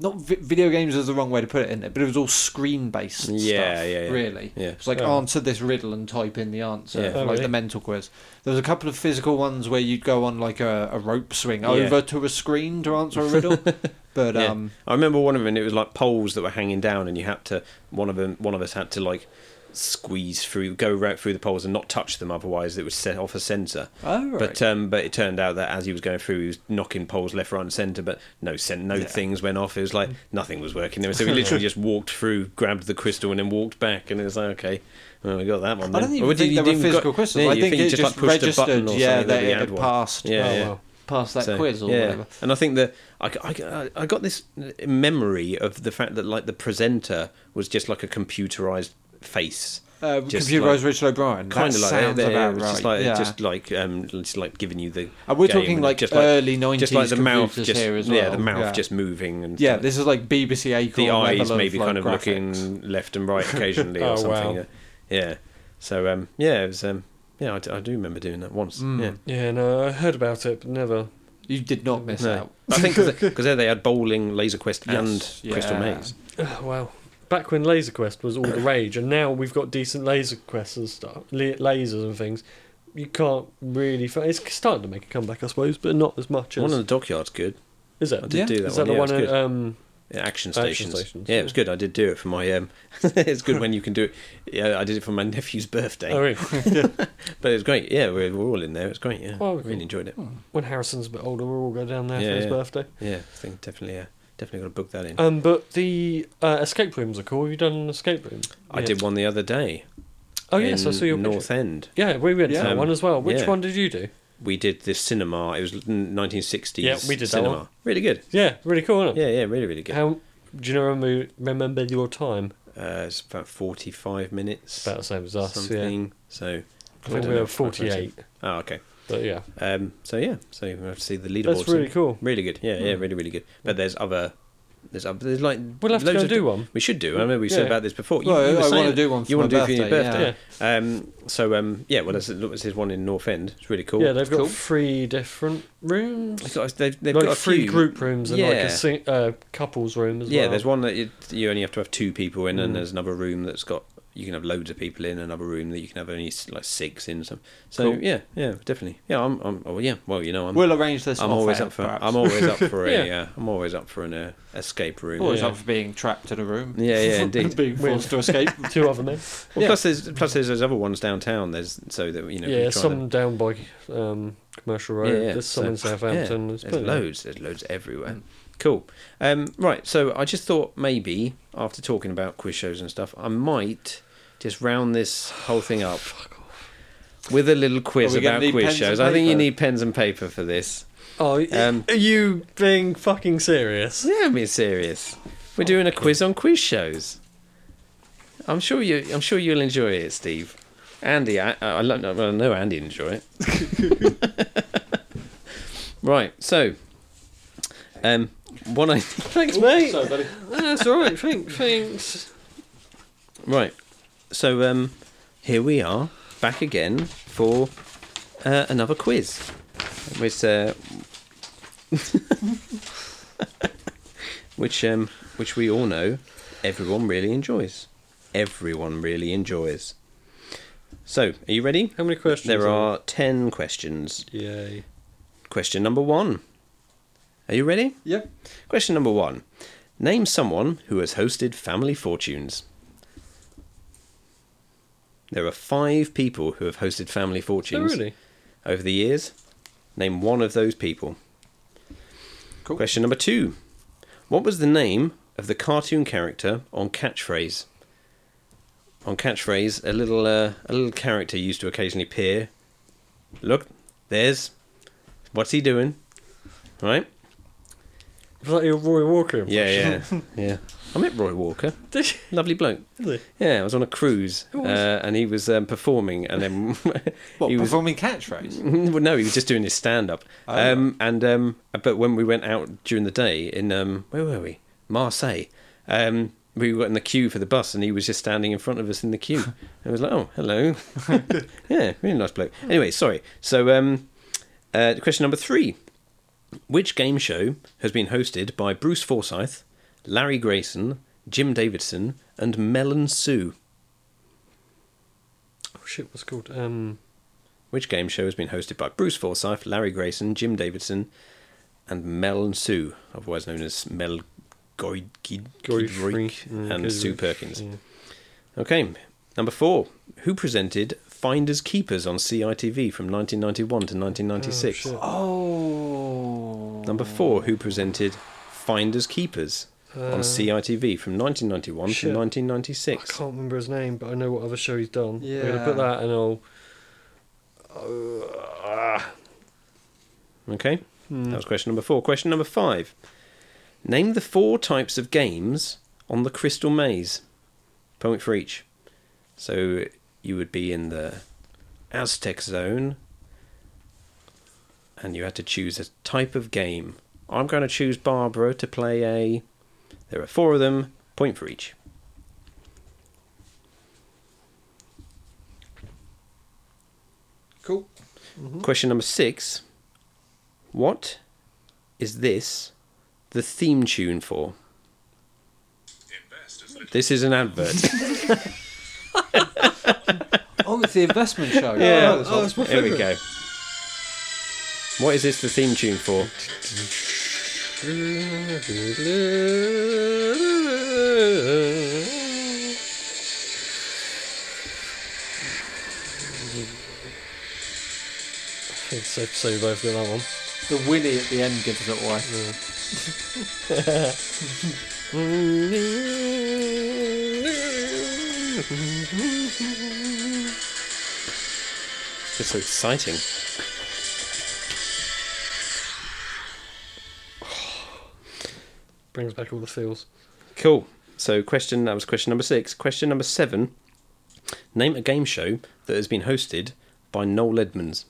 Speaker 3: not vi- video games is the wrong way to put it in it, but it was all screen based.
Speaker 4: Yeah,
Speaker 3: stuff,
Speaker 4: yeah, yeah.
Speaker 3: Really,
Speaker 4: Yeah.
Speaker 3: It's like
Speaker 2: Oh.
Speaker 3: answer this riddle and type in the answer,
Speaker 4: Yeah.
Speaker 3: for,
Speaker 2: Oh,
Speaker 3: like
Speaker 2: really?
Speaker 3: the mental quiz. There was a couple of physical ones where you'd go on like a, a rope swing
Speaker 4: Yeah.
Speaker 3: over to a screen to answer a riddle. but
Speaker 4: Yeah.
Speaker 3: um,
Speaker 4: I remember one of them. It was like poles that were hanging down, and you had to one of them. One of us had to like squeeze through, go right through the poles, and not touch them. Otherwise, it would set off a sensor.
Speaker 3: oh right.
Speaker 4: But um, but it turned out that as he was going through, he was knocking poles left, right, and centre. But no sen- no
Speaker 3: Yeah. Mm.
Speaker 4: things went off. It was like nothing was working there. So we literally just walked through, grabbed the crystal, and then walked back. And it was like, okay, well, we got that one.
Speaker 3: I
Speaker 4: Then.
Speaker 3: don't even
Speaker 4: Or
Speaker 3: think
Speaker 4: you
Speaker 3: there were
Speaker 4: didn't got-
Speaker 3: physical questions.
Speaker 4: Yeah,
Speaker 3: I
Speaker 4: you
Speaker 3: think,
Speaker 4: you
Speaker 3: it just,
Speaker 4: pushed a
Speaker 3: registered,
Speaker 4: button or
Speaker 3: yeah,
Speaker 4: something,
Speaker 3: that
Speaker 4: and
Speaker 3: it
Speaker 4: had
Speaker 3: had
Speaker 4: one.
Speaker 3: passed,
Speaker 4: Yeah,
Speaker 2: Oh,
Speaker 4: yeah.
Speaker 2: wow.
Speaker 3: passed that
Speaker 4: So,
Speaker 3: quiz or
Speaker 4: yeah.
Speaker 3: whatever.
Speaker 4: And I think that I, I, I got this memory of the fact that like the presenter was just like a computerized face.
Speaker 3: Uh,
Speaker 4: Just
Speaker 3: computerized
Speaker 4: like-
Speaker 3: Richard O'Brien. That
Speaker 4: Kind of like
Speaker 3: sounds
Speaker 4: that, yeah, it
Speaker 3: about
Speaker 4: was
Speaker 3: right.
Speaker 4: just like
Speaker 3: yeah.
Speaker 4: just like um, just like giving you the.
Speaker 3: and we're
Speaker 4: game
Speaker 3: talking
Speaker 4: and
Speaker 3: like
Speaker 4: just
Speaker 3: early 90s
Speaker 4: just like the mouth,
Speaker 3: computers
Speaker 4: just
Speaker 3: here as well.
Speaker 4: yeah, the mouth
Speaker 3: yeah.
Speaker 4: just moving and
Speaker 3: Yeah, this is like BBC Acorn
Speaker 4: the eyes
Speaker 3: level of,
Speaker 4: maybe
Speaker 3: like,
Speaker 4: kind of
Speaker 3: graphics.
Speaker 4: looking left and right occasionally
Speaker 2: Oh,
Speaker 4: or something.
Speaker 2: wow.
Speaker 4: Uh, Yeah, so um, yeah, it was um, yeah, I, d- I do remember doing that once.
Speaker 3: Mm.
Speaker 4: Yeah.
Speaker 2: Yeah, no, I heard about it, but never.
Speaker 3: You did not miss
Speaker 4: No.
Speaker 3: out.
Speaker 4: I think because there they had bowling, laser quest,
Speaker 3: Yes,
Speaker 4: and crystal
Speaker 3: yeah.
Speaker 4: maze.
Speaker 2: Oh, wow. Back when Laser Quest was all the rage, and now we've got decent Laser Quests and stuff, la- lasers and things. You can't really. F- it's starting to make a comeback, I suppose, but not as much as.
Speaker 4: One in the dockyard's good.
Speaker 2: is
Speaker 4: I
Speaker 2: it?
Speaker 4: did
Speaker 3: Yeah.
Speaker 4: do that
Speaker 2: Is
Speaker 4: one.
Speaker 2: that
Speaker 4: yeah,
Speaker 2: the
Speaker 4: it
Speaker 2: one?
Speaker 4: was
Speaker 2: At,
Speaker 4: good.
Speaker 2: um,
Speaker 4: Yeah, action
Speaker 2: Action
Speaker 4: stations.
Speaker 2: stations,
Speaker 4: Yeah, it was good. I did do it for my. Um, it's good when you can do it. Yeah, I did it for my nephew's birthday.
Speaker 2: oh, really?
Speaker 4: But it was great. Yeah, we were all in there. It was great. Yeah,
Speaker 2: Oh, cool.
Speaker 4: really enjoyed it.
Speaker 2: when Harrison's a bit older, we'll all go down there
Speaker 4: Yeah,
Speaker 2: for his
Speaker 4: yeah.
Speaker 2: birthday.
Speaker 4: Yeah, I think definitely. Uh, definitely got to book that in.
Speaker 2: Um, but the uh, escape rooms are cool. Have you done an escape room?
Speaker 4: I
Speaker 2: Yeah.
Speaker 4: did one the other day.
Speaker 2: Oh yes, I
Speaker 4: in
Speaker 2: saw your
Speaker 4: North
Speaker 2: picture.
Speaker 4: End.
Speaker 2: Yeah, we went to that
Speaker 4: Um,
Speaker 2: one as well. Which
Speaker 4: yeah.
Speaker 2: one did you do?
Speaker 4: We did this cinema. It was 1960s.
Speaker 2: Yeah, we did that
Speaker 4: cinema.
Speaker 2: one.
Speaker 4: Really good.
Speaker 2: Yeah, really cool, isn't it?
Speaker 4: Yeah, yeah, really, really good.
Speaker 2: How do you remember, remember your time?
Speaker 4: Uh, it's about 45 minutes.
Speaker 2: About the same as us. Yeah,
Speaker 4: something. So
Speaker 2: I think
Speaker 4: don't
Speaker 2: we
Speaker 4: know
Speaker 2: were
Speaker 4: if my person-
Speaker 2: forty-eight.
Speaker 4: Oh, okay.
Speaker 2: But yeah,
Speaker 4: Um, so yeah, so we have to see the leaderboard.
Speaker 2: that's really
Speaker 4: soon.
Speaker 2: cool. Hmm.
Speaker 4: Really good. Yeah, yeah, really, really good. But there's other There's, uh, there's like
Speaker 2: We'll have to
Speaker 4: loads
Speaker 2: go
Speaker 4: of
Speaker 2: do one.
Speaker 4: We should do. I remember we said
Speaker 2: Yeah.
Speaker 4: about this before. You,
Speaker 3: Well,
Speaker 4: you were
Speaker 3: I wanna
Speaker 4: saying
Speaker 3: do one for
Speaker 4: you wanna
Speaker 3: my
Speaker 4: do it for your
Speaker 3: birthday,
Speaker 4: birthday. Um, so um, yeah, well, there's, there's this one in North End. It's really cool.
Speaker 2: Yeah, they've got
Speaker 3: Cool.
Speaker 2: three different rooms.
Speaker 4: They've got, they've, they've
Speaker 2: like
Speaker 4: got a
Speaker 2: three
Speaker 4: few.
Speaker 2: group rooms and like
Speaker 4: Yeah.
Speaker 2: a sing- uh, couples room as
Speaker 4: yeah,
Speaker 2: well.
Speaker 4: there's one that you, you only have to have two people in, and
Speaker 2: Mm.
Speaker 4: there's another room that's got you can have loads of people in. Another room that you can have only s- like six in. Some. So
Speaker 3: Cool.
Speaker 4: yeah, yeah, definitely. Yeah, I'm. I'm oh yeah. Well, you know, I'm.
Speaker 3: We'll arrange this.
Speaker 4: I'm
Speaker 3: off
Speaker 4: always
Speaker 3: air,
Speaker 4: up for.
Speaker 3: perhaps.
Speaker 4: I'm always up for a.
Speaker 2: Yeah.
Speaker 4: yeah. I'm always up for an uh, escape room.
Speaker 3: always
Speaker 2: Yeah.
Speaker 3: up for being trapped in a room.
Speaker 4: Yeah, yeah, indeed.
Speaker 3: being forced to escape.
Speaker 2: Two other men.
Speaker 4: Well,
Speaker 3: Yeah.
Speaker 4: Plus, there's plus there's those other ones downtown. There's so that you know.
Speaker 2: yeah,
Speaker 4: you're trying to-
Speaker 3: uh,
Speaker 2: some down by um, Commercial Road.
Speaker 4: Yeah, yeah,
Speaker 2: There's some
Speaker 4: so-
Speaker 2: in Southampton. There's
Speaker 4: There's
Speaker 2: plenty.
Speaker 4: loads. There's loads everywhere.
Speaker 3: Mm.
Speaker 4: Cool. Um, right. So I just thought maybe after talking about quiz shows and stuff, I might just round this whole thing up with a little quiz
Speaker 3: Are we gonna
Speaker 4: about
Speaker 3: need
Speaker 4: quiz
Speaker 3: pens and
Speaker 4: shows. I think you
Speaker 3: paper?
Speaker 4: need pens and paper for this.
Speaker 2: Oh, y-
Speaker 4: Um,
Speaker 2: are you being fucking serious?
Speaker 4: Yeah, I'm being serious. We're doing a quiz on quiz shows. I'm sure you. I'm sure you'll enjoy it, Steve. Andy, I, I, lo- well, I know Andy enjoy it. right. So, um, one. I, thanks, mate.
Speaker 3: Sorry, buddy.
Speaker 2: That's all right. Thanks. Thanks.
Speaker 4: Right. So um, here we are back again for uh, another quiz. Which uh, which um, which we all know everyone really enjoys. Everyone really enjoys. So, are you ready?
Speaker 2: How many questions?
Speaker 4: There are 10 questions.
Speaker 2: Yay. Oh,
Speaker 4: Question number 1. Are you ready?
Speaker 3: Yep.
Speaker 4: Question number 1. Name someone who has hosted Family Fortunes. There are five people who have hosted Family
Speaker 2: Oh,
Speaker 4: Fortunes
Speaker 2: really?
Speaker 4: over the years. Name one of those people.
Speaker 3: Cool.
Speaker 4: Question number two. What was the name of the cartoon character on Catchphrase? On Catchphrase, a little uh, a little character used to occasionally appear. Look, there's. What's he doing? Right?
Speaker 2: Is that your Roy Walker?
Speaker 4: Yeah,
Speaker 2: impression?
Speaker 4: yeah, yeah. I met Roy Walker.
Speaker 2: Did you
Speaker 4: Lovely bloke.
Speaker 2: really?
Speaker 4: Yeah, I was on a cruise,
Speaker 2: Who was-
Speaker 4: uh, and he was um, performing, and then
Speaker 3: What
Speaker 4: he was.
Speaker 3: performing catchphrase?
Speaker 4: well, no, he was just doing his stand up.
Speaker 3: Oh.
Speaker 4: Um, and um, but when we went out during the day in um, where were we? Marseille. Um, we were in the queue for the bus, and he was just standing in front of us in the queue. I was like, "Oh, hello." yeah, really nice bloke. Anyway, sorry. So, um, uh, question number three: Which game show has been hosted by Bruce Forsyth, Larry Grayson, Jim Davidson, and Melon Sue?
Speaker 2: Oh shit! What's it called? Um.
Speaker 4: which game show has been hosted by Bruce Forsyth, Larry Grayson, Jim Davidson, and Mel and Sue, otherwise known as Mel Goy- Gid- Gidrick
Speaker 2: Mm,
Speaker 4: and Sue Perkins. Okay, number four. Who presented Finders Keepers on CITV from 1991 to 1996?
Speaker 2: Oh,
Speaker 3: Oh.
Speaker 4: number four. Who presented Finders Keepers on
Speaker 2: Uh,
Speaker 4: CITV from 1991
Speaker 2: shit.
Speaker 4: to
Speaker 2: I
Speaker 4: 1996?
Speaker 2: can't remember his name, but I know what other show he's done. I'm gonna
Speaker 3: Yeah.
Speaker 2: put that and I'll.
Speaker 4: Okay, that was question number four. Question number five. Name the four types of games on the Crystal Maze. Point for each. So you would be in the Aztec zone, and you had to choose a type of game. I'm going to choose Barbara to play a. There are four of them. Point for each.
Speaker 3: Cool.
Speaker 4: Question number six. What is this the theme tune for? This is an advert.
Speaker 3: Oh, it's the investment show.
Speaker 4: Yeah.
Speaker 3: Oh, that's what-
Speaker 2: my
Speaker 4: Here we go. What is this the theme tune for?
Speaker 2: I think it's safe to say we both got that one.
Speaker 3: The Willy at the end gives it away.
Speaker 4: It's so exciting.
Speaker 2: Brings back all the feels.
Speaker 4: Cool. So, question that was question number six. Question number seven. Name a game show that has been hosted by Noel Edmonds.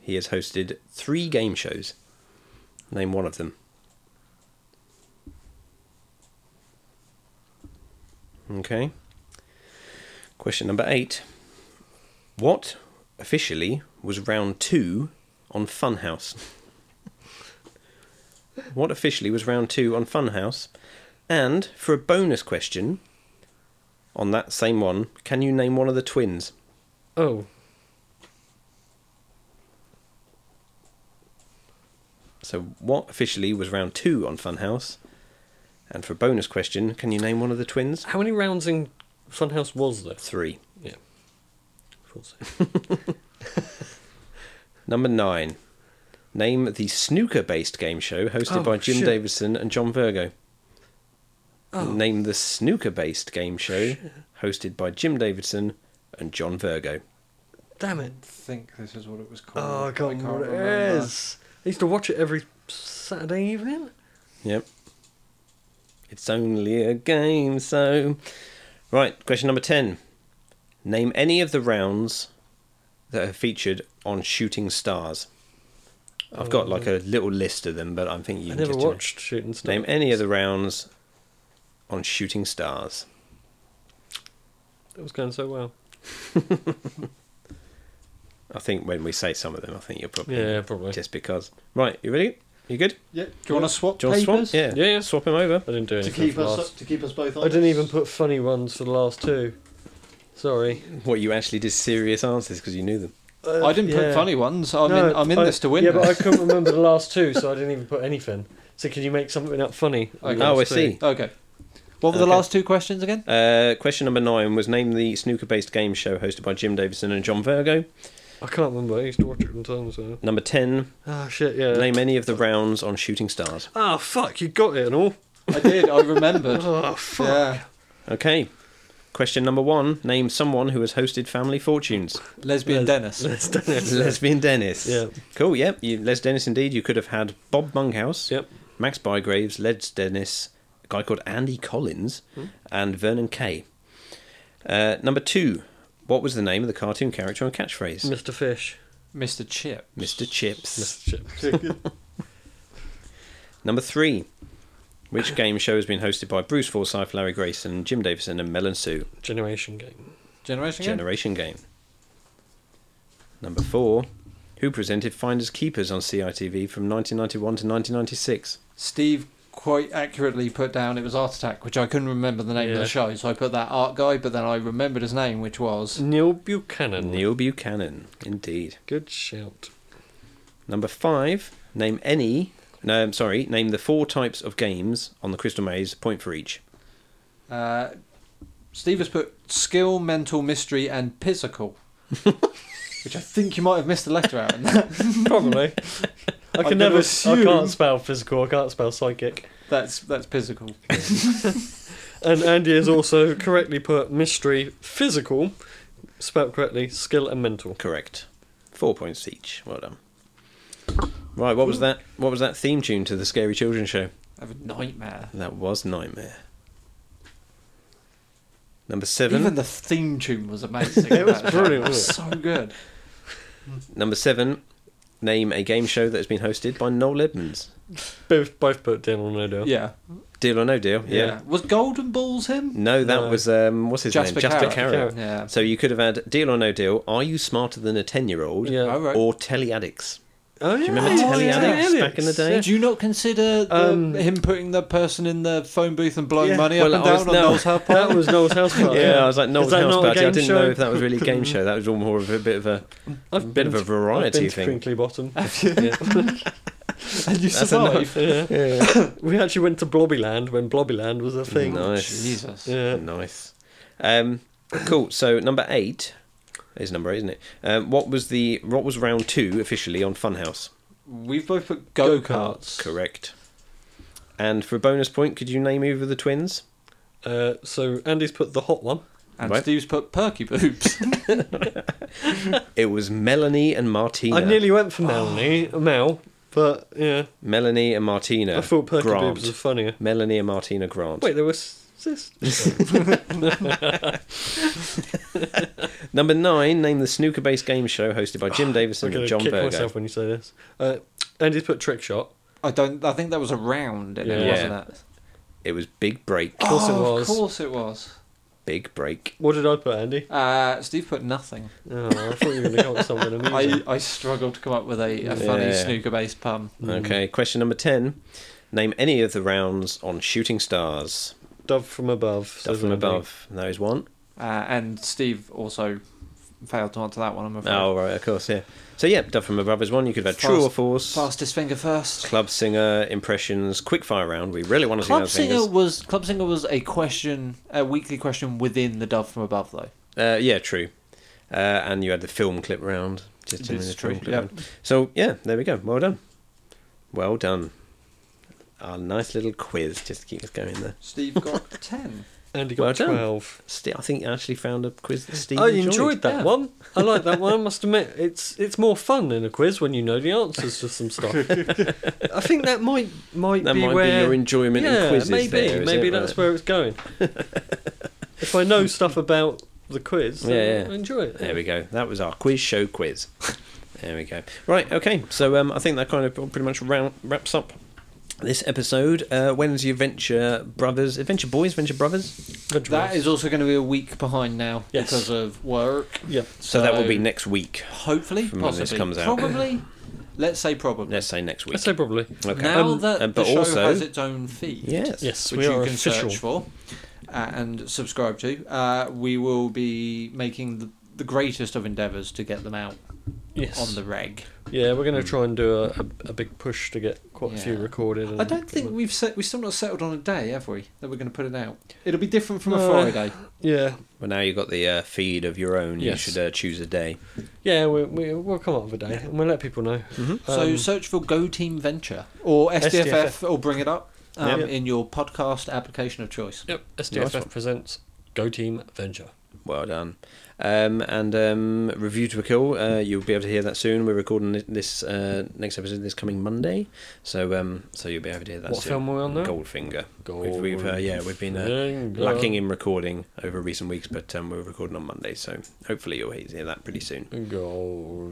Speaker 4: He has hosted three game shows. Name one of them. Okay. Question number eight. What officially was round two on Funhouse? what officially was round two on Funhouse? And for a bonus question on that same one, can you name one of the twins?
Speaker 2: Oh,
Speaker 4: So, what officially was round two on Funhouse? And for a bonus question, can you name one of the twins?
Speaker 2: how many rounds in Funhouse was there?
Speaker 4: Three.
Speaker 2: Yeah. Full save.
Speaker 4: Number nine. Name the snooker based game show hosted
Speaker 2: Oh,
Speaker 4: by Jim
Speaker 2: shit.
Speaker 4: Davison and John Virgo.
Speaker 2: Oh.
Speaker 4: Name the snooker based game show hosted by Jim Davidson and John Virgo.
Speaker 2: Damn it.
Speaker 5: think this is what it was called.
Speaker 2: Oh, I can't remember what it
Speaker 5: remember.
Speaker 2: is. I used to watch it every Saturday evening.
Speaker 4: Yep. It's only a game, so. Right, question number 10. Name any of the rounds that are featured on Shooting Stars. I've got like a little list of them, but I think you
Speaker 2: I
Speaker 4: can
Speaker 2: never
Speaker 4: just, you know-
Speaker 2: watched Shooting Star.
Speaker 4: Name any of the rounds on Shooting Stars.
Speaker 2: It was going so well.
Speaker 4: I think when we say some of them, I think you're probably
Speaker 2: Yeah, probably.
Speaker 4: just because. Right, you ready? You good?
Speaker 5: Yeah, do you want to swap
Speaker 4: Do you want to
Speaker 5: papers?
Speaker 4: swap? Yeah.
Speaker 2: Yeah, yeah.
Speaker 4: swap him over.
Speaker 2: I didn't do
Speaker 5: To
Speaker 2: anything.
Speaker 5: keep
Speaker 2: for
Speaker 5: us
Speaker 2: last.
Speaker 5: to keep us both.
Speaker 2: I didn't even put funny ones for the last two. Sorry.
Speaker 4: What you actually did serious answers because you knew them.
Speaker 2: Uh,
Speaker 3: I didn't
Speaker 2: yeah.
Speaker 3: put funny ones. I'm
Speaker 2: No,
Speaker 3: in, I'm in
Speaker 2: I-
Speaker 3: this to win.
Speaker 2: Yeah, but I
Speaker 3: this.
Speaker 2: couldn't remember the last two, so I didn't even put anything. So can you make something up funny?
Speaker 3: Okay.
Speaker 4: Oh, I
Speaker 2: Last two.
Speaker 4: see.
Speaker 3: okay. What were the
Speaker 4: Okay.
Speaker 3: last two questions again?
Speaker 4: Uh, question number nine was name the snooker-based game show hosted by Jim Davison and John Virgo.
Speaker 2: I can't remember. I used to watch it all the time. So.
Speaker 4: Number ten,
Speaker 2: Ah, shit. Yeah.
Speaker 4: name any of the rounds on Shooting Stars.
Speaker 2: Ah, fuck. You got it and all.
Speaker 3: I did. I remembered.
Speaker 2: Oh, fuck.
Speaker 3: yeah.
Speaker 4: Okay. Question number one, name someone who has hosted Family Fortunes.
Speaker 3: Lesbian
Speaker 2: Les-
Speaker 3: Dennis.
Speaker 2: Let's do it.
Speaker 4: Lesbian Dennis.
Speaker 2: Yeah.
Speaker 4: Cool, yep. You, Les Dennis, indeed. You could have had Bob Monkhouse,
Speaker 2: Yep.
Speaker 4: Max Bygraves, Les Dennis, a guy called Andy Collins,
Speaker 2: Hmm.
Speaker 4: and Vernon Kay. Uh, number two, what was the name of the cartoon character and catchphrase?
Speaker 2: Mr. Fish.
Speaker 3: Mr. Chip.
Speaker 4: Mr. Chips.
Speaker 2: Mr. Chip.
Speaker 4: Number three, which game show has been hosted by Bruce Forsyth, Larry Grayson, Jim Davison, and Mel and Sue?
Speaker 2: Generation game.
Speaker 3: Generation Game?
Speaker 4: Generation Game. Number four, who presented Finders Keepers on CITV from 1991 to 1996?
Speaker 3: Steve quite accurately put down it was Art Attack, which I couldn't remember the name of
Speaker 2: Yeah.
Speaker 3: the show, so I put that art guy, but then I remembered his name, which was.
Speaker 2: Neil Buchanan.
Speaker 4: Neil Buchanan, indeed.
Speaker 2: Good shout.
Speaker 4: Number five, name any. No, I'm sorry, name the four types of games on the Crystal Maze, point for each.
Speaker 3: Uh, Steve has put skill, mental, mystery, and physical. which I think you might have missed a letter out in that.
Speaker 2: Probably. I
Speaker 3: gonna
Speaker 2: can never. I
Speaker 3: assume-
Speaker 2: can't spell physical. I can't spell psychic.
Speaker 3: That's, that's physical.
Speaker 2: And Andy has also correctly put mystery, physical, spelled correctly, skill and mental.
Speaker 4: Correct. Four points each. Well done. Right, what was that? What was that theme tune to the Scary Children show?
Speaker 3: I have a nightmare.
Speaker 4: That was Nightmare. Number seven.
Speaker 3: Even the theme tune was amazing.
Speaker 2: It was
Speaker 3: That
Speaker 2: brilliant,
Speaker 3: It was
Speaker 2: wasn't
Speaker 3: so good.
Speaker 4: Number seven. Name a game show that has been hosted by Noel Edmonds.
Speaker 2: Both both put down on no deal.
Speaker 3: Yeah.
Speaker 4: Deal or no deal? Yeah.
Speaker 3: Was Golden Balls him?
Speaker 4: No, that
Speaker 2: No.
Speaker 4: was um, what's his
Speaker 3: Jasper
Speaker 4: name? Jasper
Speaker 3: Carrot.
Speaker 4: Carrot.
Speaker 3: Yeah.
Speaker 4: So you could have had Deal or No Deal, Are You Smarter Than a 10 Year Old?
Speaker 2: Yeah.
Speaker 3: All right.
Speaker 4: Or Teleaddicts.
Speaker 2: Oh, yeah.
Speaker 4: Oh, Do you remember
Speaker 3: Oh, yeah.
Speaker 4: Teleaddicts back in the day?
Speaker 3: Do you not consider the,
Speaker 2: Um,
Speaker 3: him putting the person in the phone booth and blowing
Speaker 2: Yeah.
Speaker 3: money
Speaker 4: Well,
Speaker 3: up and
Speaker 4: I was-
Speaker 3: down on
Speaker 4: no.
Speaker 3: Noel's house?
Speaker 2: That was Noel's house party.
Speaker 4: Yeah, I was like,
Speaker 2: Is
Speaker 4: Noel's
Speaker 2: that
Speaker 4: House
Speaker 2: not a
Speaker 4: Party. I
Speaker 2: game
Speaker 4: didn't
Speaker 2: show?
Speaker 4: know if that was really a game show. That was all more of a bit of a
Speaker 2: I've
Speaker 4: bit
Speaker 2: been
Speaker 4: of a
Speaker 2: to-
Speaker 4: variety
Speaker 2: I've been to
Speaker 4: thing.
Speaker 2: Crinkly Bottom.
Speaker 3: And you
Speaker 4: That's
Speaker 3: survived.
Speaker 2: Yeah. we actually went to Blobbyland when Blobbyland was a thing.
Speaker 4: Nice.
Speaker 3: Jesus.
Speaker 2: Yeah.
Speaker 4: Nice. Um, cool. So number eight is number eight, isn't it? Um, what was the what was round two officially on Funhouse?
Speaker 3: We've both put go
Speaker 2: Go-karts.
Speaker 3: karts.
Speaker 4: Correct. And for a bonus point, could you name either of the twins?
Speaker 2: Uh, so Andy's put the hot one.
Speaker 3: And
Speaker 4: Right.
Speaker 3: Steve's put perky boobs.
Speaker 4: It was Melanie and Martina.
Speaker 2: I nearly went for Melanie, Mel, but yeah,
Speaker 4: Melanie and Martina.
Speaker 2: I thought Perky
Speaker 4: Grant.
Speaker 2: Boobs was funnier.
Speaker 4: Melanie and Martina Grant.
Speaker 2: Wait, there was sis.
Speaker 4: Number nine, name the snooker-based game show hosted by Jim
Speaker 2: I'm
Speaker 4: Davison
Speaker 2: gonna
Speaker 4: and John
Speaker 2: kick
Speaker 4: Virgo.
Speaker 2: myself when you say this. Uh, Andy's put trick shot.
Speaker 3: I don't. I think that was a round, in it,
Speaker 2: Yeah.
Speaker 3: wasn't it?
Speaker 4: It was Big Break.
Speaker 2: course it
Speaker 3: Oh,
Speaker 2: was.
Speaker 3: Of course it was.
Speaker 4: Big break.
Speaker 2: What did I put, Andy?
Speaker 3: Uh, Steve put nothing.
Speaker 2: Oh, I thought you were going to come up with something
Speaker 3: I,
Speaker 2: amazing.
Speaker 3: I struggled to come up with a, a funny
Speaker 4: Yeah.
Speaker 3: snooker based pun.
Speaker 4: Okay, question number 10. Name any of the rounds on shooting stars.
Speaker 2: Mm, Dove from above.
Speaker 4: Stuff
Speaker 2: says
Speaker 4: from
Speaker 2: Andy.
Speaker 4: above. There is one.
Speaker 3: Uh, and Steve also failed to answer that one, I'm afraid.
Speaker 4: Oh, right, of course, yeah. So, yeah, Dove from Above is one. You could have had
Speaker 3: Fast-
Speaker 4: True or False,
Speaker 3: Fastest finger first.
Speaker 4: Club Singer, Impressions, Quickfire Round. We really want to
Speaker 3: Club
Speaker 4: see
Speaker 3: Singer
Speaker 4: those
Speaker 3: was Club Singer was a question, a weekly question within the Dove from Above, though.
Speaker 4: Uh, yeah, true. Uh, and you had the film clip round. Just in
Speaker 3: It's
Speaker 4: the
Speaker 3: true,
Speaker 4: film clip
Speaker 3: yeah.
Speaker 4: round. So, yeah, there we go. Well done. Well done. Our nice little quiz just to keep us going there.
Speaker 3: Steve got ten.
Speaker 2: Andy got
Speaker 4: Well done.
Speaker 2: 12.
Speaker 4: Ste I think I actually found a quiz that Steve
Speaker 2: I
Speaker 4: enjoyed.
Speaker 2: enjoyed that
Speaker 3: Yeah.
Speaker 2: one. I like that one. I must admit, it's it's more fun in a quiz when you know the answers to some stuff. I think that might might
Speaker 4: That
Speaker 2: be
Speaker 4: might
Speaker 2: where
Speaker 4: be your enjoyment
Speaker 2: yeah,
Speaker 4: in quizzes.
Speaker 2: maybe
Speaker 4: there, is
Speaker 2: maybe
Speaker 4: it?
Speaker 2: that's
Speaker 4: Right.
Speaker 2: where it's going. if I know stuff about the quiz, then
Speaker 4: Yeah, yeah.
Speaker 2: I enjoy it.
Speaker 4: There we go. That was our quiz show quiz. there we go. Right. Okay. So um, I think that kind of pretty much round, wraps up this episode. Uh, when's your venture brothers? Adventure boys, venture brothers.
Speaker 2: Good
Speaker 3: That
Speaker 2: choice.
Speaker 3: is also going to be a week behind now
Speaker 2: Yes.
Speaker 3: because of work.
Speaker 2: yeah.
Speaker 4: So, that will be next week.
Speaker 3: hopefully,
Speaker 4: From when
Speaker 3: possibly,
Speaker 4: this comes out.
Speaker 3: probably. Let's say probably.
Speaker 4: Let's say next week.
Speaker 2: I'd say probably.
Speaker 4: okay.
Speaker 3: Now
Speaker 2: Um,
Speaker 3: that
Speaker 4: um,
Speaker 3: the
Speaker 4: but
Speaker 3: show
Speaker 4: also-
Speaker 3: has its own feed,
Speaker 4: yes.
Speaker 2: Yes,
Speaker 3: which
Speaker 2: we
Speaker 3: you
Speaker 2: are
Speaker 3: can
Speaker 2: official.
Speaker 3: search for uh, and subscribe to, uh, we will be making the, the greatest of endeavours to get them out
Speaker 2: Yes.
Speaker 3: on the reg.
Speaker 2: Yeah, we're going to try and do a, a, a big push to get quite a few
Speaker 3: Yeah.
Speaker 2: recorded. And
Speaker 3: I don't think we've set, we've still not settled on a day, have we? That we're going to put it out. It'll be different from
Speaker 2: No.
Speaker 3: a Friday.
Speaker 2: Yeah,
Speaker 4: Well, now you've got the uh, feed of your own.
Speaker 2: Yes.
Speaker 4: You should uh, choose a day.
Speaker 2: yeah, we, we, we'll come up with a day and we'll let people know.
Speaker 3: Mm-hmm. so
Speaker 2: Um,
Speaker 3: search for Go Team Venture or SDFF, or bring it up um,
Speaker 2: Yep.
Speaker 3: in your podcast application of choice.
Speaker 2: Yep,
Speaker 4: Nice
Speaker 2: SDFF
Speaker 4: one.
Speaker 2: presents Go Team Venture.
Speaker 4: Well done. Um, and um, review to a kill. Uh, you'll be able to hear that soon. We're recording thi- this uh, next episode this coming Monday, so um, so you'll be able to hear that.
Speaker 2: What
Speaker 4: soon.
Speaker 2: film are we on now?
Speaker 4: Goldfinger. We've, we've uh, yeah, we've been uh,
Speaker 2: Goldfinger.
Speaker 4: lacking in recording over recent weeks, but um, we're recording on Monday, so hopefully you'll he- hear that pretty soon.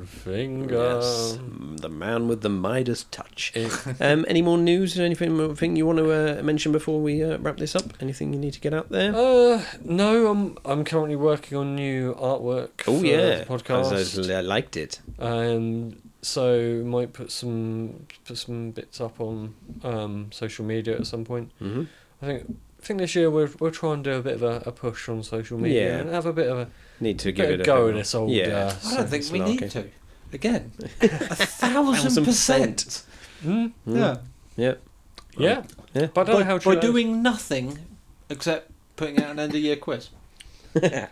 Speaker 4: Yes,
Speaker 2: Goldfinger.
Speaker 4: mm, the man with the Midas touch.
Speaker 2: Yes.
Speaker 4: Um, any more news or anything anything you want to uh, mention before we uh, wrap this up? Anything you need to get out there?
Speaker 2: Uh, no, I'm I'm currently working on new artwork.
Speaker 4: Oh
Speaker 2: for
Speaker 4: yeah,
Speaker 2: the podcast.
Speaker 4: I, I liked it.
Speaker 2: Um, so might put some put some bits up on um social media at some point.
Speaker 4: hmm
Speaker 2: I think I think this year we'll we'll try and do a bit of a, a push on social media
Speaker 4: Yeah.
Speaker 2: and have a bit of a,
Speaker 4: Need to give
Speaker 2: bit of
Speaker 4: it a
Speaker 2: go
Speaker 4: bit
Speaker 2: in
Speaker 4: more-
Speaker 2: this old.
Speaker 4: Yeah.
Speaker 2: Uh,
Speaker 3: I don't think we need
Speaker 4: Malarkey.
Speaker 3: to. Again, a thousand
Speaker 4: Thousand
Speaker 3: percent.
Speaker 4: percent.
Speaker 2: Hmm?
Speaker 4: Mm. Yep.
Speaker 2: Yeah. But
Speaker 4: Yeah.
Speaker 2: I don't
Speaker 3: by,
Speaker 2: know how
Speaker 3: by
Speaker 2: to
Speaker 3: doing nothing except putting out an end of year quiz.
Speaker 4: Yeah.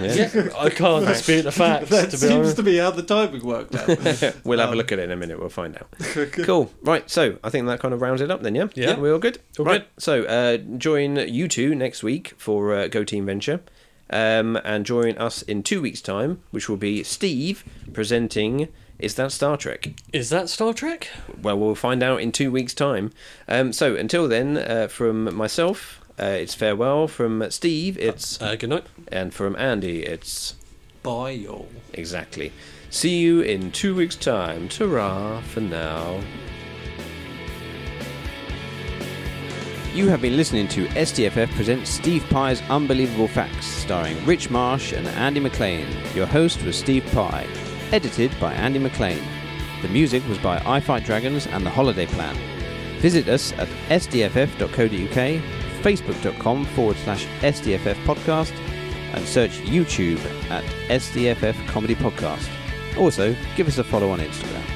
Speaker 2: Yeah, I can't dispute the facts.
Speaker 3: that
Speaker 2: to be
Speaker 3: seems
Speaker 2: honest.
Speaker 3: to be how the timing worked out.
Speaker 4: we'll
Speaker 2: Um,
Speaker 4: have a look at it in a minute. We'll find out. cool. Right. So I think that kind of rounds it up then. Yeah.
Speaker 2: Yeah.
Speaker 4: We're all good.
Speaker 2: All
Speaker 4: right. So uh, join you two next week for uh, Go Team Venture, um, and join us in two weeks' time, which will be Steve presenting. Is that Star Trek?
Speaker 2: Is that Star Trek?
Speaker 4: Well, we'll find out in two weeks' time. Um, so until then, uh, from myself, uh, it's farewell. From Steve, it's
Speaker 2: Uh, good night.
Speaker 4: and from Andy, it's
Speaker 3: Bye, y'all.
Speaker 4: exactly. See you in two weeks' time. Ta-ra for now.
Speaker 6: You have been listening to SDFF presents Steve Pye's Unbelievable Facts, starring Rich Marsh and Andy McLean. Your host was Steve Pye, edited by Andy McLean. The music was by I Fight Dragons and The Holiday Plan. Visit us at sdff.co.uk, facebook.com forward slash SDFF podcast, and search YouTube at SDFF Comedy Podcast. Also, give us a follow on Instagram.